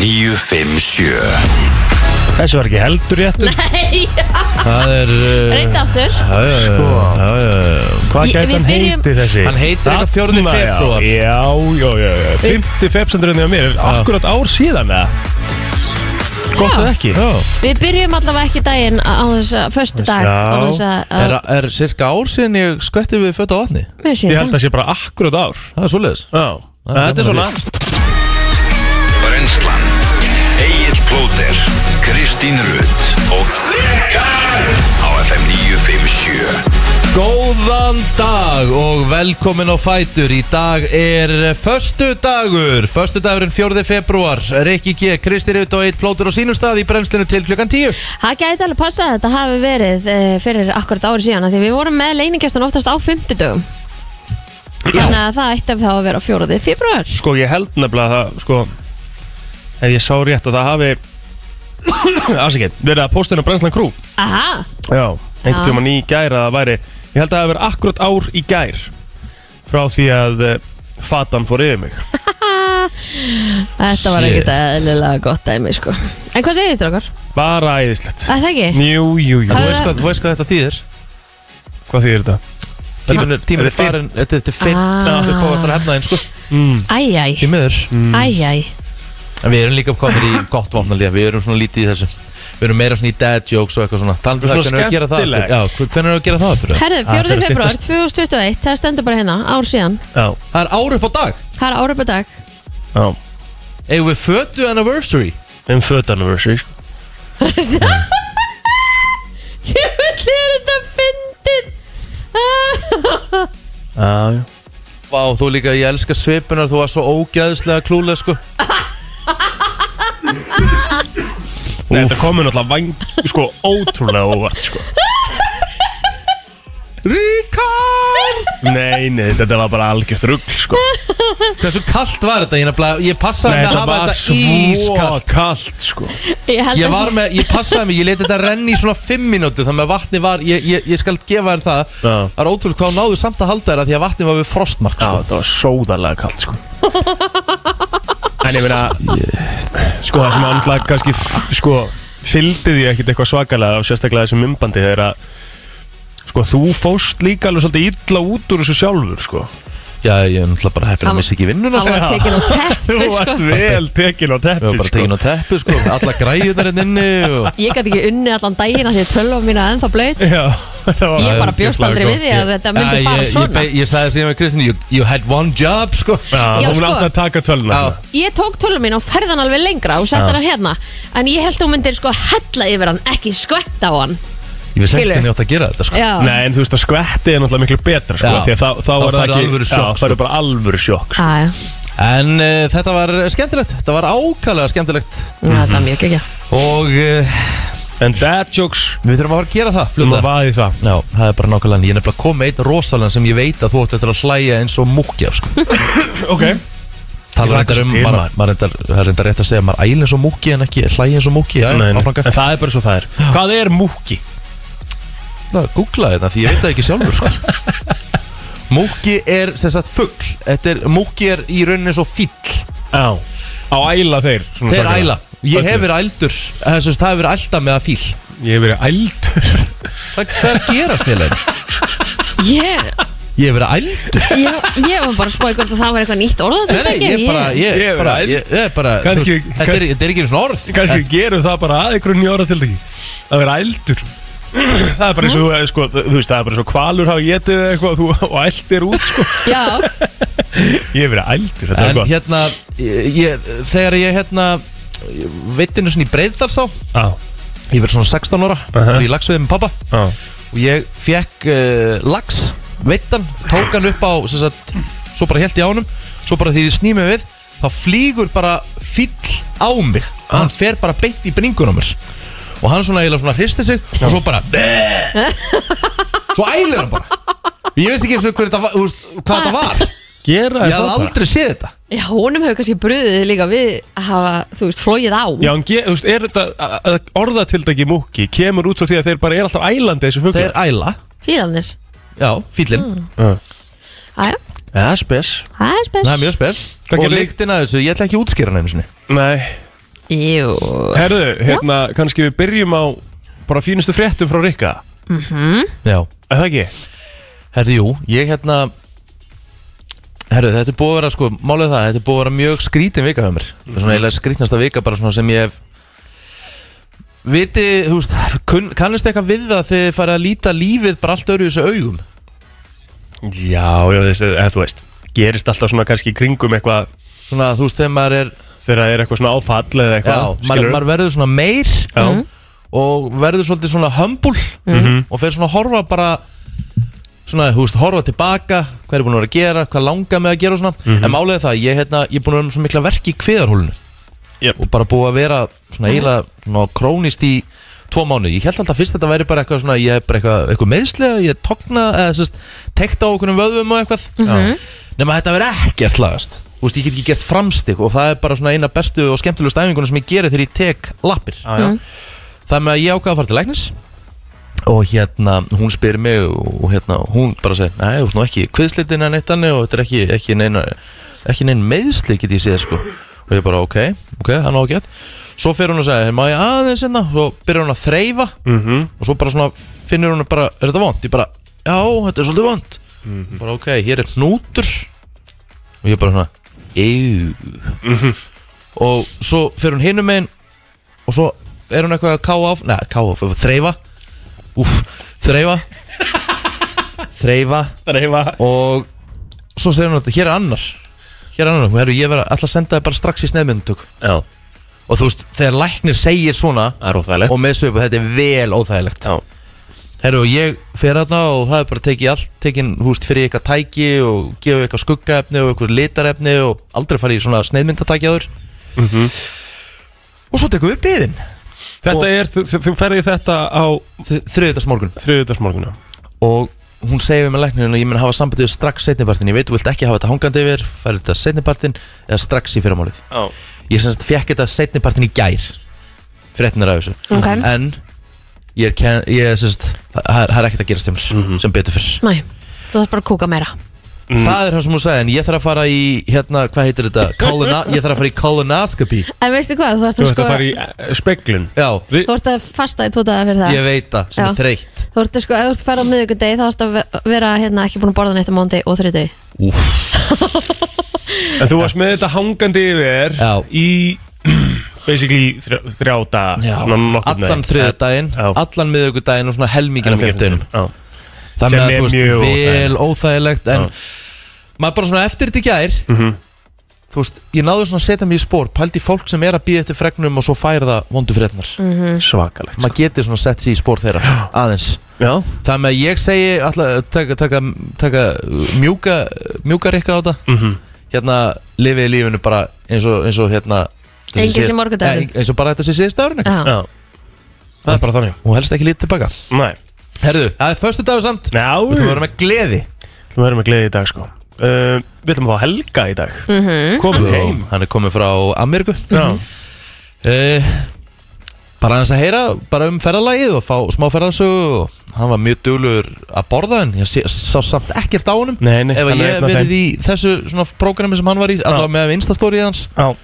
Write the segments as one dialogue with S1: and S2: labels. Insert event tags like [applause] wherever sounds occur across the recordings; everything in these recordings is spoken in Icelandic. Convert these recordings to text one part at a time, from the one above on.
S1: 957
S2: Þessi var ekki heldur réttur
S3: Nei,
S4: Það
S3: [laughs]
S4: er uh,
S3: reynda aftur
S4: já, já, já,
S2: Sko.
S4: já, já, já.
S2: Hvað
S3: Ég-
S2: gæti
S3: við
S2: hann
S3: byrjum-
S2: heiti þessi?
S4: Hann heitir eitthvað
S2: Þarna,
S4: 4. febrúar.
S2: Já, já, já, já, já 50 februar niður mér, akkurat ár síðan eða? Gott
S3: Já.
S2: eða ekki? Já
S3: Við byrjum allavega ekki daginn á þess að Föstu dag á
S2: Já.
S3: þess
S4: Er,
S3: að
S4: er cirka ár síðan ég skvetti við fötta á vatni
S3: Mér
S2: Ég
S3: sé
S2: held að
S3: það
S2: það sé bara akkurat ár
S4: Það er svoleiðis
S2: Já,
S4: Það er
S2: þetta er svona
S4: gaman
S1: Brenslan Egil Plóter Kristín Rutt og á FM 957
S4: Góðan dag og velkomin á Fætur Í dag er föstu dagur Föstu dagurinn 4. februar Rikki G, Kristi Rutt og Eitt Plótur á sínum stað í brennslinu til klukkan 10
S3: Það gæti alveg passað að þetta hafi verið e, fyrir akkurat ári síðan af Því við vorum með leiningestan oftast á fimmtudögum Þannig að það ætti að þá að vera á fjóraðið februar
S2: Sko, ég held nefnilega að það, sko Ef ég sá rétt að það hafi [coughs] Afsakið, verið að póstinu Brenslan Crew
S3: Aha,
S2: Já, einhvern
S3: Já.
S2: tíma ný gæra að það væri Ég held að það hafi verið akkurat ár í gær Frá því að eh, Fatan fór yfir mig
S3: þetta var
S4: Shit.
S3: ekkert eðlilega gott dæmi sko En hvað segir þér okkar?
S2: Bara æðislegt
S3: Það ekki?
S2: Jú, jú, jú
S4: Þú
S3: Það-
S4: veist hvað, þú veist hvað þetta þýðir
S2: Hvað þýðir þetta?
S4: Tíminn er, tíminn
S2: er
S4: er farin Þetta þetta er fint
S3: Ah.
S4: upp á allar hefnaðin sko
S3: Æjæj,
S4: Í miður
S3: æjæj
S4: En við erum líka komin í gott vopnalíða Við erum svona lítið í þessu Við erum meira svona í dad jokes og eitthvað svona Talandi um
S2: Svona
S4: það, hvernig er að gera það
S2: skemmtileg.
S4: aftur? Já, hve- hvernig er að gera það aftur?
S3: Herðu,
S2: Ah, fer
S3: 4.
S2: að
S3: februar
S2: styttast.
S3: 2021, það stendur bara hérna, ár síðan
S2: Já,
S4: Það er ár upp á dag
S3: Það er áraupadag
S2: já
S4: Eigum við fötu anniversary
S2: Um föt anniversary sko.
S3: Tjöfulli er þetta fyndin
S2: Já, já
S4: Vá, þú líka, ég elska svipunar Þú var svo ógæðslega klúlega sko
S2: Nei, þetta komur náttúrulega vang Sko, ótrúlega óvart
S4: [laughs]
S2: sko.
S4: Ríkard
S2: Nei, nei, þetta var bara algjörst rugl sko.
S4: [laughs] Hversu kallt var þetta? Ég, nefnilega- ég
S2: Nei,
S4: passaði mig að
S2: þetta
S4: hafa
S2: var
S4: þetta
S2: svo
S4: ískallt
S2: kallt sko.
S3: Ég held
S4: Ég
S3: að
S4: var með, ég passaði mig, ég leti þetta renni í svona 5 minúti Þannig að vatni var, ég, ég, ég skal gefa þér það
S2: Já.
S4: Það er ótrúlega hvað hún náðu samt að halda þér að Því að vatni var við frostmark
S2: Já,
S4: sko.
S2: þetta var sóðarlega kallt sko. En ég meina Sko, það sem anslag kannski f- Sko, fylgdi því ekkit eitthvað svakalega og Sérstaklega þessum umbandi Þegar að Sko, þú fóst líka alveg svolítið illa út úr þessu sjálfur sko.
S4: Já, ég er náttúrulega bara heppin að missa ekki vinnuna sko.
S3: Hann var
S2: Já.
S4: [laughs]
S3: tekin á
S2: Þú
S3: teppu
S2: varst
S3: sko
S2: vel tekin á
S4: Við
S2: teppi
S4: varum bara tekin á teppu sko, alla græðunar hérna inni og...
S3: Ég gæti ekki unni allan daginn að því að tölva mín er ennþá blaut
S2: Já, þetta var
S3: Ég bara bjóst aldrei við því að þetta myndi
S4: Æ,
S3: fara
S4: ég-
S3: svona.
S4: Ég, be- ég sagði síðan með Kristín, you, you had one job sko
S2: Já,
S3: Já,
S2: hún
S3: sko.
S2: átti að taka tölna
S4: Já.
S3: Ég tók tölva mín og færði hann alveg lengra og sett
S2: Já.
S3: hann hérna En ég held að hún myndir sko hella yfir hann, ekki skvetta á hann
S4: Ég veist ekki
S3: Skilur.
S4: hvernig ég átt að gera þetta sko
S3: Já,
S2: Nei, en þú veist að skvetti er náttúrulega miklu betra sko,
S4: Já.
S2: Því að þá, þá,
S4: Þá
S2: er það
S4: færðu
S2: ekki
S4: alvöru sjokk, sko.
S2: Já, færðu bara alvöru sjokk sko.
S3: Á, Ah, já.
S4: En uh, þetta var skemmtilegt, þetta var ákvæmlega skemmtilegt
S3: Já, það
S4: Mhm.
S3: er mjög ekki
S4: Og uh,
S2: En dad jokes,
S4: við þurfum að fara að gera það
S2: þú maður
S4: fljóðlega
S2: vaði það
S4: Já, það er bara nákvæmlega en Ég er nefnilega kom með eitt rosalega sem ég veit að þú ætti eftir að hlæja eins og múkja sko.
S2: [laughs] Ok
S4: Talar
S2: hlakka
S4: reyndar
S2: svo
S4: um,
S2: til,
S4: maður-
S2: maður.
S4: maður reyndar- það er reyndar rétt að segja maður æl eins og múkki en ekki hlæja eins og múkki Já,
S2: Nei, nei.
S4: áfram gang.
S2: En það er bara svo það er Hvað er múki?
S4: að googla þetta því ég veit það ekki
S2: [laughs]
S4: sjálfur sko. Múki er sem sagt fuggl Þetta er, Múki er í rauninni svo fíll
S2: Já Á æla þeir svona
S4: Þeir
S2: svakalega.
S4: æla Ég hef
S2: Öllu.
S4: verið ældur Það er sem sagt, það hefur verið ælda með að fíll
S2: Ég hef verið ældur
S4: Hvað hvað er að gerast nýlega?
S2: [laughs]
S3: Ég,
S4: Ég hef verið ældur
S3: ég, ég var bara að spóið hvort að það var eitthvað nýtt orð
S4: Nei, nei, ég er bara, ég,
S2: Ég hef verið
S4: bara,
S2: ældur.
S4: ég, ég er bara þú
S2: Kannski-
S4: veist, þetta, er, þetta er ekki einu svona orð
S2: Kanski við gerum það bara að ykkur njóra til því Að vera ældur Það er bara eins og, eh, sko, þú veist, það er bara eins og kvalur hafa getið eða eitthvað og þú- og ældir út, sko
S3: Já,
S2: [laughs] Ég hef verið ældur, þetta er
S4: En
S2: gott
S4: hérna, ég, ég, þegar ég hérna veitinu svona í breyðdalsá
S2: Já,
S4: Ég verið svona 16 ára uh
S2: Aha.
S4: í lagsveið með pappa
S2: já
S4: og ég fekk uh, lax, veittan, tók hann upp á sem sagt, svo bara held ég á hann svo bara því ég sný mig við þá flýgur bara fyll á mig og
S2: Ah.
S4: hann fer bara beint í bringunum mér og hann svona eiginlega svona hristi sig og svo bara "Bæ!" svo ælir hann bara ég veist ekki eins og hver þetta var, þú veist, hvað þetta var
S2: Gera
S4: ég hafði aldrei séð þetta
S3: Já, honum hefur kannski bröðið líka við að hafa, þú veist, flóið á
S2: Já, en ge- þú veist, er þetta að- að orðatildagi múki kemur út frá því að þeir bara er alltaf ælandi þessu
S4: það
S2: fugla?
S4: er æla,
S3: fílanir
S4: já, fyllin
S3: Æja,
S2: Það er spes.
S3: Ah, það er spes
S4: það er mjög spes
S2: Hvað
S4: og
S2: gerði-
S4: lyktin að þessu, ég ætla ekki að útskýra hann einu sinni
S2: Nei,
S3: Jú
S2: Herðu, hérna, kannski við byrjum á bara fínustu fréttum frá Rikka
S4: Já
S2: Er það ekki?
S4: Herði, jú, ég hérna Herðu, þetta er búið að vera, sko, málið er það Þetta er búið að vera mjög skrítin vika hjá mér
S2: Mhm.
S4: Svona eiginlega skrítnasta vika bara svona sem ég hef Viti, þú veist, kun, kannist eitthvað við það þegar þið farið að líta lífið bara allt öðru þessu augum
S2: Já, já, þessi, eða þú veist Gerist alltaf svona kannski í kringum eitthvað
S4: Svona, þú veist, þegar maður er
S2: Þegar það er eitthvað svona áfall eða eitthvað
S4: Já, maður, maður verður svona meir
S2: Já. Mhm.
S4: og verður svolítið svona humble og fer svona að horfa bara svona, þú veist, horfa tilbaka hvað er búin að vera að gera, hvað langar mig að gera og svona,
S2: Mhm.
S4: en málið er það, ég, hérna, ég er búin að vera með svo mikla verk í kviðarhólinu
S2: Jep. Mhm.
S4: og bara búið að vera svona eiginlega svona krónist í tvo mánu, ég held alltaf fyrst að þetta væri bara eitthvað svona, ég er bara eitthvað, eitthvað meðslega ég togna, eða sérst, tekta á okkur um vöðvum og eitthvað,
S2: Mhm.
S4: nema þetta verið ekkert lagast, þú veist, ég get ekki gert framstig og það er bara svona eina bestu og skemmtilegu stæfingunum sem ég geri þegar ég tek lappir
S2: Já, já.
S4: þannig að ég ákvaði að fara til læknis og hérna, hún spyr mig og hérna, hún bara segir nei, þú ert nú ekki kviðslitin en eitt annir og þetta er ekki, ekki neina ekki neina meðsli get ég séð sko og ég bara ok, ok, það er ágætt svo fer hún að segja, má ég aðeins hérna svo byrjar hún að þreyfa
S2: Mhm.
S4: og svo bara svona finnur hún bara, er þetta vond? ég bara, já, þetta er svolítið vond bara ok, hér er hnútur og ég bara svona euu og svo fer hún hinum megin og svo er hún eitthvað að káa áf neða, káa áf, þreyfa úf, þreyfa þreyfa
S2: Það er heima-
S4: og svo segir hún þetta, hér er annar hér er annar, hún herru, ég verð alltaf að senda það bara strax í snefmyndtök
S2: Já,
S4: og þú veist, þegar læknir segir svona
S2: það er óþægilegt
S4: og með svipu, þetta er vel óþægilegt
S2: Já.
S4: Herru, og ég fer aðna og það er bara tekið allt, tekin, húst, fyrir eitthvað tæki og gefið eitthvað skuggaefni og eitthvað litarefni og aldrei farið í svona sneiðmyndatæki áður
S5: Mhm.
S4: Og svo tekum við byðin
S2: Þetta er, þú, þú ferði þetta á
S4: þriðdags morgun
S2: þriðudagsmorguna
S4: og hún segir við með læknirinn að ég mun hafa sambandið strax setnipartin, ég veit, þú vilt ekki hafa þetta hangandi yfir, færi þetta setnipartin eða strax í fyrramálið.
S2: Já
S4: Ég sem sagt fekk þetta setnipartin í gær, fréttinir af þessu.
S3: Ok.
S4: En ég er, ken, ég er sem sagt, það það er, það er ekkert að gerast hjá mér
S2: Mhm.
S4: sem betur fyrr.
S3: Næ, þú þarf bara að kúka meira
S4: Það er það sem hún sagði en ég þarf að fara í hérna, hvað heitir þetta? Colona ég þarf að fara í colonoscopy
S3: En veistu hvað, þú ert
S2: Þú
S3: að,
S2: ert
S3: sko,
S2: að fara í eh, speglun
S4: Já,
S2: Ri-
S3: þú ert að fasta í tvo daga fyrir það
S4: ég veit það sem
S3: Já.
S4: er þreytt
S3: Þú ert að sko, ef þú ert að fara á miðvikudegi þá ert að ve- vera hérna ekki búin að borða neitt á mándi og þriðdegi
S2: En þú varst með þetta hangandi yfir
S4: Já.
S2: Í [clears throat] Basically þrjá, þrjá daga Svona nokkurn
S4: Allan
S2: veginn.
S4: þriðudaginn,
S2: Já.
S4: allan miðugudaginn og svona helmingin
S2: En-
S4: af fjöftuðinum
S2: Já.
S4: Þannig
S2: Sem
S4: að
S2: er
S4: þú
S2: mjög
S4: veist, vel
S2: óþægilegt.
S4: óþægilegt en
S2: Já. Mhm.
S4: maður bara svona eftir þetta í gær þú veist, ég náðu svona að setja mig í spór pældi í fólk sem er að býða eftir fregnum og svo færa það vondu frednar
S2: Mhm. Svakalegt sko.
S4: maður getur svona sett sér í spór þeirra aðeins
S2: Já
S4: Þannig að ég segi alltaf, taka, taka, taka mjúka, mjúka rikka á þetta
S2: Mhm.
S4: Hérna lifið í lífinu bara eins og, eins og hérna þetta
S3: Enginn
S4: síðast-
S3: sem morgundagurinn.
S4: Nei, Eins og bara þetta sem síðast dagurinn eitthvað.
S3: Já,
S2: Já Það er bara þannig
S4: Og helst ekki lítið tilbaka
S2: Nei
S4: Herðu, það er föstu dagur samt
S2: Já
S4: Þú verður með gleði
S2: Við erum með gleði í dag sko uh, Við ætlum að fá helga í dag mm -hmm. Komum heim
S4: Hann er komið frá Ameríku
S2: Já
S4: uh, Bara hans að heyra bara um ferðalagið og fá smá ferðarsögu og Hann var mjög duglur að borða en ég sé, sá samt ekkert á honum
S2: Nei, nei
S4: Ef að
S2: hann er
S4: ég
S2: einn af
S4: verið
S2: þeim.
S4: í þessu svona prógrami sem hann var í Alltaf með instastórið hans
S2: Já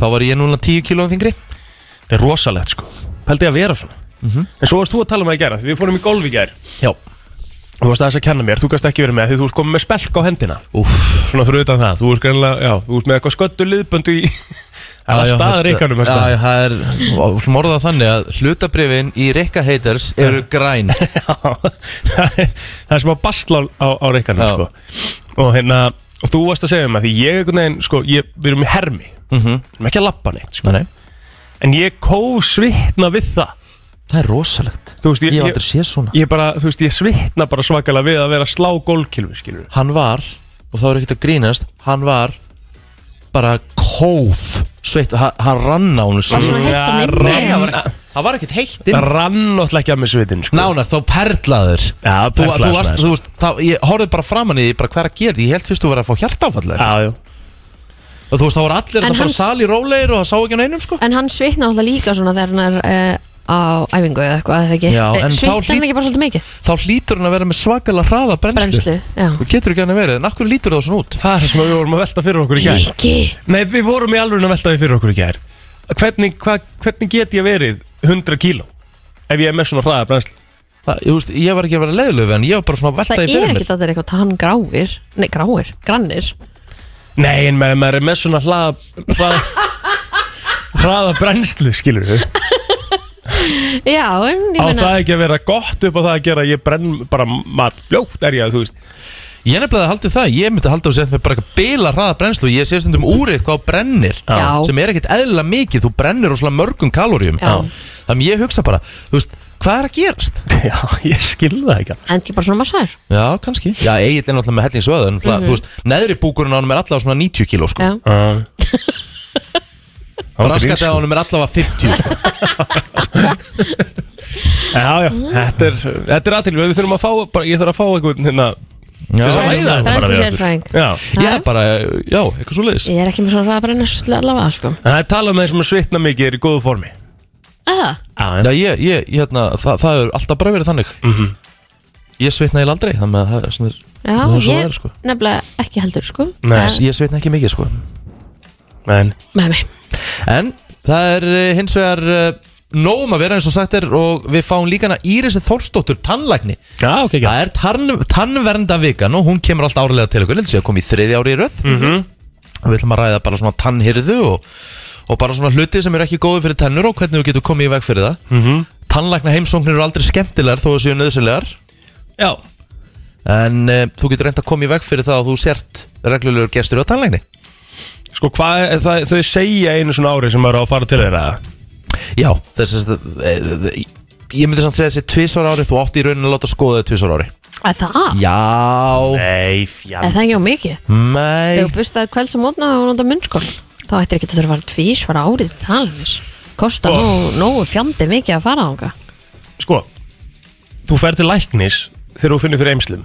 S4: þá var ég núna 10 kílóðum þingri
S2: Þetta er rosalegt sko Pældi að vera svona En svo varst þú að tala um það í gera Við fórum í golf í gær
S4: Mhm. Já
S2: Þú varst aðeins að kenna mér Þú gast ekki verið með Því þú varst komið með spelk á hendina
S4: Úf,
S2: Svona fyrir utan það Þú varst greinlega Já Þú varst með eitthvað sköldu liðböndu í [laughs] Það er alltaf að reikanum
S4: Já, já, það er og Svo morða þannig að hlutabrifin í reika haters eru
S2: [laughs]
S4: græn
S2: það er- það er smá bastl á, á, á reikanum
S4: Já.
S2: sko. og hérna og þú varst að segja um það því ég einhvern veginn sko, ég, við erum í hermi
S4: mm -hmm.
S2: við erum ekki að lappa neitt sko.
S4: Nei, nei.
S2: en ég kó svitna við það
S4: Það er rosalegt
S2: þú veist, ég,
S4: Ég hef
S2: ég,
S4: aldrei séð svona
S2: ég bara þú veist, ég svitna bara svakalega við að vera að slá gólkilvi skilur
S4: Hann var, og þá er ekkert að grínast Hann var bara kóf Sveitt, hann, hann rann á hún
S3: Var svona heitt á
S2: Já,
S3: nefnum?
S4: Nei, hann var,
S2: rann-
S4: hann var ekkert heittin
S2: rann alltaf ekki að með svitin sko.
S4: Nánast, þá perlaður
S2: Já,
S4: Þú, þú
S2: perlaðist
S4: varst,
S2: maður.
S4: þú veist, þá, ég horfði bara framan í því, bara hvað er að gera Ég held fyrst þú verið að fá hjartáfallega
S2: Já, já.
S4: Og þú veist, þá voru allir
S3: En
S4: að bara
S3: hans-
S4: sali rólegir og það sá ekki á neinum, sko
S3: En hann svitnar alltaf líka svona þegar hann er eh, á æfingu eða eitthvað, eða ekki
S4: Já,
S3: Eh,
S4: en þá
S3: Svitnar
S4: hlýt-
S3: hann ekki bara svolítið mikið?
S4: Þá hlýtur hann að vera með svakalega hraða brennslu
S3: Brennslu, já
S4: Þú getur ekki hann að vera, en af hverju lítur það svona út?
S2: það er það sem við vorum að velta fyrir okkur í gær
S3: Ekki
S2: nei, við vorum í alveg að velta því fyrir okkur í gær hvernig, hva, hvernig get ég verið 100 kíló ef ég er með svona hraða brænslu
S4: Það, ég, veist, ég var ekki að vera leiðilegu við hann Ég var bara svona að velta
S3: Það
S4: í fyrir
S3: er
S4: mér
S3: ekkert að það er eitthvað tann gráir Nei, gráir, grannir
S2: Nei, en maður, maður er með svona hraða hraða, hraða brænslu skilur við
S3: Já, en ég
S2: á
S3: meina
S2: það ekki að vera gott upp á það að gera að ég brenn bara mat bljótt er ég að þú veist
S4: Ég nefnilega haldið það, ég myndi haldið að setja mig bara eitthvað bila hraða brennslu Ég sé stundum úrið hvað á brennir
S3: Já.
S4: Sem er ekkert eðlilega mikið, þú brennir á svona mörgum kaloríum
S3: Já.
S4: Þannig ég hugsa bara, þú veist, hvað er að gerast?
S2: [laughs] Já, ég skil það ekki
S3: En ekki bara svona massær
S4: Já, kannski Já, Egil er náttúrulega með helling svöðu En mm þú veist, neðri búkurinn á hann er allavega svona 90 kíló sko.
S3: Já,
S4: [laughs]
S2: uh, sko.
S4: Raskatið á hann er allavega 50 sko.
S2: [laughs] Já, já, þetta er, þetta er aðtil Við þurfum að fá, bara, ég þarf að fá eitthvað hérna til þess að
S3: Brennslu-
S2: ræða þetta bara við okkur.
S3: brennslufræðing.
S2: Já,
S4: Já, bara, já, eitthvað svo leiðis
S3: ég er ekki með svona ræðbrennir allavega, sko
S2: en það er talað um þeir sem svitna mikið er í góðu formi
S3: Að Það,
S2: Já,
S4: Já, ég, ég, ég hérna, það, það er alltaf bara verið þannig
S2: Mhm.
S4: Ég svitna í landri, þannig að það er svona
S3: já,
S4: Það er svo
S3: ég
S4: verið,
S3: er
S4: sko.
S3: nefnilega ekki heldur, sko
S2: Nei.
S3: Það-
S4: Ég svitna ekki mikið, sko
S2: en
S3: Með mig
S4: En það er eh, hins vegar eh, nóg um að vera eins og sagt er og við fáum líka hana Írisi Þórsdóttur tannlækni
S2: Já, ok, ekki
S4: Það er tann, tannvernda vikan og hún kemur alltaf árilega til okkur, lítið sé að koma í þriði ári í röð
S2: Mhm.
S4: og við ætlum að ræða bara svona tannhyrðu og, og bara svona hluti sem eru ekki góði fyrir tennur og hvernig við getum komið í veg fyrir það mm
S2: Mhm.
S4: -hmm. Tannlækna heimsóknir eru aldrei skemmtilegar þó að séu nöðsynlegar
S2: Já,
S4: en e, þú getur reynd að koma í veg fyrir það að þú sért reglulegur gestur á tannlækni
S2: sko hvað, er það, þau segja einu svona ári sem maður á að fara til þeirra
S4: Já, þess að e, e, ég myndi samt segja þessi tvisvar ári þú átti í rauninni að láta skoða þau tvisvar ári
S3: Að Það,
S4: Já,
S2: Nei,
S3: að
S2: fjall
S3: það er ekki á mikið
S4: mei
S3: Þegar bustaði kvelds og mótna og nota munnskól þá ættir ekki að þurfa að fara tvís fara árið til talinis Kosta
S2: Oh.
S3: nú, nógu fjandi mikið að fara á hana
S2: Sko, þú fer til læknis þegar þú finnir fyrir eimslum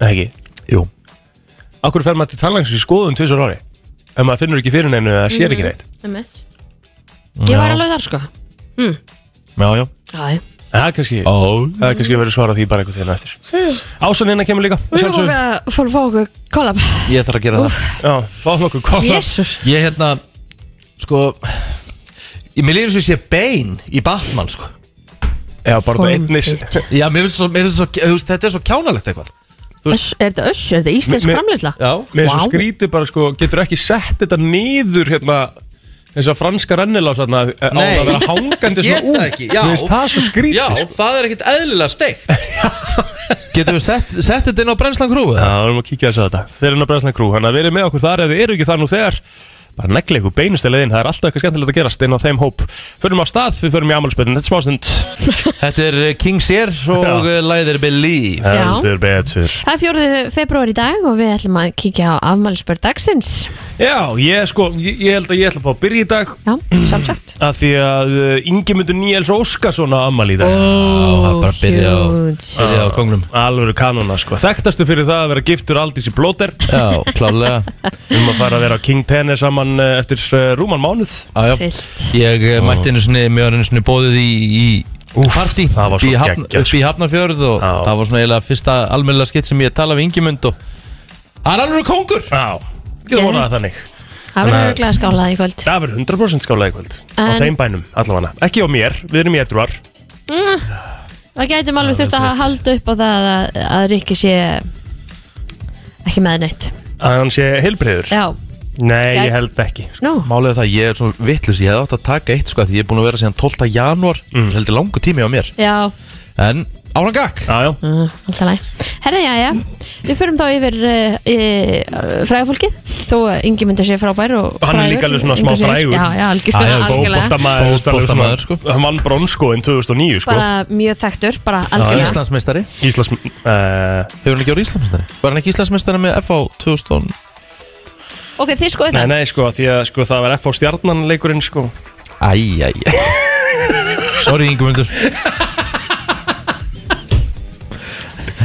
S2: Nei, ekki
S4: Jú,
S2: Akkur fer maður til tannlæknis í skoðun tvisar ári Ef maður finnur ekki fyrir neinu eða sér ekki
S3: Mhm.
S2: neitt
S3: Ég var alveg þar sko
S4: já, já
S3: Æ,
S2: En Það er kannski,
S4: Ó,
S2: það er kannski verið svara því bara eitthvað til eftir Ásan hérna kemur líka að
S3: Við erum
S2: sjálfsögðu.
S3: að fór að fá okkur kollab
S4: Ég þarf að gera það
S2: Já, fáum okkur kolla
S3: Jésús
S4: Ég hérna, sko ég- Mér líður svo sé bein í Batman, sko
S2: Já, bara út á einni
S3: Formfit.
S4: Já, mér finnst svo, mér finnst svo þú veist, Þetta er svo kjánalegt eitthvað
S3: Öss- Er þetta össu, er þetta íslensk
S2: Mi- mi-
S3: framleysla?
S4: Já
S2: Mér er svo
S3: Vá.
S2: skrítið bara sko, getur ekki sett þetta niður hérna þessa franska rennilás hérna á það
S4: Nei.
S2: að vera hangandi
S4: Geta
S2: svona út
S4: ekki, já.
S2: Mér finnst það svo skrítið
S4: Já,
S2: sko.
S4: það er ekkit eðlilega steikt Getum við sett, sett þetta inn á brennslan krúið?
S2: Já, við erum að kíkja þess að þetta Þeir eru að bregðsna krú, hann að verið með okkur þar ef þið eru ekki þar nú þegar bara negli ykkur beinustilegin, það er alltaf eitthvað skemmtilegt að gerast inn á þeim hóp Förum á stað, við förum í amálspötin, þetta er smástund
S4: Þetta er eh, King's Air og
S2: Já.
S4: eh, lagið er Believe
S3: Já.
S2: Heldur betur
S3: Það er fjóruði februar í dag og við ætlum að kíkja á afmælisbörð dagsins
S2: Já, ég sko, ég, ég held að ég ætla að fá að byrja í dag
S3: Já, samsagt
S2: að því að Ingemundur Níels Óskarsson á amal í dag
S4: það er bara að byrja á-
S3: huge.
S4: Byrjaði á kongnum
S2: Alvöru kanona sko Þekktastu fyrir það að vera giftur Aldísi Blóter
S4: Já, klálega
S2: [laughs] Um að fara að vera á King Tenni saman eh, eftir eh, rúman mánuð
S4: Já, já.
S3: Fyllt.
S4: Ég eh, mætti einu sinni, mér var einu sinni bóðið í, í
S2: Úff,
S4: partí
S2: það var
S4: upp í
S2: svo
S4: Hafn-
S2: geggjað, sko.
S4: Upp í Hafnarfjörð og
S2: Já.
S4: það var svona eiginlega fyrsta almennilega skitt sem ég talaði við Ingimund og Hann er alveg kongur
S2: Já Getur vonað það þannig
S3: Það verður örglega skálað í kvöld
S2: Það verður 100% skálaði kvöld Á
S3: En-
S2: þeim bænum allavega Ekki á mér, við erum í edruar
S3: Mm. Það gætum alveg þurft að halda upp á það að, að Rikki sé ekki með neitt
S2: Að hann sé heilbreyður
S3: Já,
S2: Eh, Nei,
S3: Gæt-
S2: ég held ekki sko.
S3: nú,
S4: Málið er það, ég er svona vitlis, ég hef átt að taka eitt sko, því ég er búin að vera síðan 12. janúar mm. heldur langu tími á mér
S3: já,
S4: en áran gakk
S2: Já, já
S3: uh, alltaf læg Herði, já, já, við förum þá yfir uh, uh, frægafólki þó að Ingi myndi sé frábær og
S2: Og Hann er
S3: frægur,
S2: líka alveg svona smá
S3: Ingi segir-
S2: frægur
S3: Já, já, algjörlega, algjörlega
S2: Fótboltamaður
S4: Fótboltamaður, sko.
S2: Hann vann bronskoinn 2009 sko
S3: bara mjög þekktur, bara algjörlega
S4: Íslandsmeistari,
S2: Íslands uh,
S4: hefur hann ekki orðið Íslandsmeistari? Var hann ekki Íslandsmeistari með FH 2000?
S3: Ok, þið skoðu
S2: Nei,
S3: það
S2: nei, sko, því að sko, það var F á stjarnan leikurinn sko
S4: Æj, æj, æj Sorry Ingemundur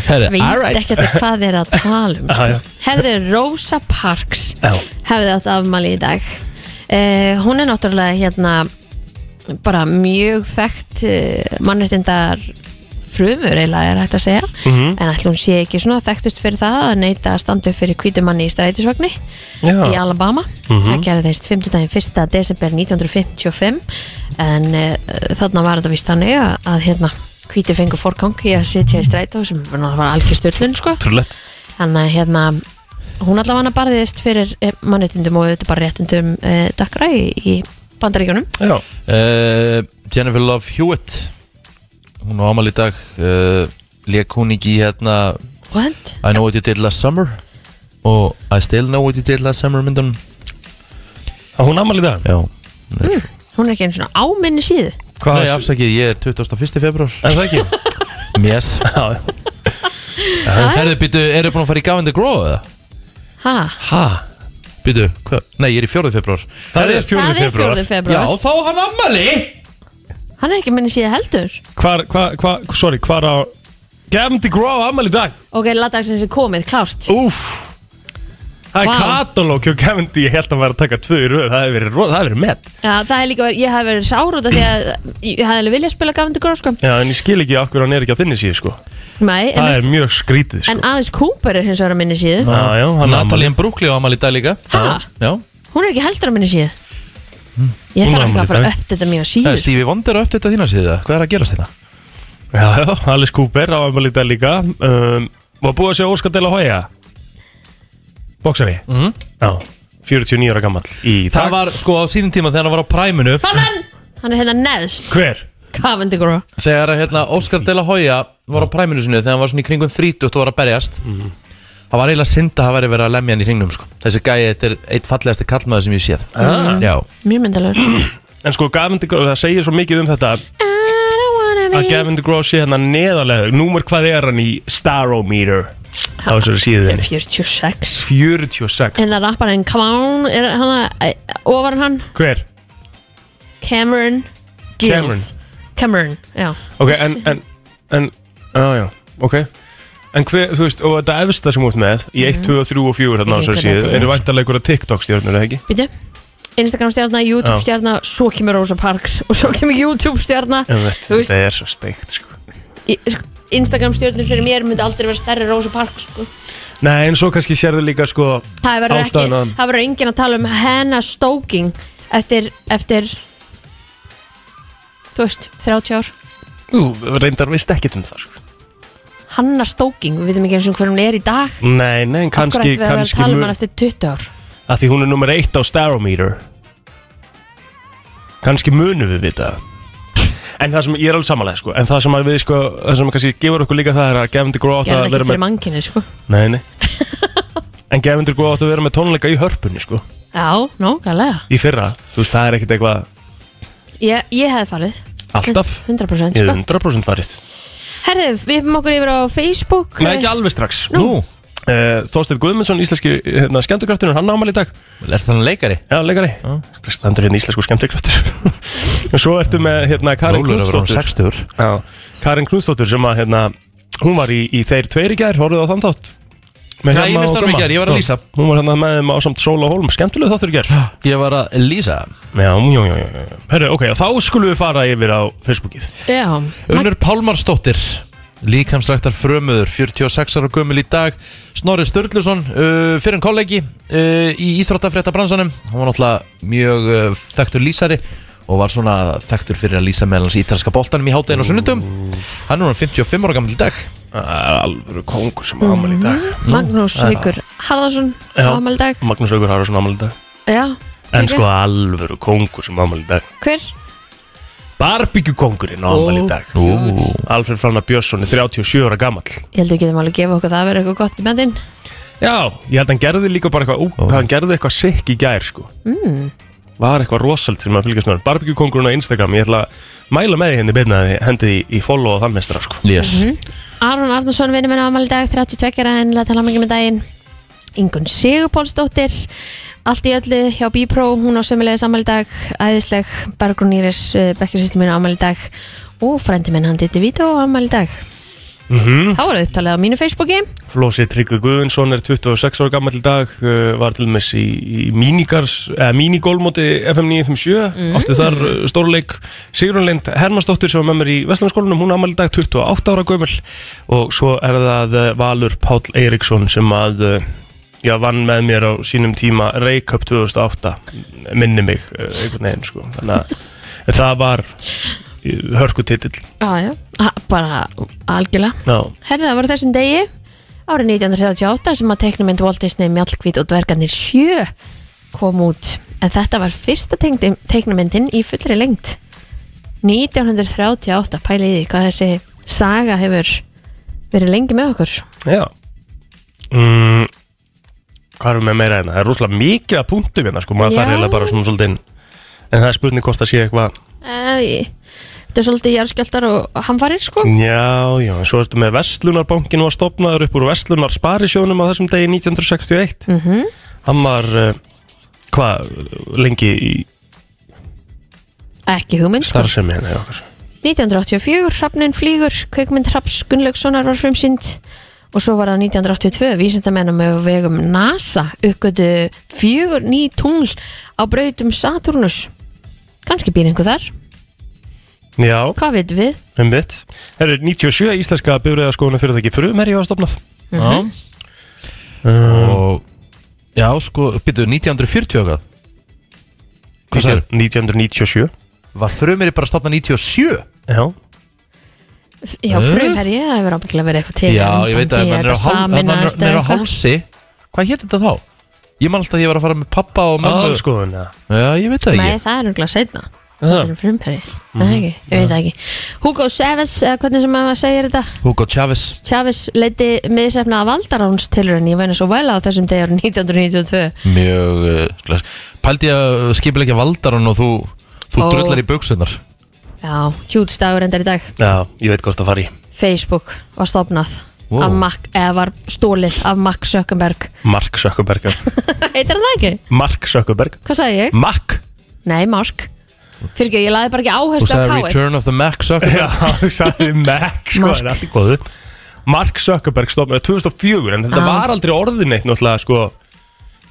S4: Herri,
S3: Veit
S4: alright
S3: ekki
S4: [laughs]
S3: hvað þið er að tala um
S2: Já, já.
S3: sko. Herði, Rosa Parks
S2: Já
S3: hefði átt afmæli í dag uh, hún er náttúrulega hérna bara mjög þekkt uh, mannréttindar eh, frumur eiginlega er hægt að segja
S2: Mhm.
S3: en ætla hún sé ekki svona þekktust fyrir það að neyta að standa upp fyrir kvítumanni í strætisvagni
S2: Já.
S3: í Alabama það gerðist 50. 1. desember 1955 en uh, þarna var þetta vist þannig að, að hérna hvíti fengur forgang í að sitja í strætó sem var algjör styrlun sko
S2: Trúlegt
S3: þannig að hérna hún allavega barðist fyrir eh, mannréttindum og auðvitað bara réttindum uh, dökra í, í bandaríkjunum
S2: Já
S4: uh, Jennifer Love Hewitt Hún á ámali í dag uh, Lék hún ekki í hérna
S3: What?
S4: I know what you did last summer Og I still know what you did last summer myndunum
S2: Á hún amal í dag
S4: Já hún er-
S3: Mm. Hún er ekki einu svona áminni síðu
S2: Hvað
S4: Nei, afsakið, ég er 21. februar
S2: Er það ekki?
S4: [laughs] Mjess
S2: Já
S4: Herðu, býtu, eru búin að fara í Gavin the Grow eða?
S3: ha,
S4: Ha? Býtu, hvað? Nei, ég er í 4. februar
S2: Það er
S3: Það
S2: fjórið
S3: er 4.
S2: februar
S4: Já,
S3: februar
S4: þá hann ammali
S3: Hann er ekki minni síðu heldur
S2: Hvar, hvar, hvar, sorry, hvar á Gavin DeGraw amal í dag
S3: Ok, laddagsins er komið, klárt
S2: Úf Það er
S3: Vá.
S2: wow. katalóg hjá Gavin D Ég held að hann væri að taka tvö í röð Það hefur verið, ro- það hefur verið met
S3: Já, það er líka, verið- ég hef verið sár út af því að ég hef alveg viljað spila gafundu gróð sko
S2: Já, en ég skil ekki af hverju hann er ekki á þinni síðu sko
S3: Nei,
S2: Það
S3: en,
S2: er mjög skrítið sko
S3: en Alice Cooper er hins vegar að minni síðu
S2: Já, já, hann amal
S4: Natalie Brúkli á ammali í dag líka
S3: Ha?
S4: Já
S3: Hún er ekki heldur að minni síðu
S2: Hm. Hún
S3: Ég
S2: er
S3: þarf
S2: afmæli
S3: ekki að
S2: í
S3: fara
S2: dag.
S3: upp þetta mína síðu sko.
S4: Eh, Stevie Wonder upp þetta þína síða Hvað er að gerast hérna?
S2: Já, já, Alice Cooper á amal í dag líka um, Var búið að segja Óskar Dela Hoya Boksari mm Já, 49 ára gammal Í
S4: Hm? Mhm. Það
S2: dag
S4: var sko á sínum tíma þegar hann var á præminu
S3: Fannan! Hann er hérna neðst
S2: Hver?
S3: Gafundu gróð
S4: Þegar hérna Óskar De La Hoya var á præminu sinni Þegar hann var svona í kringum 30 og var að berjast Það var eiginlega synd að það væri verið að lemja hann í hringnum sko. Þessi gæi, þetta er eitt fallegasti kallmaður sem ég séð Já,
S3: Mjög myndalegur
S2: En sko Gavin DeGraw, það segir svo mikið um þetta
S3: I don't wanna
S2: að
S3: be
S2: Gavin DeGraw sé hérna neðarlega Númer hvað er hann í Starometer á þessari
S3: Ég er
S2: síðunni
S3: 46
S2: 46
S3: En það Hérna rapparinn, come on Er hann að, æ, ofar en hann
S2: Hver?
S3: Cameron Gills Cameron, já
S2: Ok, en, en, en, já, já, ok En hver, þú veist, og þetta efsta sem út með í 1, 2, 3 og 4 þarna á
S3: Mhm. Ég veit
S2: þessari
S3: hvernig
S2: síðu
S3: þetta er.
S2: eru væntalega einhverja TikTok stjórnur, eða ekki?
S3: Býtu Instagram stjarnar, YouTube stjarnar Svo kemur Rosa Parks Og svo kemur YouTube stjarnar Þú veist,
S2: Þetta er svo steikt, sko
S3: í- sko, Instagram stjarnar fyrir mér Myndi aldrei vera stærri en Rosa Parks sko.
S2: Nei, en svo kannski sérðu líka, sko
S3: Það verður ekki
S2: Ástæðan að-
S3: Það verður enginn að tala um Hannah Stoking Eftir, eftir Þú veist, 30 ár
S2: Ú, reyndar vist ekkit um það, sko
S3: Hanna Stoking, við veitum ekki eins og hver hún er í dag
S2: Nei, nei, en
S3: Af
S2: kannski,
S3: hverju ættum við að vera að
S2: kannski
S3: tala um
S2: mun-
S3: hann eftir 20 ár
S2: að því hún er nummer eitt á Starometer kannski munum við vita það. en það sem ég er alveg samanlega sko, en það sem að við sko, það sem kannski gefur okkur líka það er að Gavin DeGraw átt
S3: Gerði
S2: að
S3: það ekki
S2: vera
S3: fyrir
S2: með
S3: mannkinni, sko
S2: nei,
S3: [laughs]
S2: nei. en Gavin DeGraw átt að vera með tónleika í hörpunni sko,
S3: Já, nákvæmlega
S2: í fyrra þú veist, það er ekkit eitthvað
S3: Ég, ég hefði farið
S2: alltaf
S3: 100%
S2: ég
S3: sko
S2: er 100% farið,
S3: Herðu, við hefum okkur yfir á Facebook
S2: nei ekki alveg strax
S4: nú,
S2: Uh, Þorsteinn Guðmundsson, íslenski hérna, skemmtukrafturinn, hann ámali í dag
S4: er það hann leikari?
S2: Já, leikari, það stendur hérna íslensku skemmtikraftur [laughs] og svo ertu með hérna Karin
S4: Rólur að vera hann
S2: Knúsdóttur
S4: 60
S2: Já, Karin Knúsdóttur sem að hérna, hún var í, í þeir tveir í gær, horfðu á þann þátt með
S4: Já,
S2: Hemma
S4: ég
S2: og
S4: missti honum í
S2: Gumma.
S4: gær, ég var að
S2: Já,
S4: lýsa.
S2: Hún var hérna með þeim á samt Sól og Hólm, skemmtileg þáttur í gær Já,
S4: [gasps] Ég var að lýsa
S2: já, já, já, já, já. Herru, ok, þá skulum við fara yfir á Facebookið
S3: Já,
S4: Unnur Pálmarsdóttir Líkamsræktar frömuður, 46 ára gömul í dag Snorri Sturluson, uh, fyrir en kollegi uh, í Íþróttafrétta bransanum Hann var náttúrulega mjög uh, þekktur lýsari og var svona þekktur fyrir að lýsa meðlans ítalska boltanum í hátæðin og sunnundum Hann er núna 55 ára gammal í dag
S2: Það er alvöru kongur sem ámali í dag
S3: Mm-hmm. Magnús Vikur Harðarsson
S2: Já.
S3: ámæli dag
S2: Magnús Augur Hararsson ámali í dag
S3: Já,
S2: En
S3: fyrir.
S2: sko alvöru kongur sem ámali í dag
S3: hver?
S2: Barbíkjukongurinn ámali í dag Alfred Franna Björnsson er 37 ára gamall
S3: Ég held að við getum alveg að gefa okkur það að vera eitthvað gott í bendin
S2: Já, ég held að hann gerði líka bara eitthvað ó, Hann gerði eitthvað sikk í gær sko mm. Var eitthvað rosald sem að fylgjast með hann Barbecue kongurinn á Instagram Ég ætla að mæla með því henni byrna því Hendið í, í follow og þann mestra sko
S4: Yes
S3: Mhm. Aron Arnarsson, vinnum minn ámæli dag 32 ára en laði tala mikið með daginn Ingun Sigurpólsdóttir Allt í öllu hjá Bípró hún á sömulegis ámæli dag Æðisleg eh, Bergrún Íris, bekkjarsýsli minn ámæli dag og frændi minn hann Ditti Vító ámæli dag
S2: Mhm.
S3: Þá er það upptalið á mínu Facebooki
S2: Flósi Tryggvi Guðvinsson er 26 ára gammal í dag uh, var til dæmis í, í minigars, eh, minigólmóti FM 957 átti þar uh, stórleik Sigrun Lind Hermannsdóttir sem var með mér í Vestlandskólanum hún ammali í dag 28 ára gömul og svo er það uh, Valur Páll Eiríksson sem að uh, já, vann með mér á sínum tíma Reykjöp 2008 minni mig uh, einhvern veginn sko þannig að en það var uh, hörkutitill
S3: Já, já, ha, bara algjörlega
S2: Já,
S3: Herðið, það var á þessum degi árið 1938 sem að teiknumynd Walt Disney Mjallkvít og dvergarnir sjö kom út en þetta var fyrsta tengdi- teiknumyndin í fullri lengt 1938, pæliði hvað þessi saga hefur verið lengi með okkur
S2: já mm, Hvað erum við með meira hérna? Það er rosalega mikið að punktum hérna sko, maður
S3: Já.
S2: þarf eiginlega bara svona svolítið inn. en það er spurning hvort það sé eitthvað
S3: Æ, Þetta er svolítið jarðskjöldar og hamfarir sko
S2: Já, já, en svo ertu með Vestlunarbankin var stopnaður upp úr Vestlunar Sparisjónum á þessum degi 1961 mm
S3: Mhm.
S2: -hmm. Hann var uh, hvað, lengi í
S3: Ekki hugmynd sko
S2: starfsemi hérna hjá okkur.
S3: 1984, Hrafnin flýgur, kveikmynd Hrafs Gunnlaugssonar var frumsýnd og svo var það 1982, vísindamennum og vegum NASA uppgötu fjögur ný tungl á brautum Saturnus. Kanski býr einhver þar,
S2: Já,
S3: hvað veitum við?
S2: um vitt Það eru 97 íslenska bifræðaskóðuna fyrir það ekki frumherji var stopnað
S3: Mhm.
S4: Og Já, sko, byrjuðu 1940 og hvað Hvað sagði?
S2: 1997
S4: Var frumir bara stopna 97?
S2: Já,
S3: F- Já, frumherji, það hefur ábyggilega verið eitthvað til.
S4: Eh? Já, ég veit að
S3: ef
S4: ef hann er á hál- ef hann er- hann er á hálsi Hvað hétt þetta þá? Ég man alltaf að ég var að fara með pappa og mömmu
S2: aðalskoðun eða?
S4: Já, ég veit það
S3: Nei,
S4: ekki
S3: það er örgulega setna Það er um frumherji, mm
S4: Mhm.
S3: ekki, ég veit það ekki Hugo Chavez, eða hvernig sem maður segir þetta
S4: Hugo Chavez
S3: Chávez leiti miðsefna að valdaráns tilröðin í Venezuela á þessum degur 1992
S4: Mjög uh, skilur. Pældi ég að skipilegja valdarun og þú Þú
S3: Ó.
S4: drullar í buksunar
S3: Já, hjúts dagur endar í dag
S2: Já, ég veit hvort það fari
S3: Facebook var stopnað
S4: Wow.
S3: af Mark, eða var stólið af Mark Zuckerberg [laughs]
S2: Mark Sökkuberg
S3: Heitir hann það ekki?
S2: Mark Sökkuberg
S3: Hvað sagði ég?
S2: Mark
S3: Nei, Mark Fyrir ekki, ég laði bara ekki
S4: Þú
S3: áherslu á
S4: sagði
S3: káið
S4: Return of the Mac Sucker
S2: Já, þú sagði Mac sko,
S3: Mark.
S2: það er allt í góðu Mark Sökkuberg stofnaði 2004 en þetta
S3: Já.
S2: var aldrei orðin eitt náttúrulega sko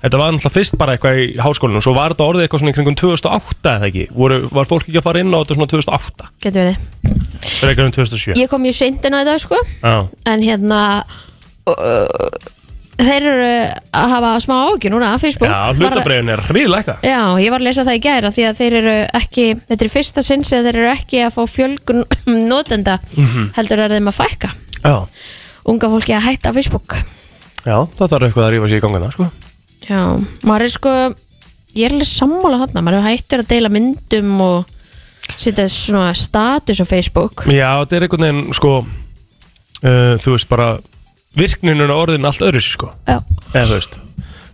S2: Þetta var náttúrulega fyrst bara eitthvað í háskólinu og svo var þetta orðið eitthvað svona í kringum 2008 eða ekki Voru, Var fólk ekki að fara inn á þetta svona 2008
S3: Getur verið
S2: Frekar um 2007
S3: Ég kom mjög seint inn á þetta sko
S2: Já,
S3: En hérna uh, Þeir eru að hafa smá ágjur núna af Facebook
S2: Já
S3: Var-
S2: hlutabregin er hríðleika
S3: Já, ég var að lesa það í gæra því að þeir eru ekki, þetta er fyrsta sinn sem þeir eru ekki að fá fjölgun [clears throat] notenda
S2: Mm.
S3: heldur er þeim að fækka
S2: Mhm. Já,
S3: unga fólki að hætta á Facebook
S2: já það þarf eitthvað að rífa sér í gangana sko
S3: Já, maður er sko ég er alveg sammála þarna, maður er hættur að deila myndum og setja svona status á Facebook
S2: Já, þetta er einhvern veginn sko uh, þú veist bara virkninun og orðin allt öðru sko
S3: Já.
S2: eða þú veist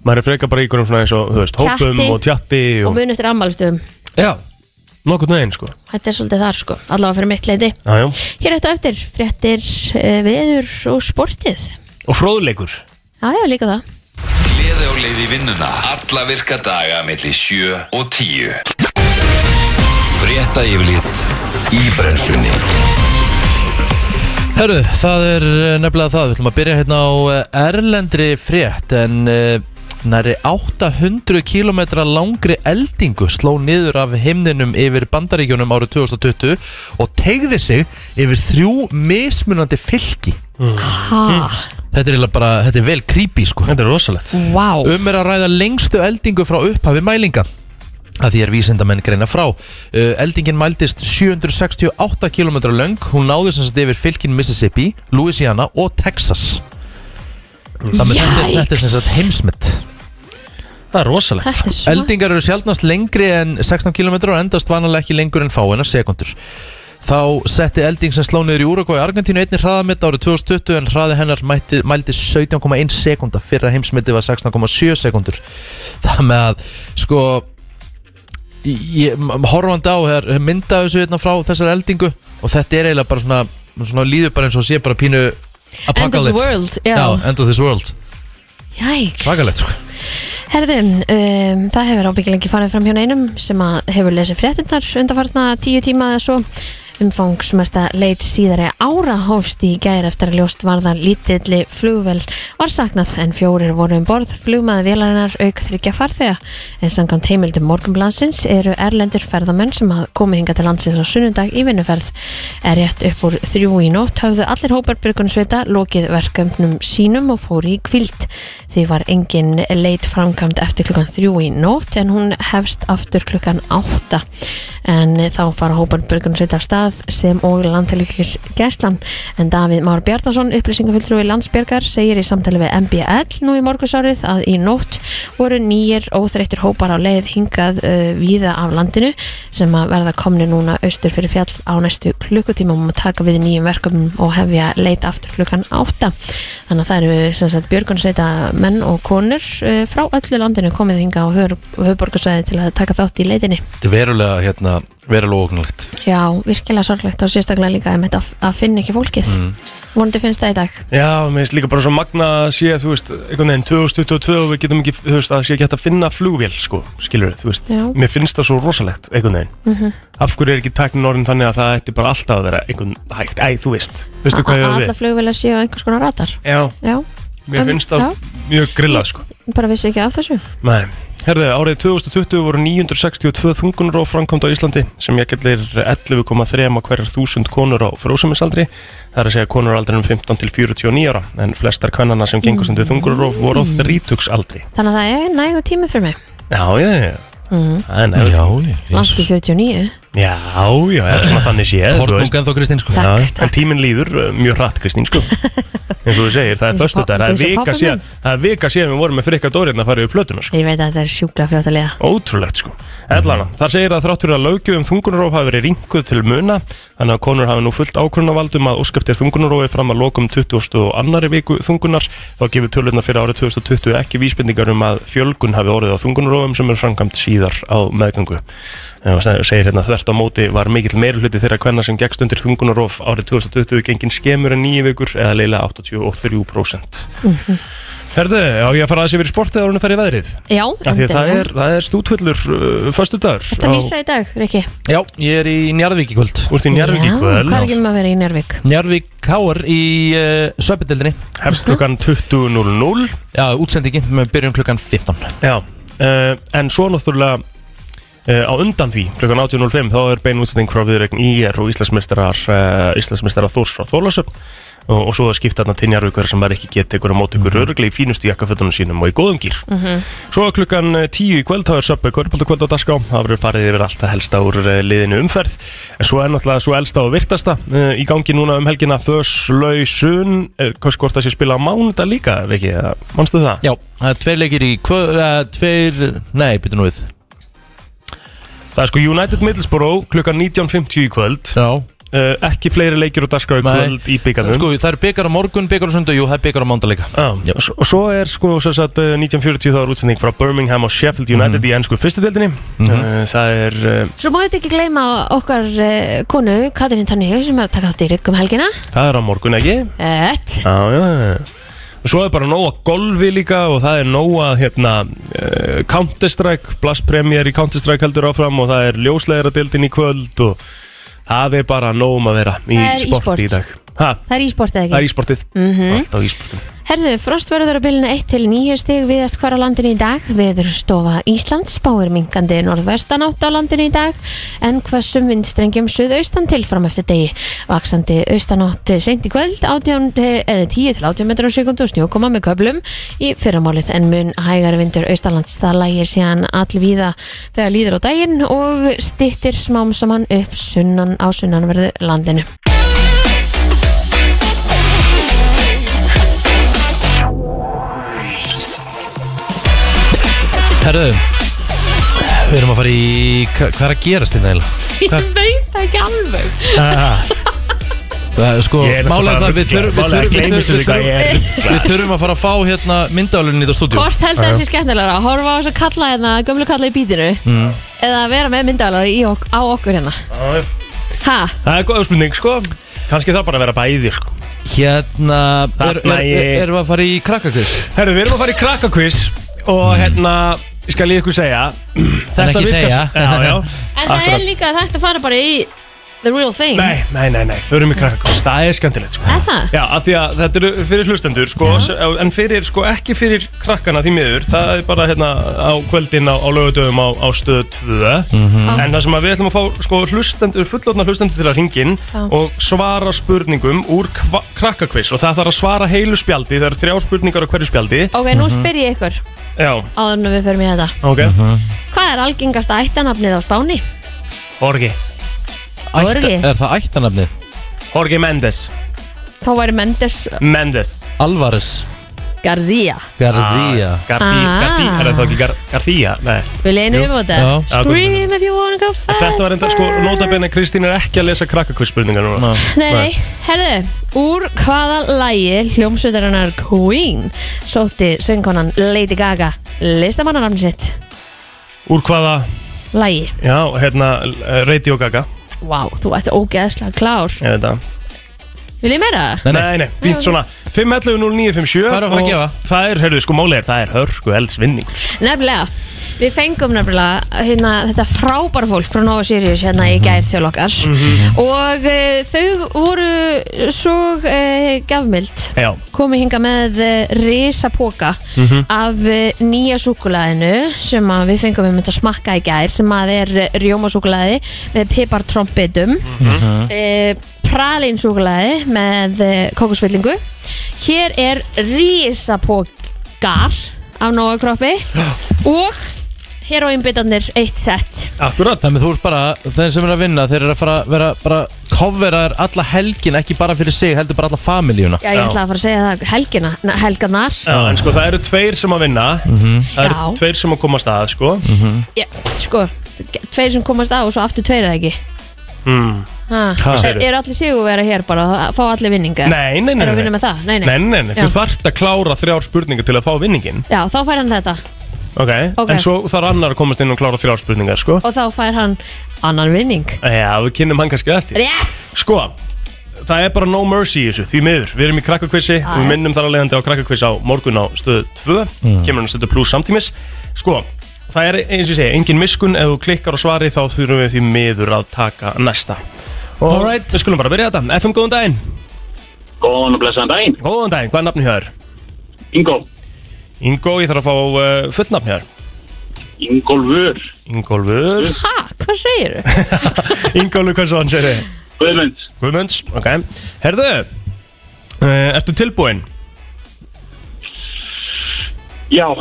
S2: maður er frekar bara í einhverjum svona eins og þú veist
S3: Chatti.
S2: hópum og tjatti
S3: og
S2: og,
S3: mun eftir ammælstöðum,
S2: já, nokkurn veginn sko
S3: þetta er svolítið þar sko allavega fyrir mitt leiti.
S2: já, já.
S3: Hér eftir á eftir, fréttir eh, veður og sportið.
S2: og fróðleikur
S3: Já, já, líka það.
S1: Gleði og leiði vinnuna Alla virka daga melli 7 og 10 Frétta yfirlit í brennslunni
S4: Herru, það er eh, nefnilega það Við ætlum að byrja hérna á eh, erlendri frétt En uh, næri 800 km langri eldingu sló niður af himninum yfir bandaríkjunum árið 2020 og tegði sig yfir þrjú mismunandi fylki
S3: Ha,
S4: Þetta er eiginlega bara, þetta er vel creepy sko
S2: þetta er rosalegt
S3: vá.
S4: Um er að ræða lengstu eldingu frá upphafi mælinga að því er vísindamenn greina frá uh, Eldingin mældist 768 km löng Hún náði sem sagt yfir fylkin Mississippi, Louisiana og Texas Þannig að þetta, er- þetta er sem sagt heimsmynd
S2: það er rosalegt
S3: Þetta er svo
S4: Eldingar eru sjálfnast lengri en 16 km og endast vanalega ekki lengur en fáina sekundur Þá setti elding sem sló niður í Úrugvæ í Argentínu einni hraðamitt árið 2020 en hraði hennar mætti, mældi 17,1 sekunda fyrir að heimsmyndi var 16,7 sekundur Það með að sko ég, m- horfandi á her, mynda þessu hérna frá þessar eldingu og þetta er eiginlega bara svona, svona líður bara eins og sé bara pínu
S3: End of the world, já.
S4: já End of this world
S3: Jæks.
S4: Svakalegt sko
S3: Herðu, um, það hefur ábyggilega ekki farið fram hjá neinum sem að hefur lesið fréttinnar undanfarna tíu tíma eða svo Umfangsmesta leit síðari ára hófst í gær eftir að ljóst varða lítilli flugvel var saknað en fjórir voru um borð flugmaði vélarinnar auk þryggja farþega en samkvæmt heimildum morgunblansins eru erlendur ferðamenn sem hafði komið hinga til landsins á sunnundag í vinnuferð er rétt upp úr þrjú í nótt hafðu allir hópar byrgunsveita lokið verkefnum sínum og fóru í kvild því var engin leit framkvæmd eftir klukkan þrjú í nótt en hún hefst aftur klukkan átta en þá fara hópar björgunarsveita af stað sem og landtælikis gæslan en Davíð Már Bjarnason upplýsingafulltrúi landsbjörgar segir í samtali við MBL nú í morgusárið að í nótt voru nýjir óþreyttir hópar á leið hingað uh, víða af landinu sem að verða komni núna austur fyrir fjall á næstu klukkutímum og taka við nýjum verkefnum og hefja leit aftur klukkan átta þannig að það eru sem sagt björgunsveita menn og konur eh, frá öllu landinu komið hinga á höfuborgarsvæði til að taka þátt í leitinni
S4: Þetta er verulega, hérna, verulega ógnulegt
S3: Já, virkilega sorglegt og sérstaklega líka einmitt að, að finna ekki fólkið mm. vonandi finnst það í dag
S2: Já, mér finnst líka bara svo magna að sé, þú veist, einhvern veginn 2022 og við getum ekki, þú veist, að sé ekki hægt að finna flugvél, sko, skilur þú veist.
S3: Já. Mhm.
S2: Mér finnst það svo rosalegt, einhvern veginn. Af hverju er ekki tæknin orðin þannig að það ætti bara alltaf að vera einhvern hægt, æ, þú veist, veistu hvað ég á
S3: að alla
S2: við?
S3: flugvila séu einhvers konar ratar
S2: Já,
S3: Já,
S2: mér
S3: Um,
S2: finnst það
S3: já.
S2: mjög grillað, sko.
S3: bara vissi ekki af þessu
S2: Nei. Herðu, árið 2020 voru 962 þungunar á framkvæmd á Íslandi sem jækjallir 11,3 á hverjar þúsund konur á frósumisaldri það er að segja konur á aldrinum 15 til 49 ára en flestar kvennana sem gengur sem þið þungunar voru á
S3: Mm.
S2: þrítugsaldri
S3: Þannig að það er nægu tími fyrir mig
S2: Já, já, já
S3: Mhm.
S2: Það er
S4: Já,
S2: nefnt
S3: Langt í 49
S2: Já, já, það er svona þannig séð þú veist.
S4: Hortungan þó Kristín sko
S3: Takk,
S2: Já,
S3: takk.
S2: En tíminn líður uh, mjög hratt, Kristín,
S3: [laughs]
S2: sko En þú segir, það er
S3: Eins og
S2: föstu
S3: pabbi-
S2: það er
S3: eins og
S2: vika
S3: pabbi
S2: síðan
S3: minn.
S2: það er vika síðan við vorum með frikka dórinn að fara við plötuna, sko
S3: Ég veit að þetta er sjúkla fljótt að liða
S2: Ótrúlegt sko. Ellana, þar segir að þráttur að lögjöfum þungunaróf hafi verið ringuð til muna þannig að konur hafi nú fullt ákvörunavaldum að óskaptir þungunarófi fram að lokum 20. og annari viku þungunar þá gefur tölurna fyrir árið 2020 ekki vísbendingar um að fjölgun hafi orðið á þungunarófum sem er framkvæmt síðar á meðgangu. Eh, og seg- segir hérna þvert á móti var mikill meirhluti þeirra hvenna sem gegst undir þungunarof árið 2020 gengin skemur en nýju vikur eða leila 83%
S3: Mhm.
S2: Herðu, á ég að fara aðeins yfir í sportið ára hún að fara í veðrið?
S3: Já,
S2: Af því að það
S3: endilega.
S2: er, það er stútvöllur uh, Föstu dagur
S3: Ertu að lýsa í dag, Rikki?
S4: Já, ég er í Njarðvík í kvöld
S2: Úrst í Njarvík í
S3: Já, Hvað er
S2: kvöld
S3: ekki um að vera í Njárvík?
S4: Njarðvík Káar í uh, Söpindildinni
S3: Mhm.
S2: Hefst klukkan 20.00
S4: Já, útsendingi, við byrjum klukkan 15
S2: Já uh, En svo náttúrulega Uh, á undan því, klukkan 18.05 þá er bein útsending frá viðregn IR og Íslandsmeistarar uh, Íslandsmeistarar Þórs frá Þórlasöfn og, og svo það skipta þarna tinjarvíkar sem er ekki getið ykkur á móti ykkur örgli í fínustu jakkafötunum sínum og í góðum gýr Svo er klukkan eh, 10 í kvöld, þá er söpbu kvöldbóltakvöld á dagskrá, það verður farið yfir allt að helsta úr eh, liðinu umferð, en svo er náttúrulega svo elsta og virtasta uh, í gangi núna um helgina Föslausun, eh, hvers hvort það sé spila á mánudag líka, Riki, eða manstu það?
S4: Já, það er tveir leikir í kvöld uh, Tveir, nei, byrjum nú við
S2: Það er sko United Middlesbrough klukkan 19.50 í kvöld,
S4: Já
S2: uh, ekki fleiri leikir og dagskrá í
S4: Nei.
S2: kvöld í byggarnum.
S4: Sko, það er byggar á morgun, byggar á sundu Jú, það er byggar á mándalega
S2: Já,
S4: Já.
S2: og s- og svo er sko sem sagt, eh, 1940 þá er útsending frá Birmingham og Sheffield United
S4: Mhm.
S2: í ennsku fyrstudeldinni mm Það er eh,
S3: Svo má þetta ekki gleyma okkar uh, konu Katrin Tanníu sem er að taka þátt í Rikk um helgina Eh,
S2: það er á morgun ekki
S3: Ett
S2: Já, já, já Og Svo er bara nóg að golfi líka og það er nóg að hérna, uh, Counter-Strike, Blast Premier í Counter-Strike heldur áfram og það er ljósleira dildin í kvöld og það er bara nóg um að vera í
S3: Það er
S2: sporti í
S3: e-sport.
S2: dag. Ha,
S3: Það er ísport eða
S2: það
S3: ekki?
S2: er ísportið, mm alltaf ísportið.
S3: Herðu, frost verður á byluna 1 til 9 stig viðast hvar á landinu í dag, veður stofa Íslands, spáir minkandi norðvestan átt á landinu í dag, en hvessum vindstrengjum suðaustan til fram eftir degi vaksandi austan átt seint í kvöld 18, til- eh, 10 til 18 metrar á sekundu og snjókoma með köplum í fyrramálið en mun hægari vindur austalands það lægir síðan allvíða þegar líður á daginn og stittir smám saman upp sunnan á sunnanverðu landinu.
S4: Herðu Við erum að fara í, hva, hvað er að gerast þetta eiginlega? Hvað er-
S3: veit það ekki alveg.
S2: [laughs]
S4: Það er Sko,
S2: Ég er
S4: málega
S2: náttúrulega
S4: það, við
S2: bara ruglaður. Málega
S4: þurfum við þurfum- við
S2: gleymist
S4: þurfum- við
S2: þessu hvað
S4: þurfum-
S2: ég er.
S4: við þurfum að fara að fá hérna myndavlunni í þetta stúdíu
S3: Hvort heldur þessi skemmtilega að horfa á þessu kalla hérna, gömlu kalla í bítinu
S2: Hm.
S4: Mm.
S3: eða að vera með myndavælar ok á okkur hérna Ha?
S2: Það er góð spurning, sko. Kanski það bara að vera bæði, sko.
S4: Hérna, er,
S2: Þarna
S4: er, er,
S2: ég-
S4: erum við að fara í krakkakvist?
S2: Herru, við erum að fara í krakkakviss og hérna, skal ég ykkur segja
S4: En ekki
S2: virkar-
S4: þegja.
S2: Já, já.
S3: En það
S2: Akkurat.
S3: er líka hægt að fara bara í the real thing
S2: Nei, nei, nei, nei, förum í krakkakast, það er skemmtilegt sko.
S3: Er það?
S2: Já, af því að þetta eru fyrir hlustendur sko, s- en fyrir, sko, ekki fyrir krakkana því miður, það er bara hérna á kvöldin á, á lögutöfum á, á stöðu 2
S3: Mhm.
S2: en það sem að við ætlum að fá sko, hlustendur, fullotna hlustendur til að ringin
S3: Já.
S2: og svara spurningum úr kva- krakkakviss og það þarf að svara heilu spjaldi, það eru þrjá spurningar á hverju spjaldi Mhm.
S3: Ok, nú spyr Mhm. ég ykkur
S2: Já,
S3: áður en við förum í þetta
S2: ok,
S3: Hvað er algengasta ættanafnið á Spáni?
S2: Jorge
S3: Jorge.
S4: Er það ættanafnið?
S2: Jorge Mendes
S3: Þá væri Mendes
S2: Mendes
S4: Alvarez
S3: Garcia
S4: Garcia
S2: García,
S3: Ah.
S2: García, er það þá ekki Gar García? Nei
S3: Vil einu við bóta?
S4: Já.
S3: Scream if you wanna go faster
S2: Þetta var enda sko, notabene Kristín er ekki að lesa krakkakvistspurningar núna
S4: Ná.
S3: Nei, nei, herðu, úr hvaða lægi hljómsveitarinnar Queen sótti söngkonan Lady Gaga listamannanamni sitt
S2: Úr hvaða,
S3: lægi?
S2: já, hérna, eh, Radio Gaga
S3: Vá, þú ert ógeðslega klár
S2: Ég veit það
S3: Vil ég meira?
S4: Nei, nei.
S2: Nei, nei, fínt svona 511-0957
S4: Hvað erum við að
S2: og
S4: gefa?
S2: Það er, heyrðu, sko, málið er, það er hörku eldsvinning
S3: Nefnilega, við fengum nefnilega hérna, þetta frábæra fólk frá Nova Sirius hérna
S4: Mhm.
S3: í gær þjólokkar og uh, þau voru svo uh, gafmild
S2: Já,
S3: komið hinga með uh, risapoka
S2: Mhm.
S3: af uh, nýja súkulæðinu sem að við fengum við að smakka í gær sem að er uh, rjómasúkulæði með pipartrombitum mm
S2: Mhm.
S3: -hmm. pralinsúkulæði með uh, kokosfyllingu hér er risapokar af nógu
S2: [gasps]
S3: kroppi og hér á innbytarnir eitt sett
S2: akkurat
S4: Þannig að þú ert bara, þeir sem eru að vinna, þeir eru að fara að vera bara coveraðar alla helgin, ekki bara fyrir sig, heldur bara alla familíuna.
S3: Já, ég
S2: Já.
S3: ætla að fara að segja það helgina, na- helgarnar
S2: Já, en sko, það eru tveir sem að vinna Það eru
S3: Já.
S2: tveir sem að komast að, sko
S3: Já, sko, tveir sem komast á og svo aftur tveir eða ekki
S2: mm.
S3: Ha,
S2: Ha,
S3: er,
S2: segirðu?
S3: er allir sigur vera hér bara að fá allir vinninga?
S2: Nei, nei, nei,
S3: Er að
S2: nei,
S3: vinna með það? Nei, nei.
S2: Nei, nei, nei,
S3: Já.
S2: þú þarft að klára þrjár spurningar til að fá vinningin
S3: Já, þá fær hann þetta
S2: Ok,
S3: Ok.
S2: en svo þarf annar að komast inn og klára þrjár spurningar, sko
S3: og þá fær hann annan vinning.
S2: Já, við kynnum hann kannski eftir
S3: Rétt!
S2: Sko, það er bara no mercy í þessu, því miður Við erum í krakkakvissi, við minnum þar að leiðandi á krakkakviss á morgun á stöðu 2 Kemur hann stöðu pluss samtímis Sko, það er eins og ég segi, engin miskun Ef þú klikkar á svari þá þurfum við því miður að taka næsta Og
S4: Alright.
S2: við skulum bara byrja þetta FM, góðan daginn
S6: Góðan og blessaðan daginn,
S2: Góðan daginn, hvað er nafni hjá þér?
S6: Ingo,
S2: Ingo, ég þarf að fá uh, fullnafni hjá þér
S6: Ingolfur,
S2: Ingólfur
S3: Ha, hvað segir þú?
S2: [laughs] Ingólfur, hvað svo hann segir þið?
S6: Guðmund,
S2: Guðmunds, ok Herðu, uh, ertu tilbúinn?
S6: já,
S3: Ok,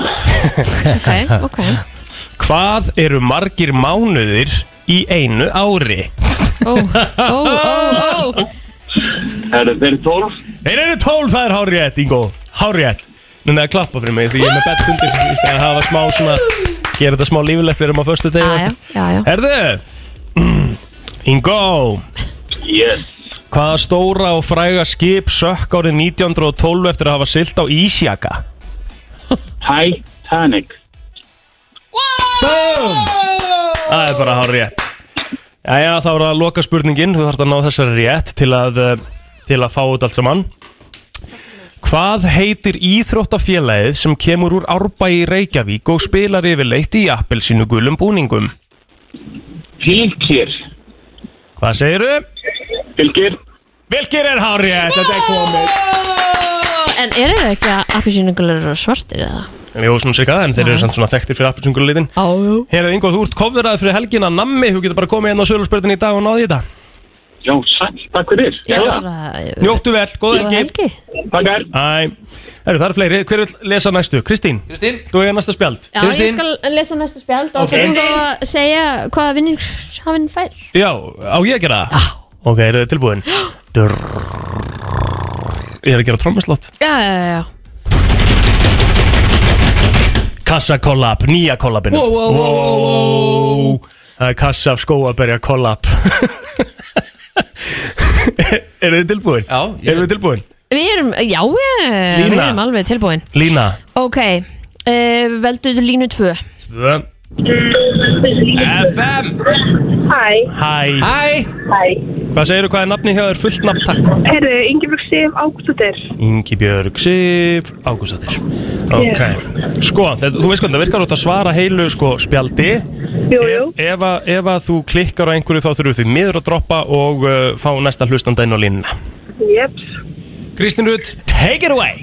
S3: ok,
S2: [laughs] Hvað eru margir mánuðir í einu ári?
S3: ó, ó, ó, ó,
S6: það eru tólf,
S2: Þeir eru tólf, það er hárétt, Ingo Hárétt Núna að klappa fyrir mig því ég er með bett undir Í stæðan að hafa smá svona Gera þetta smá lífilegt, við erum á föstu
S3: já, já,
S2: tegi
S3: já, já.
S2: Herðu [clears throat] Ingo
S6: yes,
S2: Hvaða stóra og fræga skip sökk árið 1912 eftir að hafa silt á Ísjaka?
S6: Titanic,
S2: Það er bara hár rétt Jæja, þá er það loka spurningin Þú þarft að ná þessari rétt til að, eh, til að fá út allt saman Hvað heitir íþróttafélagið sem kemur úr árbæ í Reykjavík og spilar yfirleitt í appelsínu gulum búningum?
S6: Fylgir,
S2: Hvað segirðu?
S6: Fylgir,
S2: Vilkir er hár rétt, þetta er komið
S3: En eru þau ekki að appisýningulegur og svartir eða?
S2: Jó, svona sérka, en þeir eru samt svona þekktir fyrir appelsínu gulum litin
S3: Á, jú.
S2: Herðu, Ingo, þú ert kofverðað fyrir helgina nammi Þú getur bara komið hérna á söluspörðin í dag og náði þetta
S6: já, sætt, takk fyrir,
S3: Já,
S6: já,
S3: það.
S2: Njóttu vel, góða
S3: Góða
S2: helgi
S3: helgi.
S6: takk er,
S2: Æ, herru, það eru fleiri, hver vil lesa næstu? Kristín,
S4: Kristín?
S2: þú eiga næsta spjald
S3: Já, ég skal lesa næsta spjald og okay. þú að segja hvaða vinning hafinn fær.
S2: Já, á ég að gera það? Já Ok, eru þið
S3: [gasps]
S2: tilbúin? Drrrr. Ég er að gera trommaslott
S3: Já, já, já, já.
S2: Kassa kollab, nýja kollabinu
S3: Wow, wow, wow, wow,
S2: wow. Það er kassa af skóaberja kollab [laughs] Eru þið tilbúin?
S4: Já, ég-
S2: Eru þið tilbúin?
S3: Við erum, já, já, við
S2: Lína.
S3: erum alveg tilbúin.
S2: Lína
S3: Ok, uh, velduðu línu 2
S2: Tvö FM
S7: Hæ,
S2: Hæ,
S4: Æ!
S7: hæ.
S2: hvað segirðu hvað er nafni hjá þér fullt nafn takk?
S7: Herru, Ingeborg Sif Ágústadóttir.
S2: Ingi Björg Sif Ágústadir Ok, sko, þetta, þú veist hvernig, það virkar út að svara heilu sko spjaldi
S7: Jú, jú.
S2: Ef, að- ef að þú klikkar á einhverju þá þurfum því miður að droppa og uh, fá næsta hlustanda inn á línuna
S7: Jeps.
S2: Kristín Rut, take it away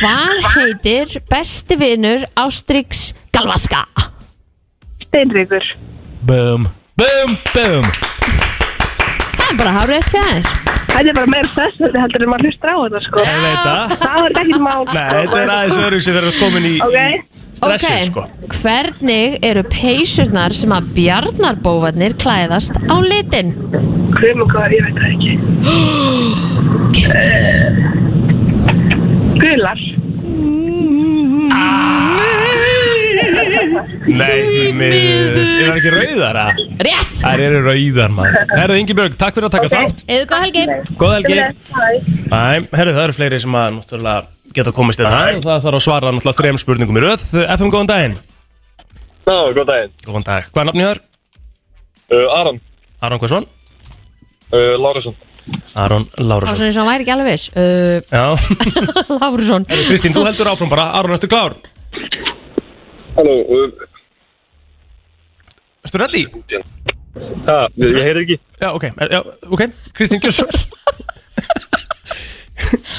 S3: Hvað heitir besti vinur Ástriks Galvaska?
S7: Steinryggur.
S4: Bum, bum, bum
S3: Það er bara hárið til þér
S7: Þetta er bara meira þess að þetta heldur en maður hlustur á þetta, sko.
S2: Ég veit það
S7: Það var ekkert mál. sko.
S2: Nei, þetta er aðeins öðru sem þeirra komin í,
S7: Ok.
S2: í stressið sko
S3: hvernig eru peysurnar sem að bjarnarbófarnir klæðast á litin?
S7: Hvum og hvað, ég veit það ekki. Gular.
S2: Nei, því miður Er það ekki rauðar að?
S3: Rétt!
S2: Það eru rauðar maður Herðu Ingibjörg, takk fyrir að taka þátt
S3: Eða góð helgi?
S2: Góð helgi
S7: Hæ.
S2: Æ, herru, það eru fleiri sem að náttúrulega geta komist inn Það þarf að svara náttúrulega þrem spurningum í röð FM, góðan daginn
S8: Ná, góð daginn.
S2: Góðan dag, hvað er nafnið þar?
S8: Uh, Aron,
S2: Aron Hversson?
S8: uh, Lárusson.
S2: Aron
S3: Það var
S2: Lárusson
S3: svona eins og hann væri ekki alveg viss uh, [laughs]
S2: Já,
S3: Lárusson
S2: Kristín, þú heldur áfram bara Aron, ertu klár?
S8: Halló, uh,
S2: Ertu ready?
S8: ha, ég heyri ekki.
S2: Já, ok, er- já, ok Kristín, gjör svo vel.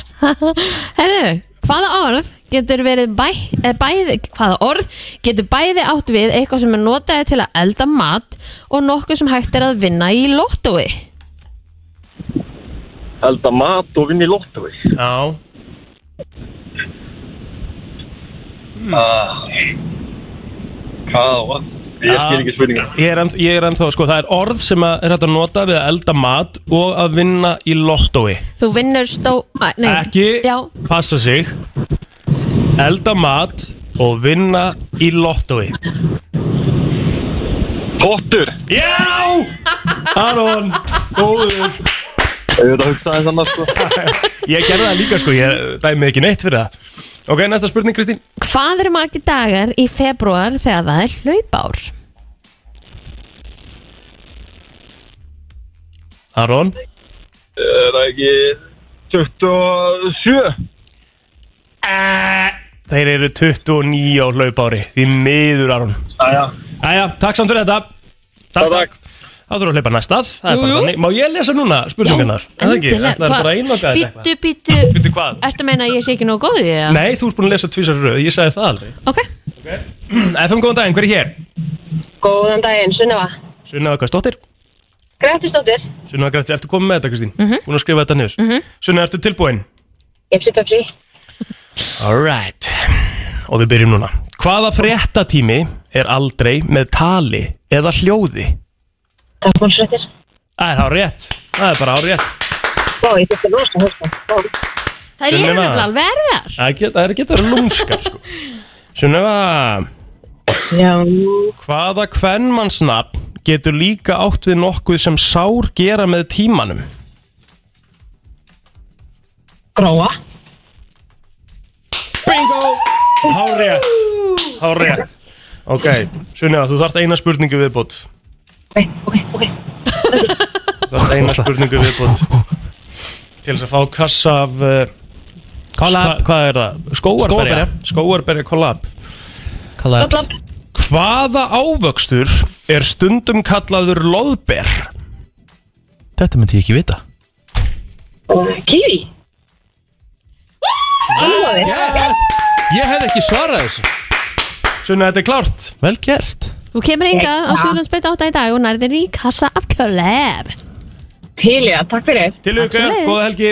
S3: [laughs] Herðu, hvaða orð getur verið bæ, eh, bæði hvaða orð getur bæði átt við eitthvað sem er notaði til að elda mat og nokkuð sem hægt er að vinna í lottói
S8: Elda mat og vinni í lottói.
S2: Já,
S8: Hvað, hvað? Ég skil ekki spurninga.
S2: Ég er, enn, ég er ennþá, sko, það er orð sem að er hægt að nota við að elda mat og að vinna í lottói.
S3: Þú vinnur stó... Æ, nei.
S2: Ekki
S3: Já,
S2: passa sig, elda mat og vinna í lottói.
S8: Pottur!
S2: Já! Aron, góður.
S8: Ég veit að hugsa þess annars, sko.
S2: [laughs] Ég gerði það líka, sko, ég dæmi ekki neitt fyrir það. Ok, næsta spurning, Kristín.
S3: hvað eru margir dagar í februar þegar það er hlaupár?
S2: Aron,
S8: Er það ekki 27?
S2: Eh, þeir eru 29 á hlaupári. Því miður, Aron.
S8: Æja.
S2: Æja, takk samt fyrir þetta. Takk, takk. Þá þurfum við að hleypa næstað. Það er bara þannig. Má ég lesa núna spurningarnar? Er það ekki? Ætlaðu bara að einloka þetta eitthvað?
S3: Býttu, býttu,
S2: Býttu hvað?
S3: ertu að meina að ég sé ekki nógu góð í það?
S2: Nei, þú ert búin að lesa tvísar í röð, ég sagði það aldrei
S3: Ok,
S2: [clears throat] FM, góðan daginn, hver er hér?
S7: Góðan daginn, Sunneva.
S2: Sunnaða Kvæstóttir
S7: Grettisdóttir.
S2: Sunnaða Grætti, ertu komið með þetta, Kristín? Búin að skrifa þetta niður Sunnaða, ertu tilbúin?
S7: Jepsi pepsi.
S2: Alright Og við byrjum núna Hvaða fréttatími er aldrei með tali eða hljóði?
S7: Takk
S2: Það er á rétt, það er bara á rétt
S7: Ó, ég þurfti rosa hörsta. Ó,
S3: það eru
S2: Sunniva.
S3: nefnilega alveg erfiðar
S2: Það geta, það geta verið lúmskar, sko Sunnaða,
S7: já.
S2: hvaða kvenmannsnafn getur líka átt við nokkuð sem sár gera með tímanum?
S7: Gróa.
S2: Bingo! Hárétt Hárétt Ok, Sunniða, þú þarft eina spurningu viðbót
S7: Ok, ok, ok.
S2: Þú þarft eina spurningu viðbót Til þess að fá kassa af uh, hva,
S4: Collab
S2: Hvað er það? Skóarberja
S4: Skógarberja.
S2: Skóarberja kollab
S4: Collabs
S2: Hvaða ávöxtur er stundum kallaður loðber?
S4: Þetta myndi ég ekki vita
S7: Og Kiwi.
S4: Ég hef ekki svarað þessu
S2: Sunniða, þetta er klárt
S4: Vel gert
S3: Þú kemur hingað á Sjólandsbeitt 8 í dag og nærðir í kassa af Kjörlef
S7: Pílja, takk fyrir.
S2: Til
S3: Takk
S2: ykkur,
S3: sem leiðis.
S2: góða helgi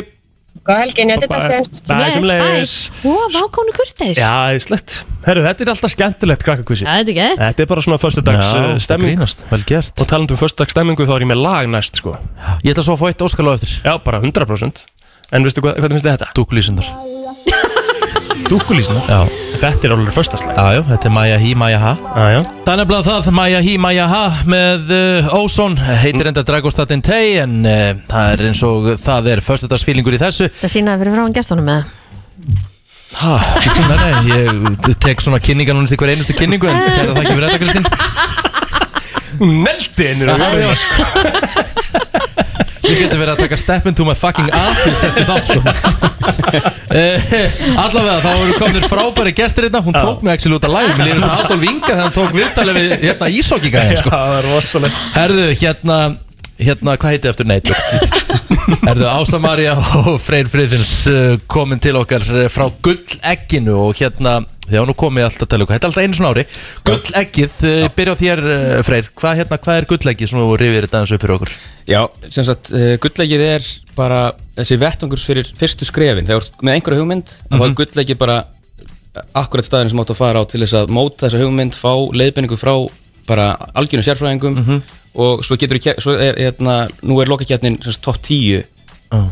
S7: Góð helgin, ég þetta
S2: Bye.
S7: er
S2: Bye, sem leiðis
S3: Ó, vákónu kurteis
S2: Já, æðislegt Herru, þetta er alltaf skemmtilegt krakkakvissi
S3: Það er þetta gett
S2: Þetta er bara svona föstudags
S4: Já,
S2: uh,
S4: það
S2: stemming
S4: grínast. Vel gert
S2: Og talandum um föstudags stemmingu þá er ég með lag næst sko
S4: Ég ætla svo að fá eitt óskal á eftir
S2: Já, bara 100% En veistu hvað, hvernig finnst þið þetta?
S4: Dúkulísundar
S2: Dúkulísna
S4: Já,
S2: Þetta er alveg förstaslega
S4: já, já, þetta er Maja Hí, Maja Ha
S2: Aja.
S4: Það er nefnilega það, Maja Hí, Maja Ha með uh, Ósson, heitir enda Dragostatin Tei en uh, það er eins og það er föstudagsfílingur í þessu
S3: Þetta sínaði fyrir frá hann gestunum með
S4: Ha, nei, nei, ég tek svona kynningar núna til hver einustu kynningu en kæra það ekki fyrir þetta Kristín
S2: Meldi hennur
S4: Já, já, sko. Við getum verið að taka step into my fucking office eftir þátt sko uh, Allavega þá eru komin frábæri gestur hérna Hún tók mig actually út að lægum Mér líður svo Adolf Inga þegar hann tók viðtalið við hérna ísókika
S2: Já,
S4: sko.
S2: það er rosalega
S4: Herðu, hérna Hérna, hvað heiti eftir neitt? Herðu, Ása Maria og Freyr Friðfinns uh, komin til okkar uh, frá gullegginu og hérna Já, nú komið alltaf að tala ykkur, þetta er alltaf einu svona ári Gulleggið, uh, byrja á þér uh, Freyr Hvað, hérna, hvað er gulleggið sem þú rifir þetta eins upp fyrir okkur?
S9: Já, sem sagt, uh, gullegið er bara þessi vettangur fyrir fyrstu skrefin þegar þú ert með einhverja hugmynd þá
S4: Mhm.
S9: er gullegið bara akkurat staðurinn sem átt að fara á til þess að móta þessa hugmynd fá leiðbendingu frá bara algjörnum sérfræðingum
S4: Mhm.
S9: og svo getur þú, svo er, hérna, nú er lokakjarnin sem sagt topp 10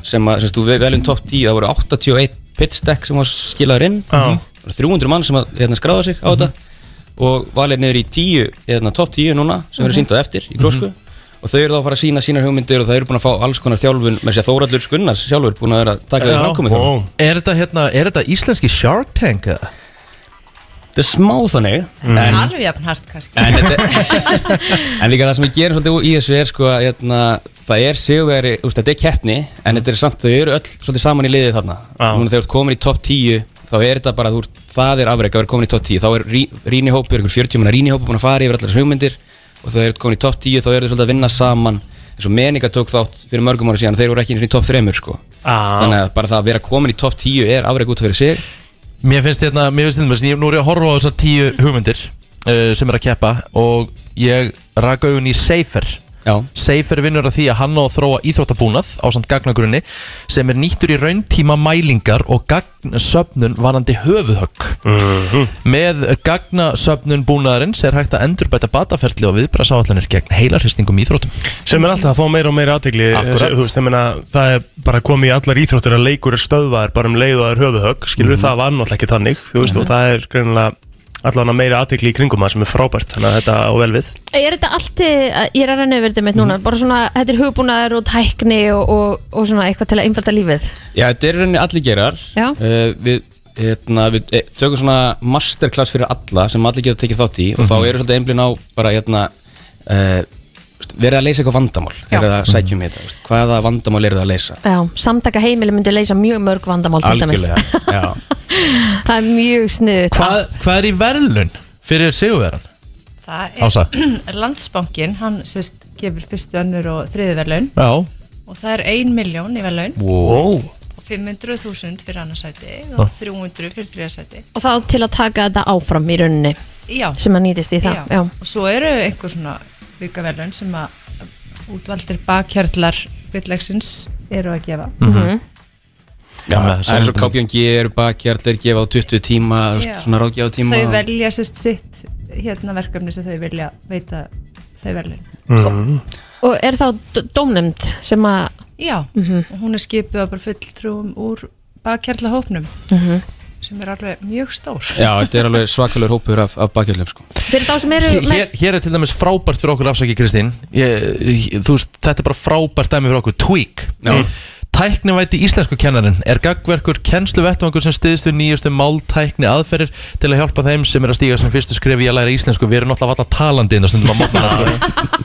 S9: sem að, sem sagt, þú ve- velum topp 10 það voru 81 pitstack sem var skilaður inn Mhm.
S2: Já.
S9: Það voru 300 mann sem að hérna, skráða sig á
S4: Mhm.
S9: þetta og valið niður í 10, hérna, topp 10 núna sem
S4: Mhm.
S9: verður síndað eftir í grósku og þau eru þá að fara að sína sínar hugmyndir og þau eru búin að fá alls konar þjálfun með sér Þóraldur Gunnars sjálfur búin að vera að taka þau framkomið þjálfun
S2: wow.
S4: Er þetta, hérna, er þetta íslenski Shark Tank eða?
S9: Þetta er smá þannig
S10: Mhm.
S9: en,
S10: Alveg jafn hart kannski
S9: en, þetta- en líka það sem við gerum svolítið í þessu er sko að hérna, það er sigurveri, þú veist, þetta er keppni en þetta er samt, þau eru öll svolítið saman í liðið þarna
S2: Já.
S9: núna þegar þú ert komin í topp 10 þá er þetta bara, þú ert, það er afreg að vera komin í topp 10, þá er rí, rínihópur, ykkur 40 manna rínihópur búin að fara yfir allar þessar hugmyndir og þau eru komin í topp 10, þá eru þau svolítið að vinna saman eins og meninga tók þátt fyrir mörgum ára síðan og þeir voru ekki einu sinni í topp 3 sko.
S2: Já.
S9: þannig að bara það að vera komin í topp 10 er afreg út af fyrir sig
S4: Mér finnst hérna, mér finnst hérna, ég nú er ég að horfa á þessar tíu hugmyndir uh, sem er að keppa og ég raka augun í Seifer
S9: Já.
S4: Seifer vinnur að því að hann á að þróa íþróttabúnað á samt gagnagrunni sem er nýttur í rauntíma mælingar og gagnasöfnun varandi höfuðhögg Með gagnasöfnun búnaðarins er hægt að endurbæta bataferli og viðbrasáallanir gegn heilarhristingum í íþróttum
S2: Sem er alltaf að fá meira og meira eh, aðtegli
S4: Akkúrat.
S2: Það er bara komið í allar íþróttir að leikur er stöðvaðar bara um leið og það er höfuðhögg skilur
S4: Mhm.
S2: það var náttúrulega ekki þannig þú veist, og það er greinilega allavega meira aðtegli í kringum það sem er frábært þannig að þetta á vel við
S3: Er þetta allt, eh, ég er að renna yfir þetta mitt
S2: Mhm.
S3: núna bara svona, þetta er hugbúnaður og tækni og, og, og svona eitthvað til að einfalda lífið
S9: Já, þetta er í rauninni allir gerar
S3: Já.
S9: Eh, Við, hérna, við eh, tökum svona masterclass fyrir alla sem allir geta tekið þátt í og þá eru svolítið einblinn á bara hérna uh, verið að leysa eitthvað vandamál
S3: Já.
S9: þegar það sækjum við um þetta veist, hvaða vandamál eru það að leysa
S3: Já, samtaka heimili myndi leysa mjög mörg vandamál til dæmis.
S9: já.
S3: [laughs] Það er mjög sniðut
S4: Hvað, hvað er í verðlun fyrir sigurverðan?
S10: [laughs] Það [clears throat]
S4: Ása.
S10: er landsbankin, hann sérst gefur fyrstu önnur og þriðu verðlaun
S4: Já
S10: og það er 1 miljón í verðlaun
S2: wow.
S10: og 500.000 fyrir annarsæti og 300 fyrir þriðarsæti
S3: Og þá til að taka þetta áfram í rauninni
S10: Já,
S3: sem að nýtist í það
S10: já.
S3: Já.
S10: og svo eru einhver svona vikaverðlaun sem að útvaldir bakhjarlar villegsins eru að gefa
S3: Mhm.
S9: Mhm. Já,
S4: með
S9: það er svo
S4: samvindum.
S9: kápjón geru baki allir gefa á 20 tíma þú veist,
S10: Já.
S9: svona ráðgjáð tíma
S10: þau velja sérst sitt hérna verkefni sem þau vilja veita þau verðlaun
S3: Og er þá d- dómnefnd sem að Mhm.
S10: Já, og hún er skipið að bara fulltrúum úr bakhjarlahópnum
S3: Mhm.
S10: sem er alveg mjög stór
S9: Já, þetta er alveg svakalur hópur af, af bakjöldum sko.
S3: fyrir þá sem eru
S4: hér,
S3: með,
S4: hér er til dæmis frábært fyrir okkur afsaki Kristín ég, ég- þú veist, þetta er bara frábært dæmi fyrir okkur, tweak Mm. Tæknivæti íslensku kennarin er gagverkur kennsluvettvangur sem stiðist við nýjustu máltækni aðferðir til að hjálpa þeim sem er að stíga sem fyrstu skref í að læra íslensku við erum náttúrulega alltaf talandi inn á stundum að mótna [laughs] sko.